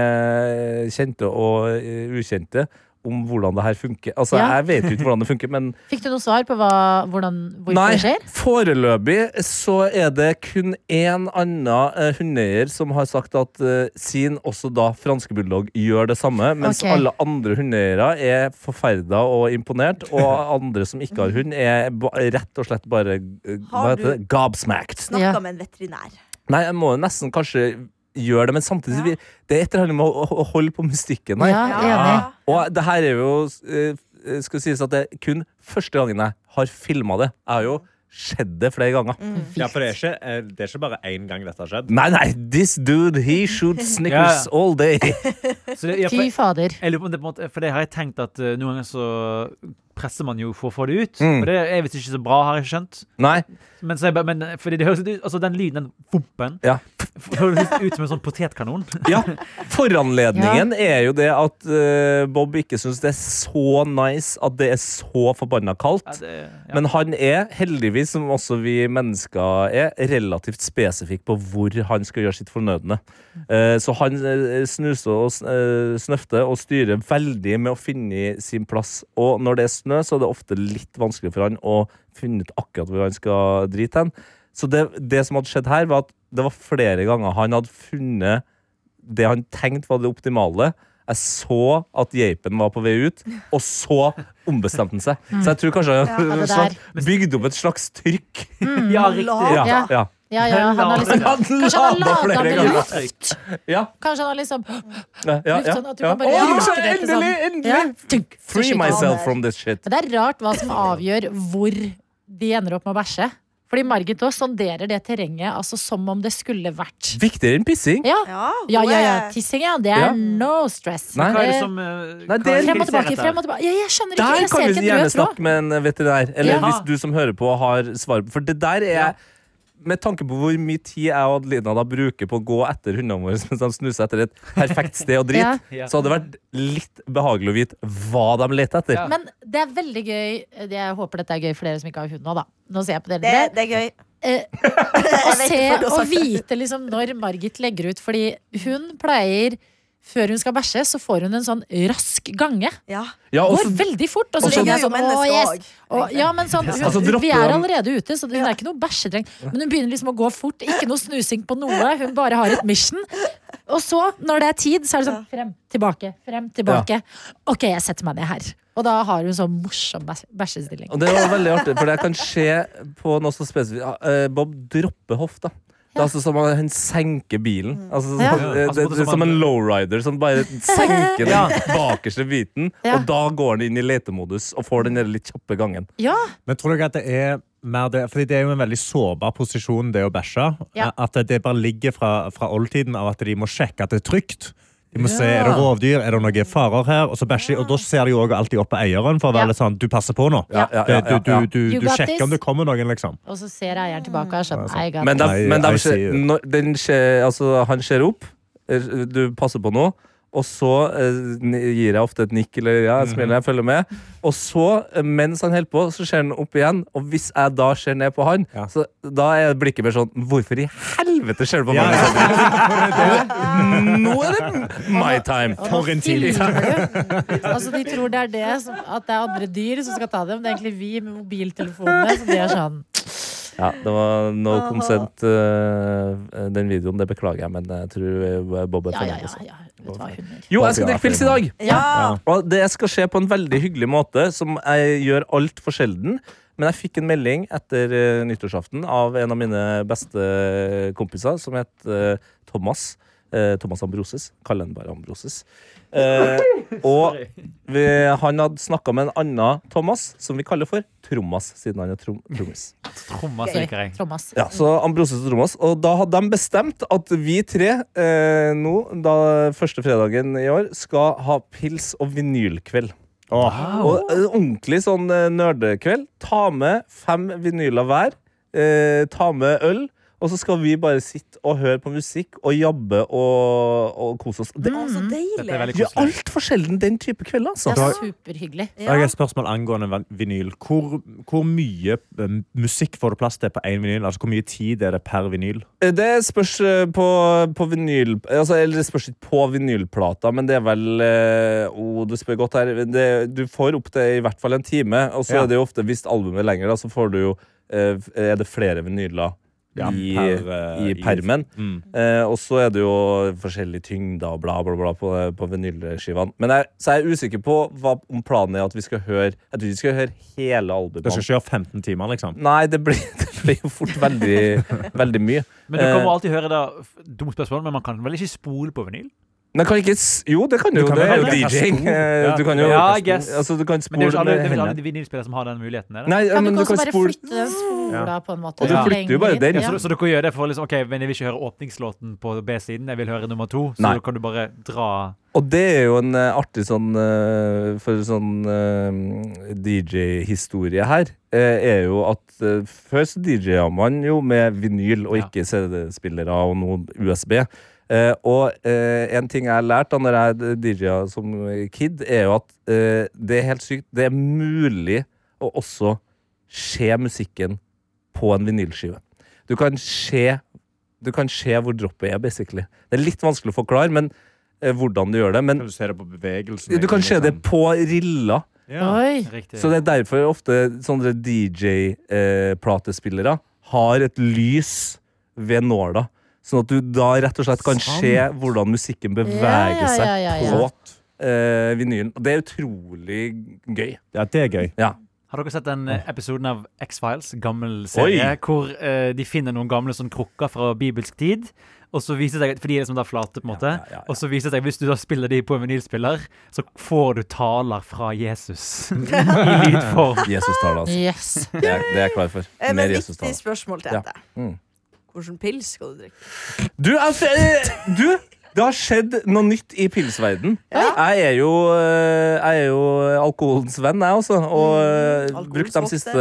[SPEAKER 3] med kjente og eh, ukjente om hvordan det her funker. Altså,
[SPEAKER 2] Ja.
[SPEAKER 3] Jeg vet jo ikke hvordan det funker, men
[SPEAKER 2] Fikk du noe svar på hva, hvordan, hvorfor
[SPEAKER 3] Nei,
[SPEAKER 2] det skjer?
[SPEAKER 3] foreløpig så er det kun én annen eh, hundeeier som har sagt at eh, sin, også da franske bulldog, gjør det samme. Mens
[SPEAKER 2] Ok.
[SPEAKER 3] alle andre hundeeiere er forferda og imponert. Og
[SPEAKER 4] <laughs>
[SPEAKER 3] andre som ikke har hund, er ba- rett og slett bare eh, hva
[SPEAKER 4] Har du-
[SPEAKER 3] heter det? gobsmacked.
[SPEAKER 4] Snakka
[SPEAKER 2] Ja.
[SPEAKER 4] med en veterinær.
[SPEAKER 3] Nei, jeg må jo nesten kanskje gjøre det, men samtidig
[SPEAKER 4] Ja.
[SPEAKER 3] vi- Det er et eller annet med å, å- å holde på mystikken her.
[SPEAKER 2] Ja, enig.
[SPEAKER 3] Og det her er jo eh, Skal sies at det er kun første gangen jeg har filma det. Jeg har jo sett det flere ganger.
[SPEAKER 2] Mm.
[SPEAKER 6] Ja, for det er ikke, eh, det er ikke bare én gang dette har skjedd.
[SPEAKER 3] Nei, nei, this dude, he
[SPEAKER 2] <laughs>
[SPEAKER 3] shoots snickers
[SPEAKER 5] Ja.
[SPEAKER 3] all day.
[SPEAKER 5] Så det, ja, for,
[SPEAKER 2] Fy fader.
[SPEAKER 5] jeg lurer på om det på en måte For det har jeg tenkt at eh, noen ganger så presser man jo for å få det ut.
[SPEAKER 3] Mm.
[SPEAKER 5] Og det er visst ikke så bra, har jeg skjønt.
[SPEAKER 3] Nei,
[SPEAKER 5] Men, så jeg, bare- men eh, fordi det høres ut Altså, den lyden, den fompen,
[SPEAKER 3] ja.
[SPEAKER 5] høres ut som en sånn potetkanon.
[SPEAKER 3] <laughs> ja. Foranledningen er jo det at eh, Bob ikke syns det er så nice at det er så forbanna kaldt.
[SPEAKER 5] Ja, det, ja.
[SPEAKER 3] Men han er, heldigvis, som også vi mennesker er, relativt spesifikk på hvor han skal gjøre sitt fornødne. Eh, Så han eh, snuser og s- eh, snøfter og styrer veldig med å finne sin plass. Og når det er snø, så er det ofte litt vanskelig for han å finne ut akkurat hvor han skal drite hen. Så det, det som hadde skjedd her, var at det var flere ganger han hadde funnet det han tenkte var det optimale. Jeg så at geipen var på vei ut, og så ombestemte han seg. Så jeg tror kanskje han
[SPEAKER 2] Ja,
[SPEAKER 3] har
[SPEAKER 2] det
[SPEAKER 3] slags- bygd opp et slags trykk.
[SPEAKER 5] ja, riktig.
[SPEAKER 4] Ja.
[SPEAKER 2] Ja.
[SPEAKER 3] ja.
[SPEAKER 2] Ja, ja, han har liksom,
[SPEAKER 3] Han
[SPEAKER 2] kanskje
[SPEAKER 3] lada
[SPEAKER 2] han har lada
[SPEAKER 3] flere
[SPEAKER 2] med
[SPEAKER 3] ganger.
[SPEAKER 2] luft?
[SPEAKER 3] Ja,
[SPEAKER 2] Kanskje han har liksom
[SPEAKER 3] ja, ja,
[SPEAKER 2] luft sånn at du
[SPEAKER 3] ja.
[SPEAKER 2] kan bare
[SPEAKER 3] Å,
[SPEAKER 2] jakke det
[SPEAKER 3] endelig,
[SPEAKER 2] til sånn.
[SPEAKER 3] endelig!
[SPEAKER 2] Ja. Tunk, så
[SPEAKER 3] Free
[SPEAKER 2] skyter han.
[SPEAKER 3] myself from this shit.
[SPEAKER 2] Men det er rart hva som avgjør hvor de ender opp med å bæsje. Fordi Margit også sonderer det terrenget altså, som om det skulle vært
[SPEAKER 3] Viktigere enn pissing.
[SPEAKER 2] Ja,
[SPEAKER 4] Ja,
[SPEAKER 2] ja,
[SPEAKER 4] hun
[SPEAKER 2] ja. ja.
[SPEAKER 4] er-
[SPEAKER 2] Tissing, ja. Det er
[SPEAKER 3] Ja.
[SPEAKER 2] no stress.
[SPEAKER 3] Nei.
[SPEAKER 5] Hva er det
[SPEAKER 2] Eh,
[SPEAKER 5] som
[SPEAKER 3] Nei,
[SPEAKER 5] eh, hva
[SPEAKER 3] det er-
[SPEAKER 5] er det
[SPEAKER 2] Frem og
[SPEAKER 5] som
[SPEAKER 2] tilbake,
[SPEAKER 5] skjer
[SPEAKER 2] frem
[SPEAKER 5] etter?
[SPEAKER 2] og tilbake. Ja, jeg skjønner ikke,
[SPEAKER 3] Der
[SPEAKER 2] jeg
[SPEAKER 3] kan
[SPEAKER 2] ser
[SPEAKER 3] vi
[SPEAKER 2] ikke en
[SPEAKER 3] gjerne
[SPEAKER 2] rød tråd.
[SPEAKER 3] snakke med en veterinær. Eller
[SPEAKER 5] Ja.
[SPEAKER 3] hvis du som hører på har svar. For det der er jeg med tanke på hvor mye tid jeg og Adelina da bruker på å gå etter hundene våre <laughs> mens de snuser etter et perfekt sted å drite,
[SPEAKER 5] Ja.
[SPEAKER 3] så hadde det vært litt behagelig å vite hva de leter etter.
[SPEAKER 5] Ja.
[SPEAKER 2] Men det er veldig gøy eh, det- Jeg håper dette er gøy for dere som ikke har hund nå, da. Nå ser jeg på dere.
[SPEAKER 4] Det,
[SPEAKER 2] dere.
[SPEAKER 4] det er gøy.
[SPEAKER 2] Eh,
[SPEAKER 4] <laughs>
[SPEAKER 2] Å
[SPEAKER 4] Jeg vet
[SPEAKER 2] se
[SPEAKER 4] ikke hvorfor du har
[SPEAKER 2] og
[SPEAKER 4] sagt det.
[SPEAKER 2] vite liksom når Margit legger ut. Fordi hun pleier Før hun skal bæsje, så får hun en sånn rask gange.
[SPEAKER 4] Ja.
[SPEAKER 3] Ja, og
[SPEAKER 2] Går
[SPEAKER 3] så-
[SPEAKER 2] veldig fort. Og så
[SPEAKER 4] Og så-
[SPEAKER 2] tenker jeg
[SPEAKER 4] Det gjør
[SPEAKER 2] sånn
[SPEAKER 4] jo
[SPEAKER 2] Å,
[SPEAKER 4] mennesker
[SPEAKER 2] yes.
[SPEAKER 4] også,
[SPEAKER 2] Og, ja, men sånn, hun,
[SPEAKER 3] Ja, så dropper
[SPEAKER 2] vi er
[SPEAKER 3] han-
[SPEAKER 2] allerede ute, så hun er ikke noe bæsjetrengt. Men hun begynner liksom å gå fort. Ikke noe snusing på noe. Hun bare har et mission. Og så, når det er tid, så er det sånn frem, tilbake, frem, tilbake. Ok, jeg setter meg ned her. Og da har hun sånn morsom bæs- bæsjestilling.
[SPEAKER 3] Og det var veldig artig, for det kan skje på noe så spesifikt. Ja, eh, Bob dropper hofta. Det er altså som om han senker bilen. Altså, sånn-
[SPEAKER 2] Mm. Ja.
[SPEAKER 3] det, det, det er som en lowrider som bare senker
[SPEAKER 6] <laughs>
[SPEAKER 3] den bakerste biten.
[SPEAKER 2] Ja.
[SPEAKER 3] Og da går han inn i letemodus og får den der litt kjappe gangen.
[SPEAKER 2] Ja,
[SPEAKER 6] Men tror dere at det er mer det Fordi det er jo en veldig sårbar posisjon, det å bæsje. eh,
[SPEAKER 2] Ja.
[SPEAKER 6] At det bare ligger fra, fra oldtiden av at de må sjekke at det er trygt. De må se, Er det rovdyr, er det noen farer her? Og så bæsjer de, og da ser de jo også alltid opp på eieren for å
[SPEAKER 2] Ja.
[SPEAKER 6] være litt sånn Du passer på nå.
[SPEAKER 3] Ja, ja, ja,
[SPEAKER 6] Det- Du,
[SPEAKER 3] ja, ja.
[SPEAKER 6] du, du,
[SPEAKER 2] You
[SPEAKER 6] du,
[SPEAKER 2] got
[SPEAKER 6] sjekker om
[SPEAKER 2] this.
[SPEAKER 6] det kommer noen, liksom.
[SPEAKER 2] og så ser eieren tilbake og er sånn I got
[SPEAKER 3] Men, de,
[SPEAKER 6] I-
[SPEAKER 3] men de,
[SPEAKER 6] I
[SPEAKER 3] skjer-
[SPEAKER 6] see you.
[SPEAKER 3] når, den skjer, altså, han ser opp, eh, du passer på noe, og så eh, n- gir jeg ofte et nikk eller ja, et
[SPEAKER 6] Mhm.
[SPEAKER 3] smil når jeg følger med. Og så, eh, mens han holder på, så ser han opp igjen, og hvis jeg da ser ned på han,
[SPEAKER 6] Ja.
[SPEAKER 3] så da er blikket mer sånn Hvorfor i helvete ser du på
[SPEAKER 6] Ja,
[SPEAKER 3] meg?
[SPEAKER 6] ja.
[SPEAKER 3] <laughs> Nå er det my time!
[SPEAKER 2] Og
[SPEAKER 6] For
[SPEAKER 2] nå
[SPEAKER 6] en tid.
[SPEAKER 2] filmer
[SPEAKER 6] <laughs>
[SPEAKER 2] du. Altså, de tror det er det som, at det er andre dyr som skal ta dem. Det er egentlig vi med mobiltelefonene. Så de er sånn
[SPEAKER 3] Ja, det var no consent, eh, den videoen. Det beklager jeg, men jeg tror eh, Bob er sånn.
[SPEAKER 2] Ja, ja,
[SPEAKER 3] fornøyd. også.
[SPEAKER 2] ja. ja. Vet du hva, hunder.
[SPEAKER 3] Jo, jeg skal drikke pils i dag!
[SPEAKER 4] Ja.
[SPEAKER 3] Og det skal skje på en veldig hyggelig måte, som jeg gjør altfor sjelden. Men jeg fikk en melding etter eh, nyttårsaften av en av mine beste kompiser, som het eh, Thomas. Eh, Thomas Ambroses. Kaller han bare Ambroses. Eh, og vi, han hadde snakka med en annen Thomas, som vi kaller for Tromas, siden han er trom trommis.
[SPEAKER 5] Trommer, så liker jeg.
[SPEAKER 2] Thomas.
[SPEAKER 3] Ja, så Ambroses og Thomas. Og da hadde de bestemt at vi tre eh, nå, da første fredagen i år, skal ha pils og vinylkveld. Og eh, ordentlig sånn eh, nerdekveld. Ta med fem vinyler hver. Eh, ta med øl. Og så skal vi bare sitte og høre på musikk og jabbe og, og kose oss. Det
[SPEAKER 4] Å,
[SPEAKER 3] er
[SPEAKER 4] så
[SPEAKER 2] Mm.
[SPEAKER 5] Dette er
[SPEAKER 4] deilig.
[SPEAKER 5] veldig
[SPEAKER 3] jo
[SPEAKER 5] koselig.
[SPEAKER 3] altfor sjelden den type kveld, altså.
[SPEAKER 2] Det er superhyggelig.
[SPEAKER 6] Da har jeg et spørsmål angående van- vinyl. Hvor, hvor mye eh, musikk får du plass til på én vinyl? Altså, Hvor mye tid er det per vinyl?
[SPEAKER 3] Eh, Det spørs eh, på, på vinyl... Altså, eller det spørs ikke på vinylplata, men det er vel eh, oh, Du spør godt her. Det, du får opp til i hvert fall en time, og så
[SPEAKER 6] Ja.
[SPEAKER 3] er det jo ofte hvis albumet er lenger, da, så får du jo eh, Er det flere vinyler
[SPEAKER 6] Ja,
[SPEAKER 3] i,
[SPEAKER 6] per, eh,
[SPEAKER 3] i
[SPEAKER 6] i-
[SPEAKER 3] permen?
[SPEAKER 6] Mm.
[SPEAKER 3] Eh, og så er det jo forskjellige tyngder og bla, bla, bla på, på vinylskivene. Men jeg, så jeg er usikker på hva, om planen er at vi skal høre Jeg tror ikke vi skal høre hele
[SPEAKER 6] Du skal
[SPEAKER 3] albumet.
[SPEAKER 6] ikke gjøre 15 timer, liksom?
[SPEAKER 3] Nei, det blir, <laughs> det blir jo fort veldig, veldig mye.
[SPEAKER 5] Men du kommer
[SPEAKER 3] Eh,
[SPEAKER 5] alltid høre da f- Dumt spørsmål, men man kan vel ikke spole på vinyl?
[SPEAKER 3] Men kan ikke s- Jo, det kan du, jo.
[SPEAKER 6] kan
[SPEAKER 3] Det er
[SPEAKER 6] vel
[SPEAKER 3] jo
[SPEAKER 6] velge hva
[SPEAKER 3] DJ-ing.
[SPEAKER 6] sko. Ja.
[SPEAKER 3] <laughs> Du kan jo
[SPEAKER 5] Ja, I guess.
[SPEAKER 3] altså, du kan
[SPEAKER 5] Men det er jo
[SPEAKER 3] spole
[SPEAKER 5] ikke alle, det
[SPEAKER 3] med
[SPEAKER 5] er vel
[SPEAKER 3] hendene.
[SPEAKER 5] alle vinylspillere som har den muligheten. Er det?
[SPEAKER 3] Nei, ja,
[SPEAKER 2] Kan
[SPEAKER 3] men
[SPEAKER 2] du
[SPEAKER 3] du
[SPEAKER 2] ikke
[SPEAKER 3] kan
[SPEAKER 2] også bare
[SPEAKER 3] spole
[SPEAKER 2] flytte den spola på en måte?
[SPEAKER 3] Og du
[SPEAKER 2] lenger
[SPEAKER 3] flytter jo bare
[SPEAKER 2] inn?
[SPEAKER 3] den.
[SPEAKER 2] Ja.
[SPEAKER 5] Så, så dere gjør det for liksom, ok, men jeg vil ikke høre åpningslåten på B-siden, jeg vil høre nummer to. Så
[SPEAKER 3] Nei.
[SPEAKER 5] da kan du bare dra
[SPEAKER 3] Og det er jo en eh, artig sånn eh, For sånn eh, DJ-historie her eh, er jo at eh, før så DJ-a man jo med vinyl og
[SPEAKER 5] Ja.
[SPEAKER 3] ikke CD-spillere og noe USB. Eh, og eh, en ting jeg har lært da når jeg DJ-a som kid, er jo at eh, det er helt sykt. Det er mulig å også se musikken på en vinylskive. Du kan se Du kan se hvor droppet er, basically. Det er litt vanskelig å forklare, men eh, hvordan du gjør det. Men
[SPEAKER 6] Kan du se det på bevegelsen? liksom?
[SPEAKER 3] du kan se det på rilla.
[SPEAKER 2] Oi.
[SPEAKER 5] riktig.
[SPEAKER 3] Så det er derfor ofte sånne DJ-platespillere har et lys ved nåla. Sånn at du da rett og slett kan
[SPEAKER 6] Sant.
[SPEAKER 3] se hvordan musikken beveger
[SPEAKER 2] Ja, ja, ja, ja, ja.
[SPEAKER 3] seg på eh, vinylen. Og det er utrolig gøy.
[SPEAKER 6] Ja, det er gøy.
[SPEAKER 5] Har dere sett den eh, episoden av X-Files, gammel serie,
[SPEAKER 3] Oi.
[SPEAKER 5] hvor eh, de finner noen gamle sånn krukker fra bibelsk tid? Og så viser det seg, For de er liksom da flate, på en måte.
[SPEAKER 3] ja, ja, ja.
[SPEAKER 5] Og så viser det seg hvis du da spiller de på en vinylspiller, så får du taler fra Jesus <laughs> i lydform.
[SPEAKER 3] Jesus-tale, altså.
[SPEAKER 2] Yes.
[SPEAKER 3] Det er, det er jeg klar for.
[SPEAKER 4] Eh, Men
[SPEAKER 3] Mer
[SPEAKER 4] viktig
[SPEAKER 3] Jesus-tale.
[SPEAKER 4] spørsmål til
[SPEAKER 3] Ja.
[SPEAKER 4] dette.
[SPEAKER 3] Mm.
[SPEAKER 4] Hvilken pils skal du drikke?
[SPEAKER 3] Du, jeg f- eh, du, det har skjedd noe nytt i pilsverden. Jeg er jo, eh, jeg er jo alkoholens venn, jeg også. Og eh,
[SPEAKER 4] Mm, alkoholens
[SPEAKER 3] brukt de
[SPEAKER 4] vokter.
[SPEAKER 3] siste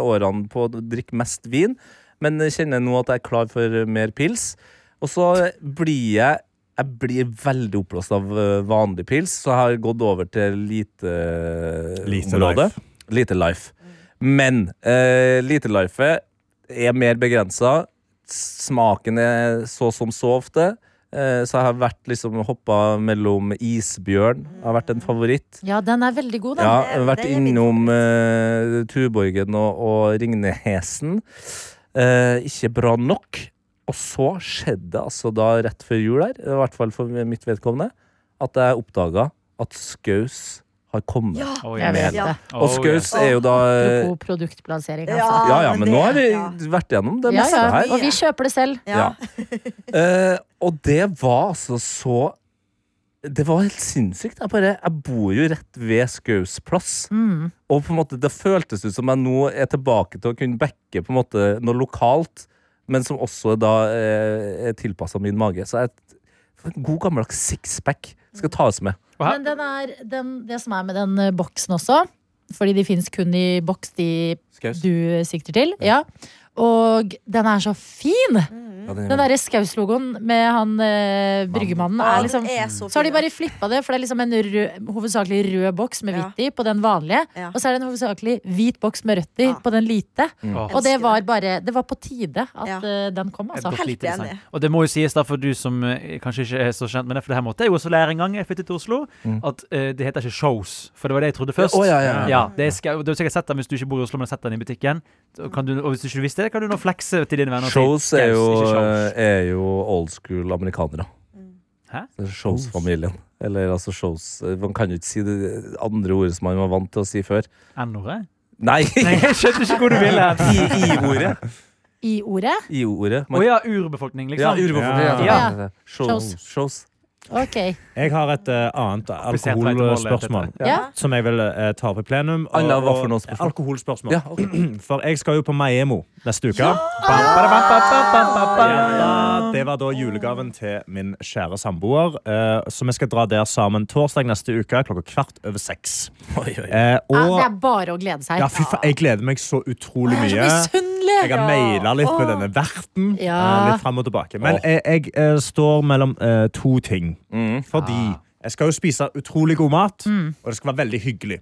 [SPEAKER 3] årene på å drikke mest vin. men kjenner nå at jeg er klar for mer pils. Og så blir jeg jeg blir veldig oppblåst av eh, vanlig pils, så jeg har gått over til lite eh,
[SPEAKER 6] Lite
[SPEAKER 3] område.
[SPEAKER 6] life.
[SPEAKER 3] Lite life. Men uh, lite life er mer begrensa. Smaken er så som så ofte. Eh, så jeg har vært liksom hoppa mellom isbjørn. Har vært en favoritt.
[SPEAKER 2] Ja, den er veldig god, den.
[SPEAKER 3] Ja,
[SPEAKER 4] det-
[SPEAKER 3] jeg har vært
[SPEAKER 4] det er min
[SPEAKER 3] innom eh, Tuborgen og, og Ringnehesen. Eh, ikke bra nok. Og så skjedde det altså da rett før jul her, i hvert fall for mitt vedkommende, at jeg oppdaga at Skaus har kommet.
[SPEAKER 4] Ja,
[SPEAKER 5] Oh,
[SPEAKER 2] Jeg vet
[SPEAKER 4] Ja.
[SPEAKER 2] det.
[SPEAKER 3] og Skaus er jo da eh,
[SPEAKER 2] Apropos produktplassering, altså.
[SPEAKER 4] Ja,
[SPEAKER 3] Ja ja, men
[SPEAKER 4] men det-
[SPEAKER 3] nå har vi
[SPEAKER 4] ja.
[SPEAKER 3] vært gjennom det
[SPEAKER 2] Ja,
[SPEAKER 3] meste
[SPEAKER 2] ja.
[SPEAKER 3] her.
[SPEAKER 2] Og vi kjøper det selv.
[SPEAKER 4] ja.
[SPEAKER 3] Eh, og det var altså så Det var helt sinnssykt. Jeg, bare, jeg bor jo rett ved Skaus plass.
[SPEAKER 2] Mm.
[SPEAKER 3] Og på en måte, det føltes ut som jeg nå er tilbake til å kunne backe på en måte noe lokalt, men som også da eh, er tilpassa min mage. Så jeg, en god gammeldags sixpack skal tas med.
[SPEAKER 5] Hæ?
[SPEAKER 2] Men den er, den, det som er med den eh, boksen også, fordi de fins kun i boks, de
[SPEAKER 3] Skaus.
[SPEAKER 2] du sikter til, ja. Og den er så fin!
[SPEAKER 3] Ja, den,
[SPEAKER 2] Den derre Skaus-logoen med han eh, bryggemannen
[SPEAKER 4] Ja,
[SPEAKER 2] er
[SPEAKER 4] den
[SPEAKER 2] liksom
[SPEAKER 4] er så
[SPEAKER 2] så har de
[SPEAKER 4] fin,
[SPEAKER 2] bare flippa det, for det er liksom en rød, hovedsakelig rød boks med hvitt i på den vanlige.
[SPEAKER 4] Ja.
[SPEAKER 2] Og så er det en hovedsakelig hvit boks med rødt i
[SPEAKER 4] Ja.
[SPEAKER 2] på den lite.
[SPEAKER 3] Mm.
[SPEAKER 5] Åh,
[SPEAKER 2] Og det
[SPEAKER 4] Elsker
[SPEAKER 2] var
[SPEAKER 4] det.
[SPEAKER 2] bare Det var på tide at
[SPEAKER 4] Ja.
[SPEAKER 2] eh, den kom,
[SPEAKER 5] et
[SPEAKER 2] altså.
[SPEAKER 5] godt
[SPEAKER 4] Helt
[SPEAKER 5] lite design.
[SPEAKER 4] enig.
[SPEAKER 5] Og det må jo sies da for du som eh, kanskje ikke er så kjent med det, for det her måtte jeg jo også lære en gang jeg flyttet til Oslo, at eh, det heter ikke shows. For det var det jeg trodde først.
[SPEAKER 3] Mm. Å, ja, ja, ja.
[SPEAKER 5] det skal, du har sikkert sett den hvis du ikke bor i Oslo, men har sett den i butikken. Så Kan du, og hvis du ikke visste det, kan du nå flekse til dine venner. og
[SPEAKER 3] Shows
[SPEAKER 5] si,
[SPEAKER 3] er jo,
[SPEAKER 5] «Yes, ikke shows».
[SPEAKER 3] er jo old school amerikanere.
[SPEAKER 4] Mm.
[SPEAKER 5] Hæ?
[SPEAKER 3] Det er Shows-familien. Eller altså shows Man kan jo ikke si det andre ordet som man var vant til å si før.
[SPEAKER 5] N-ordet?
[SPEAKER 3] Nei!
[SPEAKER 5] Nei, jeg skjønte ikke hvor du ville
[SPEAKER 3] <laughs>
[SPEAKER 5] hen.
[SPEAKER 3] I-ordet.
[SPEAKER 2] I-ordet.
[SPEAKER 3] I-ordet.
[SPEAKER 5] Å ja, urbefolkning,
[SPEAKER 3] Ja,
[SPEAKER 5] liksom.
[SPEAKER 3] urbefolkning. Ja,
[SPEAKER 2] Ja.
[SPEAKER 3] Shows. Shows.
[SPEAKER 2] Ok.
[SPEAKER 6] Jeg har et eh, annet
[SPEAKER 5] Komplisert vei til målet,
[SPEAKER 6] alkoholspørsmål
[SPEAKER 5] dette.
[SPEAKER 2] Ja.
[SPEAKER 6] som jeg vil eh, ta opp i plenum. og-
[SPEAKER 3] Anna, hva for noe
[SPEAKER 6] og-
[SPEAKER 3] spørsmål?
[SPEAKER 6] Alkoholspørsmål.
[SPEAKER 3] Ja, ok.
[SPEAKER 6] For jeg skal jo på Maiemo neste uke.
[SPEAKER 5] Bam, bada, bam, bam, bam, bam, bam, bam.
[SPEAKER 6] Ja, det var da julegaven til min kjære samboer. eh, så vi skal dra der sammen torsdag neste uke klokka kvart over seks.
[SPEAKER 3] Oi, oi.
[SPEAKER 6] Eh,
[SPEAKER 2] Ja, Ah, det er
[SPEAKER 6] og
[SPEAKER 2] bare å glede seg.
[SPEAKER 6] ja, fy faen, jeg gleder meg så utrolig
[SPEAKER 2] Jeg er så
[SPEAKER 6] mye.
[SPEAKER 2] misunnelig!
[SPEAKER 6] Jeg har maila litt med denne verten.
[SPEAKER 2] Ja.
[SPEAKER 6] eh, Litt frem og tilbake. Men
[SPEAKER 3] Åh.
[SPEAKER 6] jeg, jeg eh, står mellom eh, to ting.
[SPEAKER 3] Mm.
[SPEAKER 6] Fordi
[SPEAKER 3] Ah.
[SPEAKER 6] jeg skal jo spise utrolig god mat, og det skal være veldig hyggelig.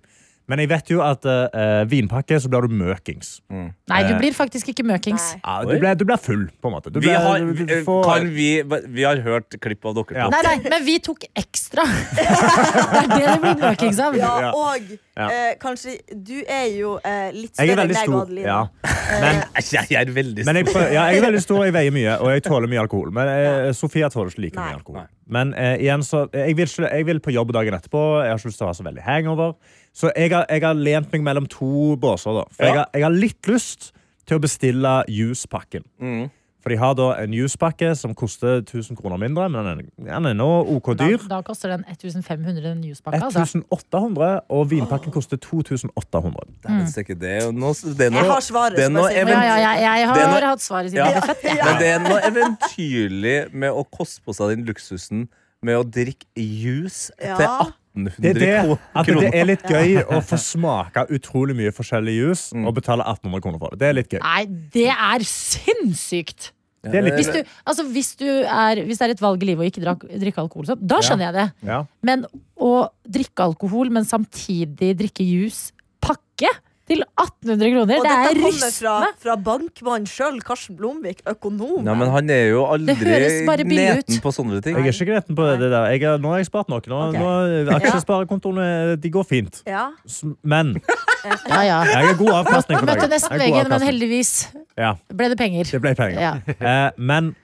[SPEAKER 6] Men jeg vet jo at eh, eh, vinpakke, så blir du møkings.
[SPEAKER 2] Nei,
[SPEAKER 6] eh,
[SPEAKER 2] du blir faktisk ikke møkings.
[SPEAKER 4] Nei.
[SPEAKER 6] Ja, du,
[SPEAKER 3] Oi.
[SPEAKER 6] blir, du blir full, på en måte. Du
[SPEAKER 3] Vi
[SPEAKER 6] blir-
[SPEAKER 3] har, eh,
[SPEAKER 6] du- du får-
[SPEAKER 3] kan vi, vi har hørt klipp av dere
[SPEAKER 6] Ja.
[SPEAKER 3] to.
[SPEAKER 2] Nei, nei, men vi tok <laughs> ekstra. det er det det blir møkings av.
[SPEAKER 4] Ja,
[SPEAKER 6] Ja.
[SPEAKER 4] og
[SPEAKER 6] Ja.
[SPEAKER 4] eh, kanskje Du er jo eh, litt
[SPEAKER 6] jeg er
[SPEAKER 4] større
[SPEAKER 6] veldig
[SPEAKER 4] enn meg
[SPEAKER 6] stor.
[SPEAKER 4] og Adelina.
[SPEAKER 6] Ja.
[SPEAKER 3] <laughs> Jeg er veldig
[SPEAKER 6] Men jeg, prøver- ja, jeg er veldig stor, jeg veier mye, og jeg tåler mye alkohol. Men eh, Sofia tåler ikke like
[SPEAKER 4] Nei.
[SPEAKER 6] mye alkohol. Men eh, igjen, så jeg vil, ikke, jeg vil på jobb dagen etterpå. Jeg har ikke lyst til å ha så veldig hangover. Så jeg har, jeg har lent meg mellom to båser, da. For jeg, har, jeg har litt lyst til å bestille juspakken. For de har da en juspakke som koster 1000 kroner mindre, men den er, den er nå OK
[SPEAKER 2] Da,
[SPEAKER 6] dyr.
[SPEAKER 2] da koster den 1500 den newspakka. Altså.
[SPEAKER 6] 1800, og vinpakken koster 2800.
[SPEAKER 3] Dæven stikke, Det er jo noe, det er
[SPEAKER 4] Jeg
[SPEAKER 3] noe,
[SPEAKER 4] har svaret,
[SPEAKER 3] det er
[SPEAKER 4] som
[SPEAKER 3] noe
[SPEAKER 4] jeg sier.
[SPEAKER 2] Ja, ja, ja, jeg
[SPEAKER 3] Det er
[SPEAKER 2] har
[SPEAKER 3] noe-
[SPEAKER 2] hatt svaret siden
[SPEAKER 3] Ja.
[SPEAKER 2] jeg ble født. jeg.
[SPEAKER 3] Men det er noe eventyrlig med å koste på seg den luksusen med å drikke juice
[SPEAKER 4] Ja.
[SPEAKER 3] til
[SPEAKER 6] Det
[SPEAKER 3] 1800
[SPEAKER 6] er det,
[SPEAKER 3] kro-
[SPEAKER 6] at det
[SPEAKER 3] kroner.
[SPEAKER 6] er litt gøy å få smake utrolig mye forskjellig jus og betale 1800 kroner for det. Det er litt gøy.
[SPEAKER 2] Nei, det er sinnssykt!
[SPEAKER 6] Det er litt
[SPEAKER 2] Hvis, du, altså, hvis, du er, hvis det er et valg i livet å ikke drak- drikke alkohol, sånn, da skjønner jeg det.
[SPEAKER 6] Ja.
[SPEAKER 2] Men å drikke alkohol, men samtidig drikke juice pakke til 1800 kroner,
[SPEAKER 4] Og
[SPEAKER 2] det
[SPEAKER 4] dette
[SPEAKER 2] er
[SPEAKER 4] kommer fra,
[SPEAKER 2] rystende!
[SPEAKER 4] fra bankmannen sjøl, Karsten Blomvik, økonom.
[SPEAKER 3] Ja, men han er jo aldri
[SPEAKER 2] Det høres bare billig ut.
[SPEAKER 3] neten på sånne ting.
[SPEAKER 6] Jeg er ikke gretten på det der. Jeg, er- nå har jeg spart noe. Nå,
[SPEAKER 4] Ok.
[SPEAKER 6] nå, aksjesparekontoene de går fint.
[SPEAKER 4] Ja.
[SPEAKER 6] S- Men
[SPEAKER 2] Ja, ja.
[SPEAKER 6] jeg har god avkastning. på
[SPEAKER 2] Møtte
[SPEAKER 6] dagen.
[SPEAKER 2] nesten
[SPEAKER 6] Jeg har god
[SPEAKER 2] veggen, men
[SPEAKER 6] avkastning.
[SPEAKER 2] heldigvis
[SPEAKER 6] Ja,
[SPEAKER 2] ble det penger.
[SPEAKER 6] det ble penger.
[SPEAKER 2] Ja.
[SPEAKER 6] <laughs> Eh, men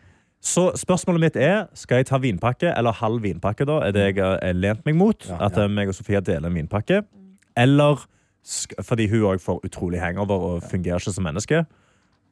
[SPEAKER 6] så spørsmålet mitt er Skal jeg ta vinpakke eller halv vinpakke. da? Er det jeg har eh, lent meg mot. At eh, meg og Sofia deler en vinpakke. Eller sk fordi hun òg får utrolig hangover og fungerer ikke som menneske.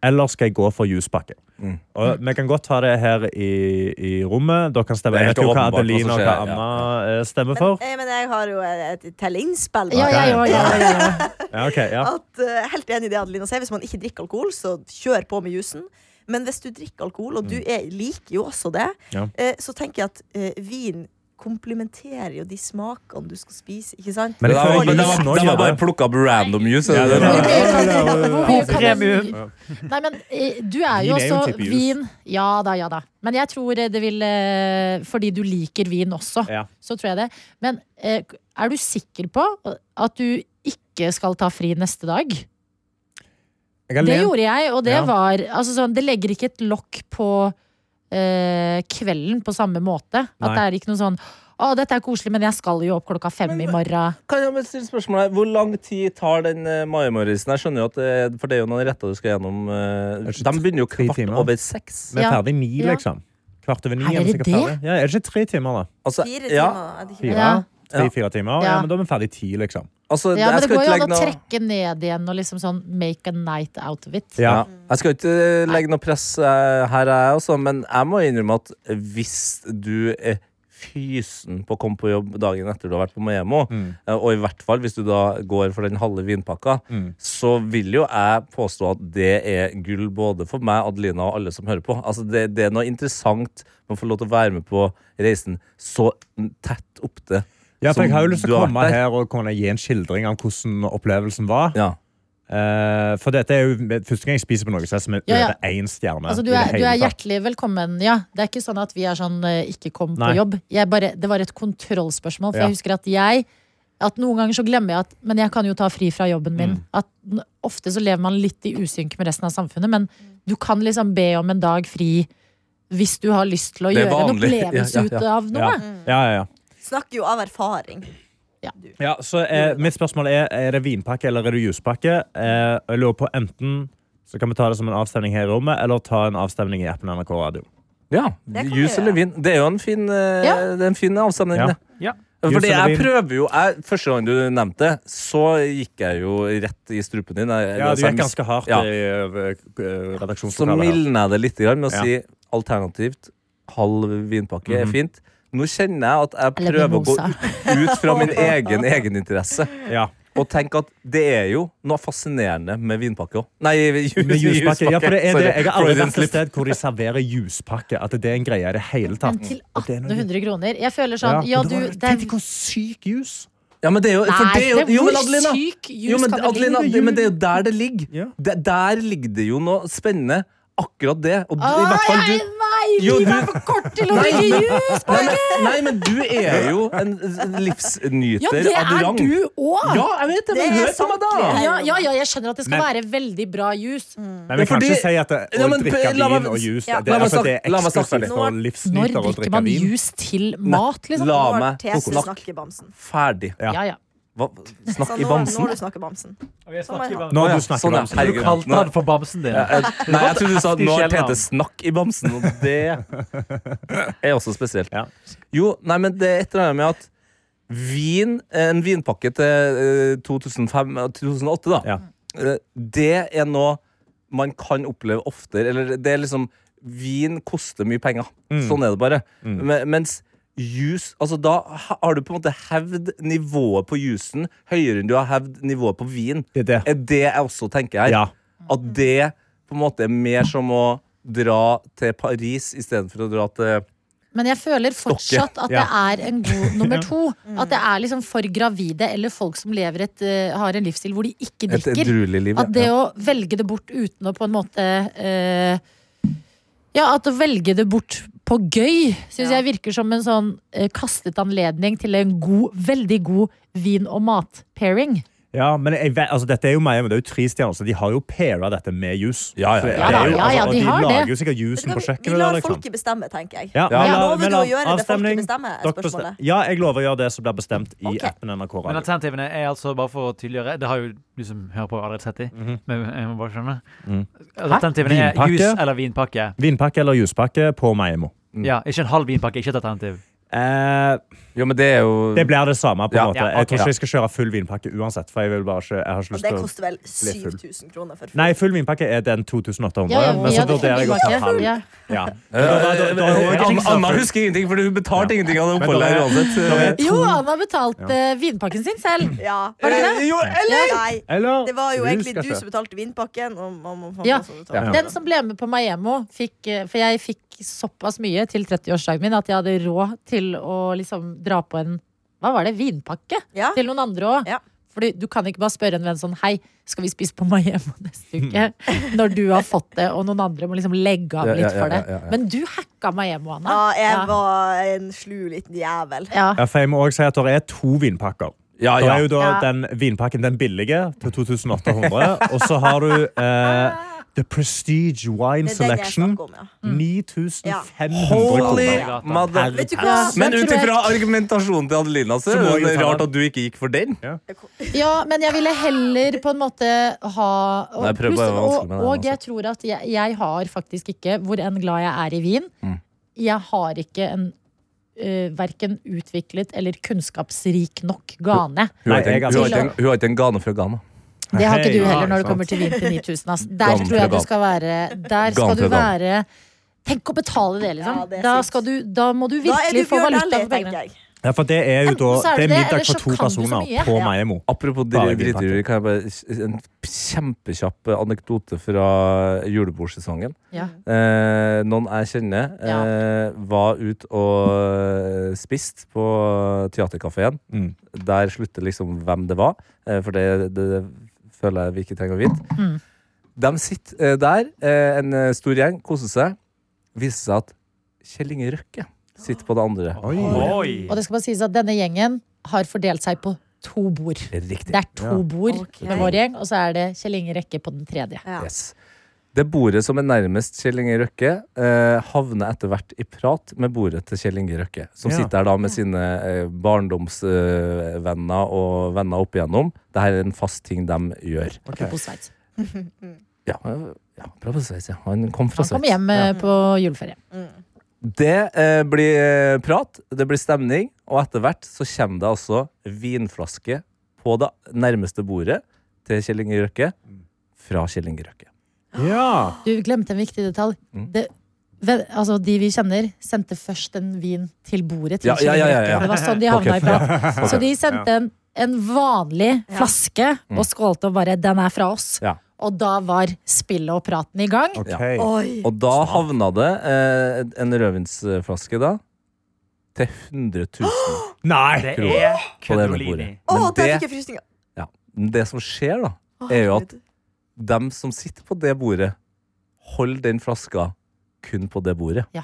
[SPEAKER 6] Eller skal jeg gå for juspakke?
[SPEAKER 3] Mm.
[SPEAKER 6] Og Vi kan godt ta det her i, i rommet. Dere kan stemme.
[SPEAKER 3] Det er
[SPEAKER 6] Jeg
[SPEAKER 3] helt
[SPEAKER 6] vet jo hva
[SPEAKER 3] åpenbart hva som
[SPEAKER 6] Adeline og
[SPEAKER 3] skjer
[SPEAKER 6] hva
[SPEAKER 3] her, ja.
[SPEAKER 6] Anna eh, stemmer for.
[SPEAKER 4] Eh, men jeg har jo et telleinnspill.
[SPEAKER 2] Ja, ja, ja, ja, ja, ja.
[SPEAKER 6] Ja, ok, ja.
[SPEAKER 4] at, eh, helt enig i det Adelina sier. Hvis man ikke drikker alkohol, så kjør på med jusen. Men hvis du drikker alkohol, og du er, liker jo også det,
[SPEAKER 6] Mm. Ja.
[SPEAKER 4] eh, så tenker jeg at eh, vin komplimenterer jo de smakene du skal spise. Ikke sant?
[SPEAKER 6] Men det
[SPEAKER 4] Får
[SPEAKER 6] var,
[SPEAKER 4] jo
[SPEAKER 6] men det var,
[SPEAKER 4] lyst-
[SPEAKER 6] det var bare
[SPEAKER 3] plukka opp random juice.
[SPEAKER 6] Ja,
[SPEAKER 3] det
[SPEAKER 6] det
[SPEAKER 3] det?
[SPEAKER 6] var-
[SPEAKER 2] Ok, kan-
[SPEAKER 6] Ja, det var-
[SPEAKER 2] hvor- kan-
[SPEAKER 5] Premium.
[SPEAKER 2] Nei, men eh, du er jo
[SPEAKER 6] Vin er jo en
[SPEAKER 2] også
[SPEAKER 6] type jus.
[SPEAKER 2] vin. Ja da, ja da. Men jeg tror det vil eh, Fordi du liker vin også,
[SPEAKER 6] Ja.
[SPEAKER 2] så tror jeg det. Men eh, er du sikker på at du ikke skal ta fri neste dag?
[SPEAKER 6] Jeg har
[SPEAKER 2] Det
[SPEAKER 6] lent-
[SPEAKER 2] gjorde jeg, og det
[SPEAKER 6] Ja.
[SPEAKER 2] var altså sånn, Det legger ikke et lokk på eh, kvelden på samme måte.
[SPEAKER 6] Nei.
[SPEAKER 2] At det er ikke noe sånn å, dette er koselig, men jeg skal jo opp klokka fem i morgen.
[SPEAKER 3] Kan jeg bare stille spørsmål her? Hvor lang tid tar den uh, maimorisen? Jeg skjønner jo at det, er- For det er jo noen retter du skal gjennom. eh,
[SPEAKER 6] Det er ikke
[SPEAKER 3] de begynner jo
[SPEAKER 6] tre
[SPEAKER 3] kvart
[SPEAKER 6] timer.
[SPEAKER 3] over seks.
[SPEAKER 6] Vi er
[SPEAKER 2] Ja.
[SPEAKER 6] ferdig ni,
[SPEAKER 2] Ja.
[SPEAKER 6] liksom. Kvart over ni.
[SPEAKER 2] Er
[SPEAKER 6] er vi
[SPEAKER 2] dere
[SPEAKER 6] sikkert
[SPEAKER 2] det?
[SPEAKER 6] ferdig. Ja, er det ikke tre timer, da?
[SPEAKER 3] Altså,
[SPEAKER 4] Fire timer,
[SPEAKER 3] ja,
[SPEAKER 4] er det ikke
[SPEAKER 6] Fire.
[SPEAKER 4] det?
[SPEAKER 2] Ja.
[SPEAKER 6] Tre-fire timer? Ja.
[SPEAKER 2] Ja.
[SPEAKER 6] men da er vi ferdig ti, liksom.
[SPEAKER 3] altså,
[SPEAKER 2] Ja, men
[SPEAKER 3] jeg
[SPEAKER 2] det
[SPEAKER 3] skal
[SPEAKER 2] går
[SPEAKER 3] ikke
[SPEAKER 2] jo
[SPEAKER 3] legge
[SPEAKER 2] an å
[SPEAKER 3] noe
[SPEAKER 2] trekke ned igjen og liksom sånn make a night out of it.
[SPEAKER 3] ja.
[SPEAKER 6] Ja.
[SPEAKER 3] Jeg skal ikke legge noe press eh, her, er jeg også, men jeg må innrømme at hvis du er fysen på å komme på jobb dagen etter du har vært på Maemo, eh, og i hvert fall hvis du da går for den halve vinpakka, så vil jo jeg påstå at det er gull både for meg, Adelina og alle som hører på. Altså det, det er noe interessant man får lov til å være med på reisen så tett opptil.
[SPEAKER 6] Ja, for jeg har jo lyst til å
[SPEAKER 3] Som du har
[SPEAKER 6] komme
[SPEAKER 3] vært der.
[SPEAKER 6] her og kunne gi en skildring av hvordan opplevelsen var.
[SPEAKER 3] Ja.
[SPEAKER 6] Eh, for dette er jo første gang jeg spiser på noe så er det som er
[SPEAKER 2] Ja, ja.
[SPEAKER 6] over én stjerne.
[SPEAKER 2] Altså, du,
[SPEAKER 6] i det
[SPEAKER 2] er, du er
[SPEAKER 6] hele tatt.
[SPEAKER 2] hjertelig velkommen. Ja, det er ikke sånn at vi er sånn eh, ikke kom på
[SPEAKER 6] Nei.
[SPEAKER 2] jobb. Jeg bare, det var et kontrollspørsmål, for
[SPEAKER 6] Ja.
[SPEAKER 2] jeg husker at jeg at Noen ganger så glemmer jeg at Men jeg kan jo ta fri fra jobben min.
[SPEAKER 3] Mm.
[SPEAKER 2] At n- Ofte så lever man litt i usynk med resten av samfunnet, men du kan liksom be om en dag fri hvis du har lyst til å
[SPEAKER 3] Det er
[SPEAKER 2] gjøre en
[SPEAKER 3] vanlig. <laughs>
[SPEAKER 2] opplevelse
[SPEAKER 3] Ja, ja, ja.
[SPEAKER 2] ut av noe.
[SPEAKER 6] Ja, ja, ja.
[SPEAKER 4] Snakker jo av erfaring.
[SPEAKER 6] Ja, så eh, Mitt spørsmål er er det vinpakke eller er det juspakke. Eh, og jeg lurer på Enten så kan vi ta det som en avstemning her i rommet, eller ta en avstemning i appen NRK Radio.
[SPEAKER 3] Ja,
[SPEAKER 4] Det kan vi
[SPEAKER 3] Jus
[SPEAKER 4] gjøre.
[SPEAKER 3] eller vin. Det er jo en fin, eh,
[SPEAKER 2] Ja.
[SPEAKER 3] det er en fin avstemning,
[SPEAKER 6] Ja.
[SPEAKER 3] det.
[SPEAKER 5] Ja.
[SPEAKER 3] Fordi
[SPEAKER 6] Jus eller
[SPEAKER 3] jeg
[SPEAKER 6] vin?
[SPEAKER 3] prøver jo jeg, Første gang du nevnte det, så gikk jeg jo rett i strupen din. Jeg, altså,
[SPEAKER 6] Ja, Du
[SPEAKER 3] jeg-
[SPEAKER 6] gikk ganske hardt
[SPEAKER 3] Ja.
[SPEAKER 6] i eh,
[SPEAKER 3] Så
[SPEAKER 6] redaksjonslokalet. her.
[SPEAKER 3] mildner jeg det litt grann med å
[SPEAKER 6] Ja.
[SPEAKER 3] si alternativt halv vinpakke er
[SPEAKER 6] Mhm.
[SPEAKER 3] fint. Nå kjenner jeg at jeg
[SPEAKER 2] Eller
[SPEAKER 3] prøver å gå
[SPEAKER 2] mimosa.
[SPEAKER 3] ut fra
[SPEAKER 2] <laughs>
[SPEAKER 3] min egen egeninteresse
[SPEAKER 6] Ja.
[SPEAKER 3] og tenke at det er jo noe fascinerende med vinpakke òg. Nei, <laughs> ju-
[SPEAKER 6] Med juspakke. Ja, for det er
[SPEAKER 3] Sorry.
[SPEAKER 6] det. Jeg har aldri
[SPEAKER 3] Freudian
[SPEAKER 6] vært et
[SPEAKER 3] slip.
[SPEAKER 6] sted hvor de serverer juspakke. At det er en greie i det hele
[SPEAKER 2] Men
[SPEAKER 6] tatt.
[SPEAKER 2] til
[SPEAKER 6] Og det er noe-
[SPEAKER 2] 1800 kroner. Jeg føler sånn
[SPEAKER 6] Ja,
[SPEAKER 2] Ja,
[SPEAKER 6] men
[SPEAKER 2] du
[SPEAKER 6] det var-
[SPEAKER 2] det er-
[SPEAKER 6] Tenk deg hvor syk jus!
[SPEAKER 3] Ja, men det er jo, for
[SPEAKER 2] Nei,
[SPEAKER 3] det er jo,
[SPEAKER 2] det er
[SPEAKER 3] jo men
[SPEAKER 2] hvor
[SPEAKER 3] Adelina,
[SPEAKER 2] syk jus
[SPEAKER 3] jo, men,
[SPEAKER 2] kan det ligge?
[SPEAKER 3] Adelina, det, men det er jo der det ligger.
[SPEAKER 6] Ja.
[SPEAKER 3] Det, der ligger det jo noe spennende. Akkurat det. Og du, i
[SPEAKER 2] Å,
[SPEAKER 3] hvert fall du
[SPEAKER 2] nei, nei!
[SPEAKER 3] Jo,
[SPEAKER 2] Livet
[SPEAKER 3] du-
[SPEAKER 2] er for kort til å
[SPEAKER 3] Nei,
[SPEAKER 2] drikke
[SPEAKER 3] men-
[SPEAKER 2] jus!
[SPEAKER 3] Nei, men- Nei, men du er jo
[SPEAKER 4] <laughs>
[SPEAKER 3] en
[SPEAKER 2] Ja,
[SPEAKER 3] livsnyter
[SPEAKER 2] det
[SPEAKER 3] av
[SPEAKER 2] er
[SPEAKER 3] rang.
[SPEAKER 2] du òg!
[SPEAKER 3] Ja, jeg vet det,
[SPEAKER 4] Det
[SPEAKER 3] men
[SPEAKER 4] er
[SPEAKER 3] hør på
[SPEAKER 4] sant,
[SPEAKER 3] meg, da!
[SPEAKER 4] det er-
[SPEAKER 2] Ja, ja, ja, jeg skjønner at det skal
[SPEAKER 6] Men-
[SPEAKER 2] være veldig bra jus.
[SPEAKER 6] Nei, men
[SPEAKER 3] Ja, fordi-
[SPEAKER 6] kan ikke si at det, å
[SPEAKER 3] Ja, men
[SPEAKER 6] drikke
[SPEAKER 3] la meg-
[SPEAKER 6] vin og jus
[SPEAKER 4] Ja.
[SPEAKER 6] det,
[SPEAKER 3] La
[SPEAKER 6] er-
[SPEAKER 3] meg
[SPEAKER 6] altså, det er
[SPEAKER 3] snakke- la meg snakke
[SPEAKER 6] eksklusivt
[SPEAKER 3] ferdig.
[SPEAKER 6] for
[SPEAKER 2] Når
[SPEAKER 6] livsnytere å
[SPEAKER 2] drikker
[SPEAKER 6] drikke
[SPEAKER 2] man
[SPEAKER 6] vin.
[SPEAKER 2] jus til mat, liksom?
[SPEAKER 3] La
[SPEAKER 4] Når
[SPEAKER 3] meg
[SPEAKER 4] Tese
[SPEAKER 3] snakke.
[SPEAKER 4] snakker bamsen.
[SPEAKER 3] Ferdig.
[SPEAKER 6] Ja.
[SPEAKER 2] Ja, ja.
[SPEAKER 3] Hva?
[SPEAKER 4] Så
[SPEAKER 3] Snakk i
[SPEAKER 4] Sånn, nå,
[SPEAKER 3] bamsen?
[SPEAKER 4] når du snakker bamsen.
[SPEAKER 3] Å, ja,
[SPEAKER 6] Nå du snakker
[SPEAKER 3] sånn, ja.
[SPEAKER 6] om
[SPEAKER 5] Du
[SPEAKER 3] Herregud.
[SPEAKER 5] kalte
[SPEAKER 3] Nå- Eh,
[SPEAKER 5] han for bamsen din.
[SPEAKER 3] Nei, jeg trodde du sa at nå har
[SPEAKER 5] Heftig
[SPEAKER 3] Tete snakk i bamsen, og det <laughs> er også spesielt.
[SPEAKER 6] Ja.
[SPEAKER 3] Jo, nei, men det er et eller annet med at vin, en vinpakke til eh, 2005-2008, da,
[SPEAKER 6] Ja.
[SPEAKER 3] eh, det er noe man kan oppleve oftere. Eller det er liksom Vin koster mye penger. Sånn er det bare. Me- Mens juice Altså, da ha- har du på en måte hevd nivået på juicen høyere enn du har hevd nivået på vin.
[SPEAKER 6] Det er det.
[SPEAKER 3] Er det jeg også tenker her.
[SPEAKER 6] Ja.
[SPEAKER 3] At det på en måte er mer som å dra til Paris istedenfor å dra til
[SPEAKER 2] Men jeg føler fortsatt at det
[SPEAKER 6] Ja.
[SPEAKER 2] er en god nummer to. At det er liksom for gravide eller folk som lever et, eh, har en livsstil hvor de ikke
[SPEAKER 3] et
[SPEAKER 2] drikker.
[SPEAKER 3] edruelig liv.
[SPEAKER 2] At det å velge det bort uten å på en måte eh, Ja, at å velge det bort på gøy syns
[SPEAKER 4] Ja.
[SPEAKER 2] jeg virker som en sånn eh, kastet anledning til en god, veldig god vin- og matpairing.
[SPEAKER 6] Ja, men jeg vet, altså, dette er jo meg, men det er jo tre stjerner, så de har jo paira dette med jus.
[SPEAKER 3] Ja, ja,
[SPEAKER 6] Så det
[SPEAKER 3] ja,
[SPEAKER 6] er jo-
[SPEAKER 2] ja, ja,
[SPEAKER 6] altså, og
[SPEAKER 2] de har
[SPEAKER 6] De lager
[SPEAKER 2] det.
[SPEAKER 6] jo sikkert jusen på
[SPEAKER 4] Vet du hva, Vi,
[SPEAKER 6] kjøkkenet. da,
[SPEAKER 4] vi lar
[SPEAKER 6] liksom.
[SPEAKER 4] folket bestemme, tenker jeg.
[SPEAKER 6] Ja,
[SPEAKER 3] Ja.
[SPEAKER 6] men la-
[SPEAKER 4] Lover
[SPEAKER 6] men
[SPEAKER 4] du
[SPEAKER 6] la-
[SPEAKER 4] å gjøre det folket
[SPEAKER 6] avstemning.
[SPEAKER 4] bestemmer, er
[SPEAKER 6] Dere
[SPEAKER 4] spørsmålet.
[SPEAKER 6] bestem- Ja, jeg lover å gjøre det som blir bestemt i
[SPEAKER 4] Ok.
[SPEAKER 6] appen NRK
[SPEAKER 5] Men
[SPEAKER 6] Radio.
[SPEAKER 5] alternativene er altså, bare for å tydeliggjøre Det har jo du som hører på, allerede sett de. Men jeg må bare skjønne. Altså,
[SPEAKER 6] Mhm.
[SPEAKER 5] Alternativene er
[SPEAKER 6] Vinpakke?
[SPEAKER 5] jus eller vinpakke.
[SPEAKER 6] Vinpakke eller juspakke på Maiemo?
[SPEAKER 5] Ja, ikke en halv vinpakke, ikke et alternativ.
[SPEAKER 6] Eh,
[SPEAKER 3] Jo, men det er jo
[SPEAKER 6] det blir det samme. på en
[SPEAKER 3] Ja.
[SPEAKER 6] måte.
[SPEAKER 5] Ja,
[SPEAKER 6] Jeg tror
[SPEAKER 5] ok.
[SPEAKER 6] ikke jeg skal kjøre full vinpakke uansett. for jeg vil bare ikke, jeg har ikke
[SPEAKER 4] Og
[SPEAKER 6] lyst
[SPEAKER 4] det
[SPEAKER 6] til å...
[SPEAKER 4] koster vel
[SPEAKER 6] full.
[SPEAKER 4] 7000 kroner for
[SPEAKER 6] Nei, full vinpakke er den 2800.
[SPEAKER 2] Ja, ja,
[SPEAKER 6] men
[SPEAKER 2] vi
[SPEAKER 6] så
[SPEAKER 2] hadde
[SPEAKER 6] vurderer jeg å ta
[SPEAKER 2] vinpakke.
[SPEAKER 6] halv.
[SPEAKER 2] Ja.
[SPEAKER 6] Ja.
[SPEAKER 3] Eh,
[SPEAKER 6] da- da-
[SPEAKER 3] eh, Anna-
[SPEAKER 6] da-
[SPEAKER 3] Anna husker ingenting, for hun betalte ingenting av det
[SPEAKER 6] Men da-
[SPEAKER 3] oppholdet her uansett.
[SPEAKER 2] Jo, han har betalt eh, vinpakken sin selv.
[SPEAKER 4] Ja.
[SPEAKER 2] Har du det?
[SPEAKER 3] Eh, Jo, eller
[SPEAKER 4] Ja, nei.
[SPEAKER 6] Eller
[SPEAKER 4] Det var jo egentlig du
[SPEAKER 6] ruskasse.
[SPEAKER 3] altså.
[SPEAKER 4] som betalte vinpakken. Og mamma og pappa
[SPEAKER 2] Ja.
[SPEAKER 4] som betalte.
[SPEAKER 6] Ja.
[SPEAKER 2] Den som ble med på Maiemo, fikk eh, For jeg fikk såpass mye til 30-årsdagen min at jeg hadde råd til til å liksom dra på en Hva var det? Vinpakke?
[SPEAKER 4] Ja.
[SPEAKER 2] Til noen andre òg.
[SPEAKER 4] Ja.
[SPEAKER 2] Fordi du kan ikke bare spørre en venn sånn Hei, skal vi spise på Maemo <laughs> neste
[SPEAKER 3] Mm.
[SPEAKER 2] uke? Når du har fått det, og noen andre må liksom legge av
[SPEAKER 3] Ja,
[SPEAKER 2] litt
[SPEAKER 3] ja, ja,
[SPEAKER 2] for det.
[SPEAKER 3] ja, ja, ja.
[SPEAKER 2] Men du hacka Maemo, Anna.
[SPEAKER 4] Ja, jeg
[SPEAKER 2] Ja.
[SPEAKER 4] var en slu liten jævel.
[SPEAKER 2] Ja.
[SPEAKER 6] Ja, for jeg må også si at det er to vinpakker.
[SPEAKER 3] Ah, Ja,
[SPEAKER 6] Det er jo da
[SPEAKER 2] Ja.
[SPEAKER 6] den vinpakken, den billige, til 2800. Og så har du eh, The Prestige Wine
[SPEAKER 4] Det er den jeg
[SPEAKER 6] Selection.
[SPEAKER 4] snakker om, ja.
[SPEAKER 6] 9500
[SPEAKER 3] Holy
[SPEAKER 6] kroner.
[SPEAKER 3] mother...
[SPEAKER 4] Vet du hva?
[SPEAKER 3] Men
[SPEAKER 2] Jeg
[SPEAKER 3] ut
[SPEAKER 2] tror jeg-
[SPEAKER 3] ifra argumentasjonen til Adelina, så
[SPEAKER 6] Så må
[SPEAKER 3] er
[SPEAKER 6] jeg
[SPEAKER 3] det
[SPEAKER 6] ta
[SPEAKER 3] rart
[SPEAKER 6] den.
[SPEAKER 3] at du ikke gikk for den.
[SPEAKER 2] Ja, men jeg ville heller på en måte ha Og,
[SPEAKER 3] Nei, prøv bare å være
[SPEAKER 2] pluss-
[SPEAKER 3] vanskelig med
[SPEAKER 2] og,
[SPEAKER 3] den,
[SPEAKER 2] og jeg tror at jeg, jeg har faktisk ikke, hvor enn glad jeg er i vin,
[SPEAKER 3] Mm.
[SPEAKER 2] jeg har ikke en uh, verken utviklet eller kunnskapsrik nok
[SPEAKER 3] Hun
[SPEAKER 2] gane.
[SPEAKER 3] har
[SPEAKER 6] Nei,
[SPEAKER 3] ikke en-
[SPEAKER 6] jeg er
[SPEAKER 3] hun har ikke
[SPEAKER 2] ganske-
[SPEAKER 3] en- hun har ikke en gane fra Ghana.
[SPEAKER 2] Det har ikke
[SPEAKER 6] Hei,
[SPEAKER 2] du
[SPEAKER 6] ja,
[SPEAKER 2] heller når det
[SPEAKER 6] sant.
[SPEAKER 2] kommer til vin til 9000. ass. Der
[SPEAKER 3] Gammel
[SPEAKER 2] tror jeg du
[SPEAKER 3] pedal.
[SPEAKER 2] skal være Der skal du
[SPEAKER 3] Gammel pedal.
[SPEAKER 2] være Tenk å betale det, liksom.
[SPEAKER 4] Ja, det er
[SPEAKER 2] da,
[SPEAKER 4] sykt.
[SPEAKER 2] skal du, da må du
[SPEAKER 4] Da er du
[SPEAKER 2] virkelig få
[SPEAKER 4] Bjørn
[SPEAKER 2] valuta
[SPEAKER 4] Dæhlie,
[SPEAKER 2] for
[SPEAKER 4] tenker
[SPEAKER 2] pengene.
[SPEAKER 4] jeg.
[SPEAKER 6] Ja, for det er jo da
[SPEAKER 2] Enten så er
[SPEAKER 6] Det
[SPEAKER 2] det
[SPEAKER 6] er
[SPEAKER 2] det,
[SPEAKER 6] middag
[SPEAKER 2] eller
[SPEAKER 6] for
[SPEAKER 2] så kan
[SPEAKER 6] to
[SPEAKER 2] du så
[SPEAKER 6] personer
[SPEAKER 2] mye.
[SPEAKER 6] på
[SPEAKER 2] Ja.
[SPEAKER 6] Maemo.
[SPEAKER 3] Apropos
[SPEAKER 6] Bare
[SPEAKER 3] grytedyr,
[SPEAKER 6] vinpakke.
[SPEAKER 3] kan jeg bare en kjempekjapp anekdote fra julebordsesongen.
[SPEAKER 2] Ja.
[SPEAKER 3] Eh, noen jeg kjenner,
[SPEAKER 2] Ja.
[SPEAKER 3] eh, var ute og spiste på teaterkafeen.
[SPEAKER 6] Mm.
[SPEAKER 3] Der slutter liksom hvem det var, eh, for det, det føler jeg vi ikke trenger å vite.
[SPEAKER 2] Mm.
[SPEAKER 3] De sitter eh, der, eh, en eh, stor gjeng, koser seg. Viser seg at Kjell Inge Røkke sitter på det andre.
[SPEAKER 5] Oi.
[SPEAKER 2] Og det skal bare sies at denne gjengen har fordelt seg på to bord.
[SPEAKER 3] Riktig.
[SPEAKER 2] Det er to
[SPEAKER 6] Ja.
[SPEAKER 2] bord
[SPEAKER 4] Ok.
[SPEAKER 2] med vår gjeng, og så er det Kjell Inge Rekke på den tredje.
[SPEAKER 4] Ja.
[SPEAKER 3] Yes. Det bordet som er nærmest Kjell Inge Røkke, eh, havner etter hvert i prat med bordet til Kjell Inge Røkke, som
[SPEAKER 6] Ja.
[SPEAKER 3] sitter her da med sine eh, barndomsvenner eh, venner og venner opp igjennom. Dette er en fast ting de gjør.
[SPEAKER 6] Ok.
[SPEAKER 2] På Sveits.
[SPEAKER 3] Ja, eh, ja bra på Sveits, ja. Han kom fra
[SPEAKER 2] Han kom
[SPEAKER 3] Sveits.
[SPEAKER 2] hjem eh, på juleferie.
[SPEAKER 3] Det eh, blir eh, prat, det blir stemning, og etter hvert så kommer det altså vinflaske på det nærmeste bordet til Kjell Inge Røkke fra Kjell Inge Røkke.
[SPEAKER 6] Ja.
[SPEAKER 2] Du glemte en viktig detalj.
[SPEAKER 3] Mm.
[SPEAKER 2] Det, ve- altså, de vi kjenner, sendte først en vin til bordet til
[SPEAKER 3] Ja, ja,
[SPEAKER 2] Kjell Inge
[SPEAKER 3] ja, ja,
[SPEAKER 2] Røkke.
[SPEAKER 3] ja.
[SPEAKER 2] Det var sånn de havna i
[SPEAKER 6] <laughs>
[SPEAKER 2] prat. Så de sendte en, en vanlig flaske og skålte og bare 'den er fra oss'.
[SPEAKER 3] Mm. Ja.
[SPEAKER 2] Og da var spillet og praten i gang.
[SPEAKER 6] Ok.
[SPEAKER 4] Oi.
[SPEAKER 3] Og da havna det eh, en rødvinsflaske da til 100 000.
[SPEAKER 6] Nei!
[SPEAKER 5] Det er
[SPEAKER 3] På det med
[SPEAKER 5] Kødolini.
[SPEAKER 3] bordet.
[SPEAKER 4] Å,
[SPEAKER 3] Men
[SPEAKER 4] der fikk
[SPEAKER 3] det,
[SPEAKER 4] jeg frysninger.
[SPEAKER 3] ja, men det som skjer, da,
[SPEAKER 4] Å,
[SPEAKER 3] er jo at
[SPEAKER 4] herregud.
[SPEAKER 3] dem som sitter på det bordet, holder den flaska kun på det bordet.
[SPEAKER 2] Ja.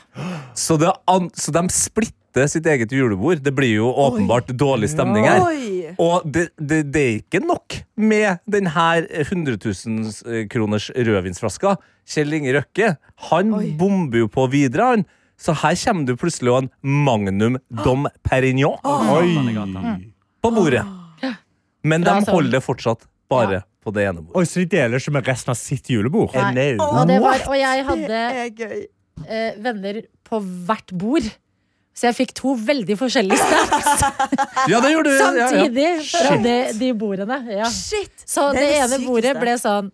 [SPEAKER 3] Så, det, an- så de splitter sitt eget julebord. Det blir jo åpenbart dårlig stemning her.
[SPEAKER 4] Oi.
[SPEAKER 3] Og det, det, det er ikke nok med den her 100 000 kroners rødvinsflaska. Kjell Inge Røkke han
[SPEAKER 4] Oi.
[SPEAKER 3] bomber jo på videre, han. Så her kommer du plutselig og en Magnum Dom Perignon
[SPEAKER 6] Oi. Mm.
[SPEAKER 3] på bordet. Men de
[SPEAKER 2] Bra, sånn.
[SPEAKER 3] holder det fortsatt bare
[SPEAKER 2] Ja.
[SPEAKER 3] på det ene bordet.
[SPEAKER 6] Oi, så de deler ikke med resten av sitt julebord?
[SPEAKER 2] Nei.
[SPEAKER 3] Nei.
[SPEAKER 2] Og, det var, og jeg
[SPEAKER 4] Det
[SPEAKER 2] hadde
[SPEAKER 4] er gøy.
[SPEAKER 2] eh, venner på hvert bord. Så jeg fikk to veldig forskjellige snaps
[SPEAKER 3] Ja, det gjorde du. ja, ja, ja.
[SPEAKER 2] samtidig fra de, de bordene. Ja.
[SPEAKER 4] Shit!
[SPEAKER 2] Så
[SPEAKER 4] Det
[SPEAKER 2] det,
[SPEAKER 4] er
[SPEAKER 2] ene
[SPEAKER 4] det sykeste.
[SPEAKER 2] bordet ble sånn,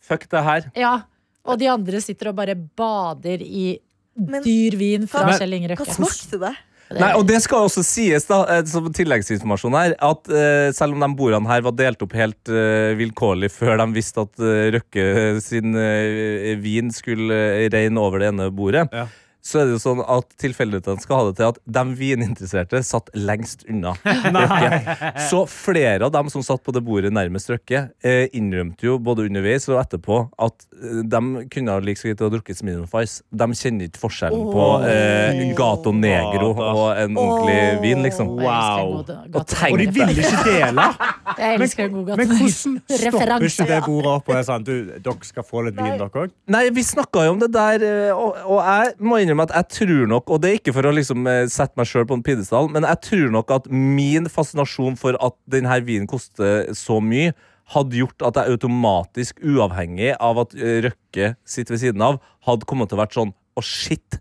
[SPEAKER 3] Fuck det her.
[SPEAKER 2] ja. Og de andre sitter og bare bader i
[SPEAKER 4] Men-
[SPEAKER 2] dyr vin fra
[SPEAKER 3] Men-
[SPEAKER 2] Kjell Inge
[SPEAKER 4] Hva
[SPEAKER 2] Røkke.
[SPEAKER 4] smakte det?
[SPEAKER 3] Nei, og det skal også sies da, eh, som tilleggsinformasjon her, at eh, selv om de bordene her var delt opp helt eh, vilkårlig før de visste at eh, Røkke sin eh, vin skulle eh, regne over det ene bordet,
[SPEAKER 6] Ja.
[SPEAKER 3] så er det jo sånn at tilfeldighetene skal ha det til at de vininteresserte satt lengst unna. Røkke. Så flere av dem som satt på det bordet nærmest Røkke, eh, innrømte jo både underveis og etterpå at eh, de kunne ha like så greit ha drukket Smirnoff Ice. De kjenner ikke forskjellen på eh, Gato Negro og en ordentlig vin, liksom.
[SPEAKER 2] Og jeg elsker
[SPEAKER 6] Wow.
[SPEAKER 2] god gatemat.
[SPEAKER 3] Og tenk
[SPEAKER 6] Og de ville ikke dele.
[SPEAKER 2] <laughs> Jeg elsker god
[SPEAKER 6] Men
[SPEAKER 2] gatemat.
[SPEAKER 6] hvordan stopper
[SPEAKER 2] Referanse.
[SPEAKER 6] ikke det bordet opp og er sånn du, dere skal få litt vin, dere òg?
[SPEAKER 3] Nei, vi snakka jo om det der, eh, og, og jeg må innrømme at jeg tror nok Og det er ikke for å liksom eh, sette meg sjøl på en pidestall, men jeg tror nok at min fascinasjon for at denne vinen koster så mye, hadde gjort at jeg automatisk, uavhengig av at eh, Røkke sitter ved siden av, hadde kommet til å vært sånn Å, shit!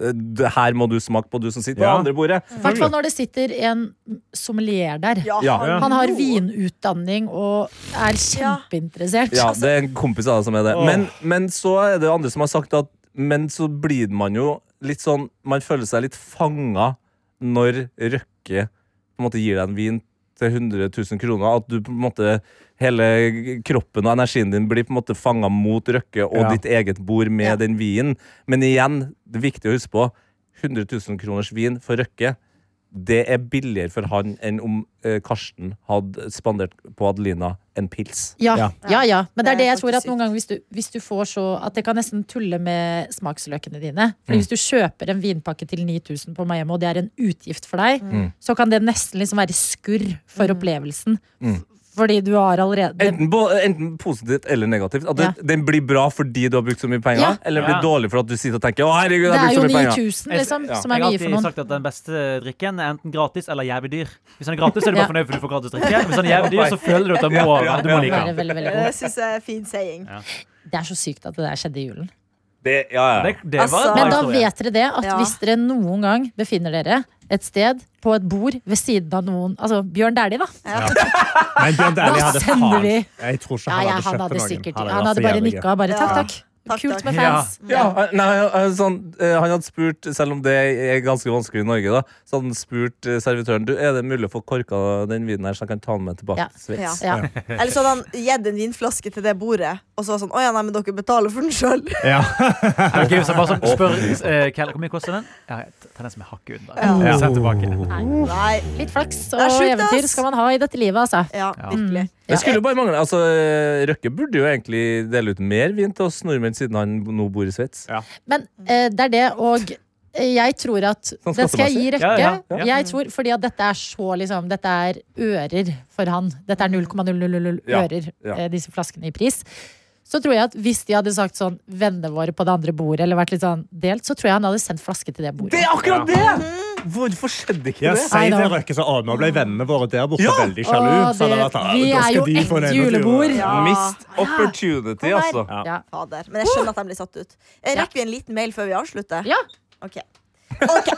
[SPEAKER 3] eh, Det her må du smake på, du som sitter på
[SPEAKER 6] Ja.
[SPEAKER 3] det andre bordet.
[SPEAKER 2] I hvert fall når det sitter en sommelier der.
[SPEAKER 3] Ja.
[SPEAKER 4] hallo.
[SPEAKER 2] Han har vinutdanning og er kjempeinteressert.
[SPEAKER 3] Ja,
[SPEAKER 2] Altså,
[SPEAKER 3] det er en kompis av deg som er det.
[SPEAKER 6] Åh.
[SPEAKER 3] Men, men så er det jo andre som har sagt at Men så blir man jo litt sånn Man føler seg litt fanga når Røkke på en måte gir deg en vin til 100 000 kroner. At du på en måte Hele kroppen og energien din blir på en måte fanga mot Røkke og
[SPEAKER 6] Ja.
[SPEAKER 3] ditt eget bord med den vinen. Men igjen, det er viktig å huske på 100 000 kroners vin for Røkke, det er billigere for han enn om eh, Karsten hadde spandert på Adelina en pils.
[SPEAKER 2] Ja,
[SPEAKER 6] Ja.
[SPEAKER 2] ja, ja. Men det er
[SPEAKER 4] Det
[SPEAKER 2] det
[SPEAKER 4] er
[SPEAKER 2] jeg tror at
[SPEAKER 4] faktisk
[SPEAKER 2] noen ganger hvis du, hvis du får så At det kan nesten tulle med smaksløkene dine.
[SPEAKER 3] Mm.
[SPEAKER 2] Fordi Hvis du kjøper en vinpakke til 9000 på Miami, og det er en utgift for deg,
[SPEAKER 3] Mm.
[SPEAKER 2] så kan det nesten liksom være skurr for opplevelsen.
[SPEAKER 3] Mm.
[SPEAKER 2] F- Fordi du har allerede det,
[SPEAKER 3] Enten, bo- enten positivt eller negativt. At det, den blir bra fordi du har brukt så mye penger,
[SPEAKER 2] Ja.
[SPEAKER 3] eller blir
[SPEAKER 5] Ja.
[SPEAKER 3] dårlig for at du sitter og tenker 'Å, herregud,
[SPEAKER 2] det
[SPEAKER 3] jeg har
[SPEAKER 2] er jo
[SPEAKER 3] brukt så mye penger'.
[SPEAKER 2] 9000 liksom,
[SPEAKER 3] Ja.
[SPEAKER 2] som er mye
[SPEAKER 5] Jeg
[SPEAKER 2] for
[SPEAKER 5] har alltid
[SPEAKER 2] noen.
[SPEAKER 5] sagt at den beste drikken er enten gratis eller jævlig dyr. Hvis den er gratis, så er du
[SPEAKER 2] Ja.
[SPEAKER 5] bare fornøyd for du får gratis drikke. Hvis den er jævlig dyr, så føler du at den må, du må
[SPEAKER 2] Det
[SPEAKER 5] like
[SPEAKER 2] er,
[SPEAKER 5] den.
[SPEAKER 2] veldig, veldig
[SPEAKER 4] Det
[SPEAKER 2] god.
[SPEAKER 4] syns jeg er fin saying.
[SPEAKER 2] det er så sykt at det der skjedde i julen.
[SPEAKER 3] Det, ja, ja.
[SPEAKER 5] Det, det var
[SPEAKER 4] Altså-
[SPEAKER 5] en
[SPEAKER 2] Men
[SPEAKER 5] bra
[SPEAKER 2] da
[SPEAKER 5] historie.
[SPEAKER 2] vet dere det, at
[SPEAKER 4] Ja.
[SPEAKER 2] hvis dere noen gang befinner dere et sted på et bord ved siden av noen Altså Bjørn Dæhlie, da.
[SPEAKER 6] Men Bjørn Dæhlie
[SPEAKER 2] Da
[SPEAKER 6] hadde
[SPEAKER 2] sender
[SPEAKER 6] faen
[SPEAKER 2] vi.
[SPEAKER 6] Jeg tror ikke
[SPEAKER 2] Ja,
[SPEAKER 6] han
[SPEAKER 2] ja,
[SPEAKER 6] hadde
[SPEAKER 2] han
[SPEAKER 6] kjøpt
[SPEAKER 2] hadde
[SPEAKER 6] noen.
[SPEAKER 2] sikkert
[SPEAKER 6] hadde
[SPEAKER 2] Han
[SPEAKER 6] vært
[SPEAKER 2] hadde
[SPEAKER 6] så
[SPEAKER 2] bare
[SPEAKER 6] jævlig
[SPEAKER 2] nikka og bare takk,
[SPEAKER 4] Ja.
[SPEAKER 2] takk.
[SPEAKER 4] Takk,
[SPEAKER 2] Kult
[SPEAKER 4] takk.
[SPEAKER 2] med fans.
[SPEAKER 3] Ja, nei, eh, sånn, eh, Han hadde spurt, selv om det er ganske vanskelig i Norge, da, så hadde han spurt eh, servitøren Du, er det mulig å få korka den vinen her, så jeg kan ta den med tilbake
[SPEAKER 2] Ja.
[SPEAKER 3] til Sveits.
[SPEAKER 4] Ja.
[SPEAKER 2] Ja.
[SPEAKER 4] Eller så hadde han gitt en vinflaske til det bordet, og så var det sånn Å ja, nei, men dere betaler for den sjøl.
[SPEAKER 2] <laughs>
[SPEAKER 6] Ja.
[SPEAKER 5] Ok, hvis jeg bare sånn spør eh, Kjell, Hvor mye koster den? Ja, jeg tar den som er hakket under.
[SPEAKER 6] Ja.
[SPEAKER 5] Send tilbake.
[SPEAKER 4] Nei.
[SPEAKER 2] Litt flaks og
[SPEAKER 4] Det er sjukt, ass.
[SPEAKER 2] eventyr skal man ha i dette livet, altså.
[SPEAKER 4] Ja,
[SPEAKER 5] Ja.
[SPEAKER 4] virkelig.
[SPEAKER 2] Ja.
[SPEAKER 3] Det skulle jo bare mangle. Altså, eh, Røkke burde jo egentlig dele ut mer vin til oss nordmenn, siden han nå bor i Sveits.
[SPEAKER 2] Men eh, det er det, og eh, jeg tror at
[SPEAKER 3] Sånn
[SPEAKER 2] Den skal jeg gi Røkke.
[SPEAKER 5] Ja, ja, ja.
[SPEAKER 2] Jeg tror, fordi at dette er så liksom Dette er ører for han. Dette er 0,000
[SPEAKER 3] Ja,
[SPEAKER 2] ører,
[SPEAKER 3] ja.
[SPEAKER 2] eh, disse flaskene i pris. Så tror jeg at hvis de hadde sagt sånn vennene våre på det andre bordet, eller vært litt sånn delt, så tror jeg han hadde sendt flaske til det bordet.
[SPEAKER 3] Det er akkurat det! Hvorfor skjedde ikke
[SPEAKER 6] Ja,
[SPEAKER 3] det?
[SPEAKER 6] Si til Røkke så å, nå ble vennene våre der borte
[SPEAKER 3] Ja.
[SPEAKER 6] veldig sjalu.
[SPEAKER 2] Å,
[SPEAKER 6] så
[SPEAKER 2] det-
[SPEAKER 6] hadde det vært, «Ah,
[SPEAKER 2] vi
[SPEAKER 6] da
[SPEAKER 2] er
[SPEAKER 6] skal
[SPEAKER 2] jo
[SPEAKER 6] de få en
[SPEAKER 2] ekte
[SPEAKER 6] 21.
[SPEAKER 2] julebord.
[SPEAKER 4] Ja.
[SPEAKER 3] Mist opportunity,
[SPEAKER 2] Kom her.
[SPEAKER 3] altså.
[SPEAKER 2] Ja.
[SPEAKER 4] Fader. Men jeg skjønner at de blir satt ut. Eh, Rekker vi en liten mail før vi avslutter?
[SPEAKER 2] Ja.
[SPEAKER 4] Ok. Ok,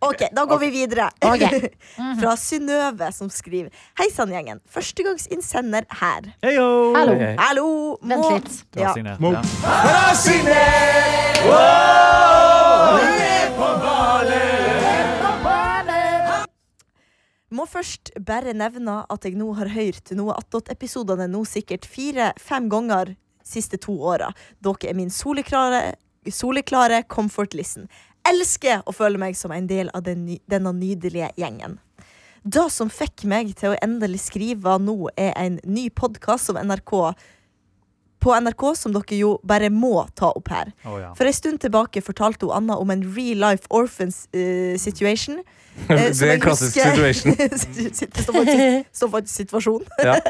[SPEAKER 4] ok, da går vi videre.
[SPEAKER 2] Ok.
[SPEAKER 4] <laughs>
[SPEAKER 2] Mhm.
[SPEAKER 4] Fra Synnøve, som skriver. Hei sann, gjengen. Førstegangsinnsender her.
[SPEAKER 5] Heyo!
[SPEAKER 2] Hallo.
[SPEAKER 4] Hallo! må-
[SPEAKER 2] Vent litt.
[SPEAKER 5] Du har
[SPEAKER 4] Ja.
[SPEAKER 5] signert,
[SPEAKER 6] Mo-
[SPEAKER 5] ja.
[SPEAKER 4] Må først bare nevne at jeg nå har hørt noe attåt-episodene nå sikkert fire-fem ganger siste to åra. Dere er min soleklare, soleklare comfort listen. Elsker å føle meg som en del av den, ny- denne nydelige gjengen. Det som fikk meg til å endelig skrive nå, er en ny podkast som NRK på NRK, som dere jo bare må ta opp her.
[SPEAKER 5] Å, ja.
[SPEAKER 4] For en stund tilbake fortalte hun Anna om en real life orphans eh, situation.
[SPEAKER 3] <laughs>
[SPEAKER 4] eh,
[SPEAKER 3] Det
[SPEAKER 4] som
[SPEAKER 3] er en
[SPEAKER 4] jeg
[SPEAKER 3] klassisk
[SPEAKER 4] husker- <laughs>
[SPEAKER 3] situation.
[SPEAKER 4] det står faktisk- står faktisk situasjon.
[SPEAKER 3] Ja.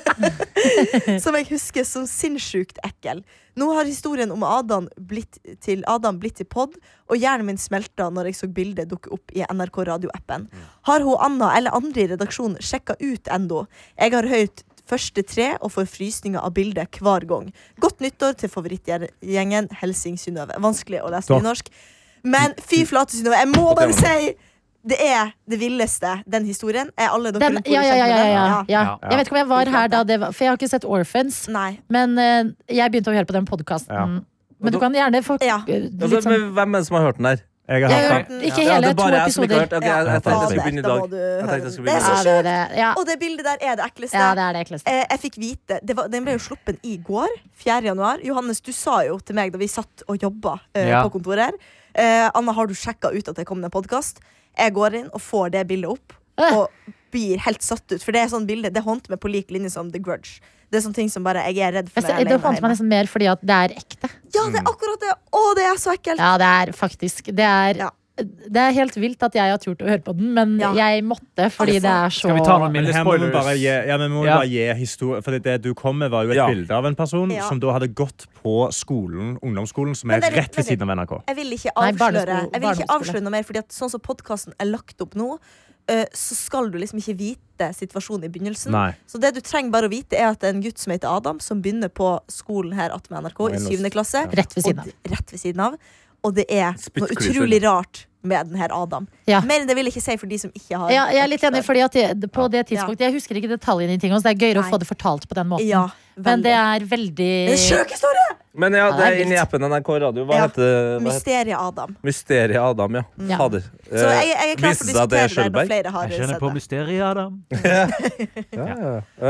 [SPEAKER 4] <laughs> som jeg husker som sinnssykt ekkel. Nå har historien om Adam blitt til, Adam blitt til pod, og hjernen min smelta når jeg så bildet dukke opp i NRK
[SPEAKER 3] Mm.
[SPEAKER 4] radioappen. Har hun Anna eller andre i redaksjonen sjekka ut ennå? Jeg har hørt første tre og får frysninger av bildet hver gang. Godt nyttår til favorittgjengen Helsing Synnøve. Vanskelig å lese
[SPEAKER 6] Takk.
[SPEAKER 4] nynorsk. Men fy flate, Synnøve. Jeg må bare si det er det villeste, den historien. Er alle dere
[SPEAKER 2] Den,
[SPEAKER 4] rundt bordet
[SPEAKER 2] ja, ja, ja,
[SPEAKER 4] kjent
[SPEAKER 2] ja,
[SPEAKER 4] med den?
[SPEAKER 2] ja, ja.
[SPEAKER 5] Ja.
[SPEAKER 2] Jeg vet ikke om jeg var her da det var For jeg har ikke sett Orphans.
[SPEAKER 4] Nei.
[SPEAKER 2] Men eh, jeg begynte å høre på den podkasten.
[SPEAKER 6] Ja.
[SPEAKER 2] Men du kan gjerne få
[SPEAKER 4] Ja.
[SPEAKER 2] <laughs> litt
[SPEAKER 3] Altså,
[SPEAKER 2] sånn
[SPEAKER 3] men hvem er det som har hørt den der?
[SPEAKER 6] Jeg har
[SPEAKER 2] Jeg
[SPEAKER 6] hatt
[SPEAKER 2] har
[SPEAKER 6] den.
[SPEAKER 2] hørt den, Ikke
[SPEAKER 3] Ja,
[SPEAKER 2] hele,
[SPEAKER 3] det er
[SPEAKER 2] to
[SPEAKER 3] bare jeg som ikke har hørt.
[SPEAKER 2] episoder.
[SPEAKER 3] Ok, jeg, jeg tenkte jeg skulle begynne i
[SPEAKER 4] da må
[SPEAKER 3] dag.
[SPEAKER 4] du
[SPEAKER 3] Jeg
[SPEAKER 4] høre
[SPEAKER 3] tenkte jeg
[SPEAKER 4] den.
[SPEAKER 3] skulle
[SPEAKER 4] Det er
[SPEAKER 3] begynne
[SPEAKER 4] så
[SPEAKER 2] Ja, det er det. Ja.
[SPEAKER 4] Og det bildet der er det ekleste.
[SPEAKER 2] ja, det er det ekleste.
[SPEAKER 4] Eh, jeg fikk vite det var, Den ble jo sluppet i går, 4. januar. Johannes, du sa jo til meg da vi satt og jobba eh,
[SPEAKER 5] Ja.
[SPEAKER 4] på kontoret her eh, Anna, har du sjekka ut at det kom en podkast? Jeg går inn og får det bildet opp.
[SPEAKER 2] Øh.
[SPEAKER 4] Og blir helt satt ut. For det er sånn bilde, det håndte meg på lik linje som The Grudge. Det er sånne ting som bare jeg er redd for.
[SPEAKER 2] Jeg
[SPEAKER 4] når
[SPEAKER 2] ser-
[SPEAKER 4] jeg er
[SPEAKER 2] Det
[SPEAKER 4] alene
[SPEAKER 2] fant meg
[SPEAKER 4] hjemme.
[SPEAKER 2] nesten mer fordi at det er ekte.
[SPEAKER 4] Ja, det er
[SPEAKER 3] Mm.
[SPEAKER 4] akkurat det! Å, det er så ekkelt!
[SPEAKER 2] Ja, det er faktisk Det er,
[SPEAKER 4] Ja.
[SPEAKER 2] det er helt vilt at jeg har turt å høre på den, men
[SPEAKER 4] Ja.
[SPEAKER 2] jeg måtte fordi
[SPEAKER 4] Altså.
[SPEAKER 2] det er så
[SPEAKER 5] Skal vi ta noen
[SPEAKER 6] Men
[SPEAKER 5] mindre
[SPEAKER 6] her må vi
[SPEAKER 5] spoilers?
[SPEAKER 6] bare gi, ja, men vi må
[SPEAKER 5] Ja.
[SPEAKER 6] bare gi historie For det du kom med, var jo et
[SPEAKER 3] Ja.
[SPEAKER 6] bilde av en person
[SPEAKER 4] Ja.
[SPEAKER 6] som da hadde gått på skolen, ungdomsskolen, som
[SPEAKER 4] Men
[SPEAKER 6] er
[SPEAKER 4] det er litt-
[SPEAKER 6] rett ved siden av NRK.
[SPEAKER 4] Jeg vil ikke
[SPEAKER 2] Nei,
[SPEAKER 4] avsløre,
[SPEAKER 2] barneskole-
[SPEAKER 4] jeg vil ikke
[SPEAKER 2] barneskole.
[SPEAKER 4] avsløre noe mer, Fordi at sånn som podkasten er lagt opp nå, eh, så skal du liksom ikke vite situasjonen i begynnelsen.
[SPEAKER 6] Nei.
[SPEAKER 4] Så det du trenger bare å vite, er at det er en gutt som heter Adam, som begynner på skolen her att med NRK
[SPEAKER 6] Og
[SPEAKER 4] i
[SPEAKER 6] ellers-
[SPEAKER 4] syvende klasse.
[SPEAKER 2] Rett ved siden av.
[SPEAKER 4] Og, d- rett ved siden av. Og det er noe
[SPEAKER 3] Spyttklyser.
[SPEAKER 4] utrolig rart med den her Adam.
[SPEAKER 2] Ja.
[SPEAKER 4] Mer enn det vil jeg ikke si for de som ikke har
[SPEAKER 2] ja, jeg er litt
[SPEAKER 4] hørt
[SPEAKER 2] enig,
[SPEAKER 4] før.
[SPEAKER 2] fordi at det, på det tidspunktet Jeg husker ikke detaljene i ting, så det er gøyere å
[SPEAKER 4] Nei.
[SPEAKER 2] få det fortalt på den måten.
[SPEAKER 4] Ja,
[SPEAKER 2] men det
[SPEAKER 4] veldig.
[SPEAKER 2] er veldig
[SPEAKER 4] Det er en sjuk historie!
[SPEAKER 3] Men ja,
[SPEAKER 2] Ja,
[SPEAKER 3] det
[SPEAKER 2] det er
[SPEAKER 3] er inne i
[SPEAKER 2] vilt.
[SPEAKER 3] appen NRK Radio. Hva
[SPEAKER 4] Ja.
[SPEAKER 3] heter hva heter-
[SPEAKER 4] Mysteriet Adam.
[SPEAKER 3] Mysteriet Adam, ja.
[SPEAKER 2] Ja.
[SPEAKER 3] Fader.
[SPEAKER 4] Så jeg, jeg er klar
[SPEAKER 3] Viste
[SPEAKER 4] for å
[SPEAKER 3] seg at Eh, det
[SPEAKER 4] diskutere
[SPEAKER 3] er
[SPEAKER 4] det når
[SPEAKER 3] Schjølberg?
[SPEAKER 4] flere har
[SPEAKER 5] Jeg
[SPEAKER 4] sett
[SPEAKER 5] skjønner på
[SPEAKER 4] det.
[SPEAKER 5] mysteriet, Adam.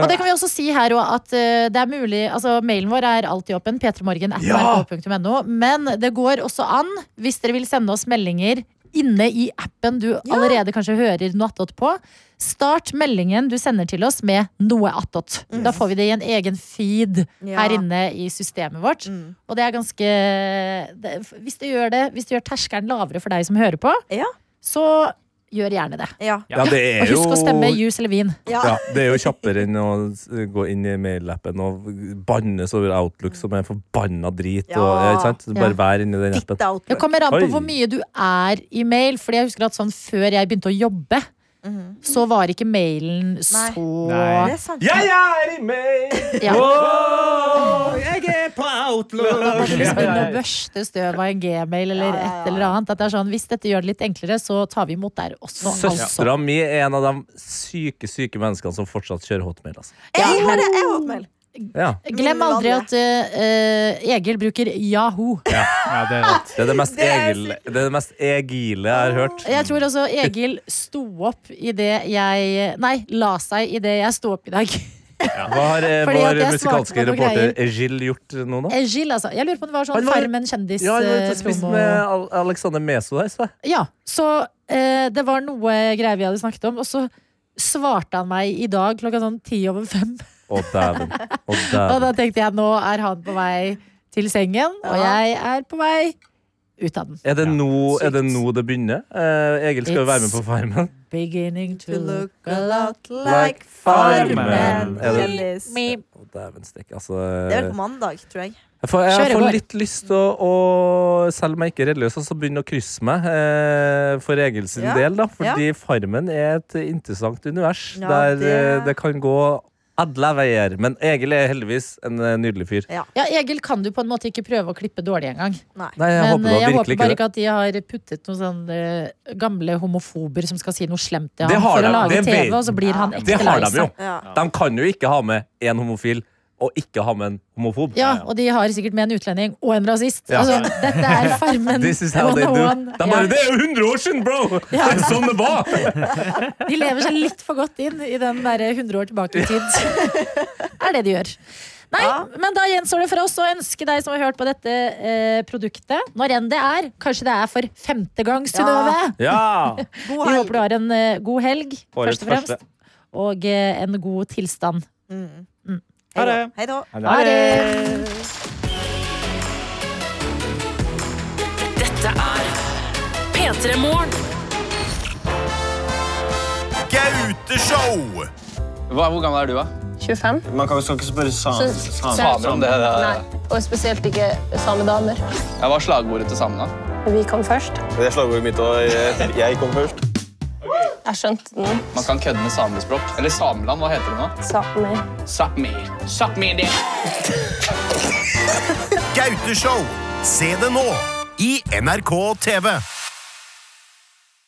[SPEAKER 2] Og det kan vi også si her også, at eh, det er mulig Altså, mailen vår er alltid åpen. p3morgen.nrk.no. Men det går også an, hvis dere vil sende oss meldinger inne i appen du allerede kanskje hører noe attåt på, start meldingen du sender til oss med noe attåt. Da får vi det i en egen feed
[SPEAKER 4] Mm. Ja.
[SPEAKER 2] her inne i systemet vårt.
[SPEAKER 4] Mm.
[SPEAKER 2] Og det er ganske det, Hvis det gjør det, hvis det gjør terskelen lavere for deg som hører på,
[SPEAKER 4] Ja.
[SPEAKER 2] så gjør gjerne det.
[SPEAKER 4] Ja.
[SPEAKER 3] Ja, det
[SPEAKER 2] Og
[SPEAKER 3] er jo
[SPEAKER 2] husk å stemme jus eller vin.
[SPEAKER 4] Ja.
[SPEAKER 3] ja, det er jo kjappere enn å s- gå inn i mailappen og bannes over Outlook, som er forbanna drit. Og,
[SPEAKER 4] Ja.
[SPEAKER 3] ikke sant? Så Bare vær inni den appen.
[SPEAKER 4] Ditt
[SPEAKER 2] Det
[SPEAKER 4] outlook.
[SPEAKER 2] kommer an på
[SPEAKER 3] Oi.
[SPEAKER 2] hvor mye du er i mail. Fordi jeg husker at sånn Før jeg begynte å jobbe,
[SPEAKER 6] Mhm.
[SPEAKER 2] så var ikke mailen så
[SPEAKER 5] Nei.
[SPEAKER 4] Det er sant.
[SPEAKER 3] Jeg er i mail!
[SPEAKER 2] ja,
[SPEAKER 6] Jeg er på Outlook!
[SPEAKER 2] Det liksom begynne
[SPEAKER 3] <laughs>
[SPEAKER 2] å børste støv av en gmail eller et eller annet. At det er sånn, Hvis dette gjør det litt enklere, så tar vi imot der også. Altså.
[SPEAKER 3] Søstera mi er en av de syke, syke menneskene som fortsatt kjører hotmail. Altså.
[SPEAKER 4] Jeg har det, jeg har hotmail.
[SPEAKER 3] Ja,
[SPEAKER 2] Glem aldri at eh, Egil bruker Yahoo.
[SPEAKER 5] Ja, det er rett.
[SPEAKER 3] det er det mest,
[SPEAKER 4] Det er
[SPEAKER 3] egil, det er det mest egile jeg har hørt.
[SPEAKER 2] Jeg tror også Egil sto opp i det jeg Nei, la seg i det jeg sto opp i dag.
[SPEAKER 3] Hva har eh,
[SPEAKER 2] Fordi at
[SPEAKER 3] vår
[SPEAKER 2] jeg
[SPEAKER 3] musikalske
[SPEAKER 2] svarte på noen
[SPEAKER 3] reporter Egil gjort nå, da?
[SPEAKER 2] Egil, altså. Jeg lurer på om det var
[SPEAKER 3] Han
[SPEAKER 2] sånn
[SPEAKER 3] var-
[SPEAKER 2] Farmen
[SPEAKER 3] Ja, han var ute og spiste
[SPEAKER 2] kjendis-promo.
[SPEAKER 3] med Al- Alexander Meso der, så jeg.
[SPEAKER 2] Ja, så eh, det var noe greier vi hadde snakket om, og så svarte han meg i dag klokka sånn ti over fem.
[SPEAKER 3] Å, dæven.
[SPEAKER 2] <laughs>
[SPEAKER 3] Å,
[SPEAKER 2] Og
[SPEAKER 3] dæven.
[SPEAKER 2] da tenkte jeg nå er han på vei til sengen, og jeg er på vei ut av den.
[SPEAKER 3] Er det, nå, er det
[SPEAKER 2] Sykt.
[SPEAKER 3] nå det begynner? Eh, Egil skal jo være med på Farmen.
[SPEAKER 2] Beginning to
[SPEAKER 4] To
[SPEAKER 2] look
[SPEAKER 4] look a
[SPEAKER 2] alone.
[SPEAKER 4] lot like farmen.
[SPEAKER 3] Er det-
[SPEAKER 4] Kjelis.
[SPEAKER 2] Me.
[SPEAKER 3] Å, Dæven stikk, altså.
[SPEAKER 4] Det er vel på mandag, tror jeg.
[SPEAKER 3] Jeg får, jeg
[SPEAKER 2] Kjør i
[SPEAKER 3] får
[SPEAKER 2] går.
[SPEAKER 3] litt lyst til å, å selv om jeg ikke er religiøs, så begynne å krysse meg eh, for Egil sin
[SPEAKER 4] Ja,
[SPEAKER 3] del. da
[SPEAKER 4] ja.
[SPEAKER 3] Fordi Farmen er et interessant univers
[SPEAKER 4] Ja,
[SPEAKER 3] der eh,
[SPEAKER 4] det-
[SPEAKER 3] det kan gå alle veier. Men Egil er heldigvis en eh, nydelig fyr.
[SPEAKER 2] Ja, Egil kan du på en måte ikke prøve å klippe dårlig engang.
[SPEAKER 3] Nei, jeg
[SPEAKER 2] Men
[SPEAKER 3] håper
[SPEAKER 2] eh,
[SPEAKER 3] da
[SPEAKER 2] jeg håper
[SPEAKER 3] virkelig
[SPEAKER 2] bare
[SPEAKER 3] ikke det.
[SPEAKER 2] ikke at de har puttet noen sånne eh, gamle homofober som skal si noe slemt til
[SPEAKER 3] Det
[SPEAKER 2] ham
[SPEAKER 3] har
[SPEAKER 2] for
[SPEAKER 3] de,
[SPEAKER 2] å lage
[SPEAKER 3] det
[SPEAKER 2] TV,
[SPEAKER 3] vet-
[SPEAKER 2] og så blir han
[SPEAKER 3] Det
[SPEAKER 2] ekte lei
[SPEAKER 3] har de jo.
[SPEAKER 2] seg.
[SPEAKER 4] Ja.
[SPEAKER 3] De kan jo ikke ha med én homofil og ikke ha med en homofob.
[SPEAKER 2] Ja, og de har sikkert med en utlending og en rasist.
[SPEAKER 3] Ja.
[SPEAKER 2] Altså, dette
[SPEAKER 3] <laughs>
[SPEAKER 2] er Farmen
[SPEAKER 3] This is how they do. De
[SPEAKER 2] 101.
[SPEAKER 3] bare,
[SPEAKER 2] Ja.
[SPEAKER 3] det er jo 100 år siden, bro! Det er <laughs> sånn det var!
[SPEAKER 2] De lever seg litt for godt inn i den derre 100 år tilbake i tid. <laughs> er det de gjør. Nei, men da gjenstår det for oss å ønske deg som har hørt på dette eh, produktet, når enn det er, kanskje det er for femte gang, Synnøve.
[SPEAKER 3] <laughs> Ja!
[SPEAKER 4] God
[SPEAKER 2] Vi
[SPEAKER 4] helg.
[SPEAKER 2] håper du har en eh, god helg,
[SPEAKER 3] Årets
[SPEAKER 2] først og fremst. Og eh, en god tilstand.
[SPEAKER 4] Hei da. Hei da.
[SPEAKER 2] Ha det!
[SPEAKER 7] Dette er P3 Morgen.
[SPEAKER 8] Gauteshow!
[SPEAKER 9] hvor gammel er du, da?
[SPEAKER 10] 25.
[SPEAKER 8] Man kan, skal ikke spørre samer.
[SPEAKER 9] Samer om det. det.
[SPEAKER 10] Nei, og spesielt ikke samedamer.
[SPEAKER 9] Ja, hva er slagordet til samene?
[SPEAKER 10] Vi kom først.
[SPEAKER 8] Det er slagordet mitt, og jeg, jeg kom først.
[SPEAKER 10] Jeg skjønte den.
[SPEAKER 9] Man kan kødde med samespråk. Eller Sameland, hva heter det nå?
[SPEAKER 10] Sami.
[SPEAKER 9] Sápmi. Sápmi det.
[SPEAKER 8] Gauteshow! Se det nå i NRK TV.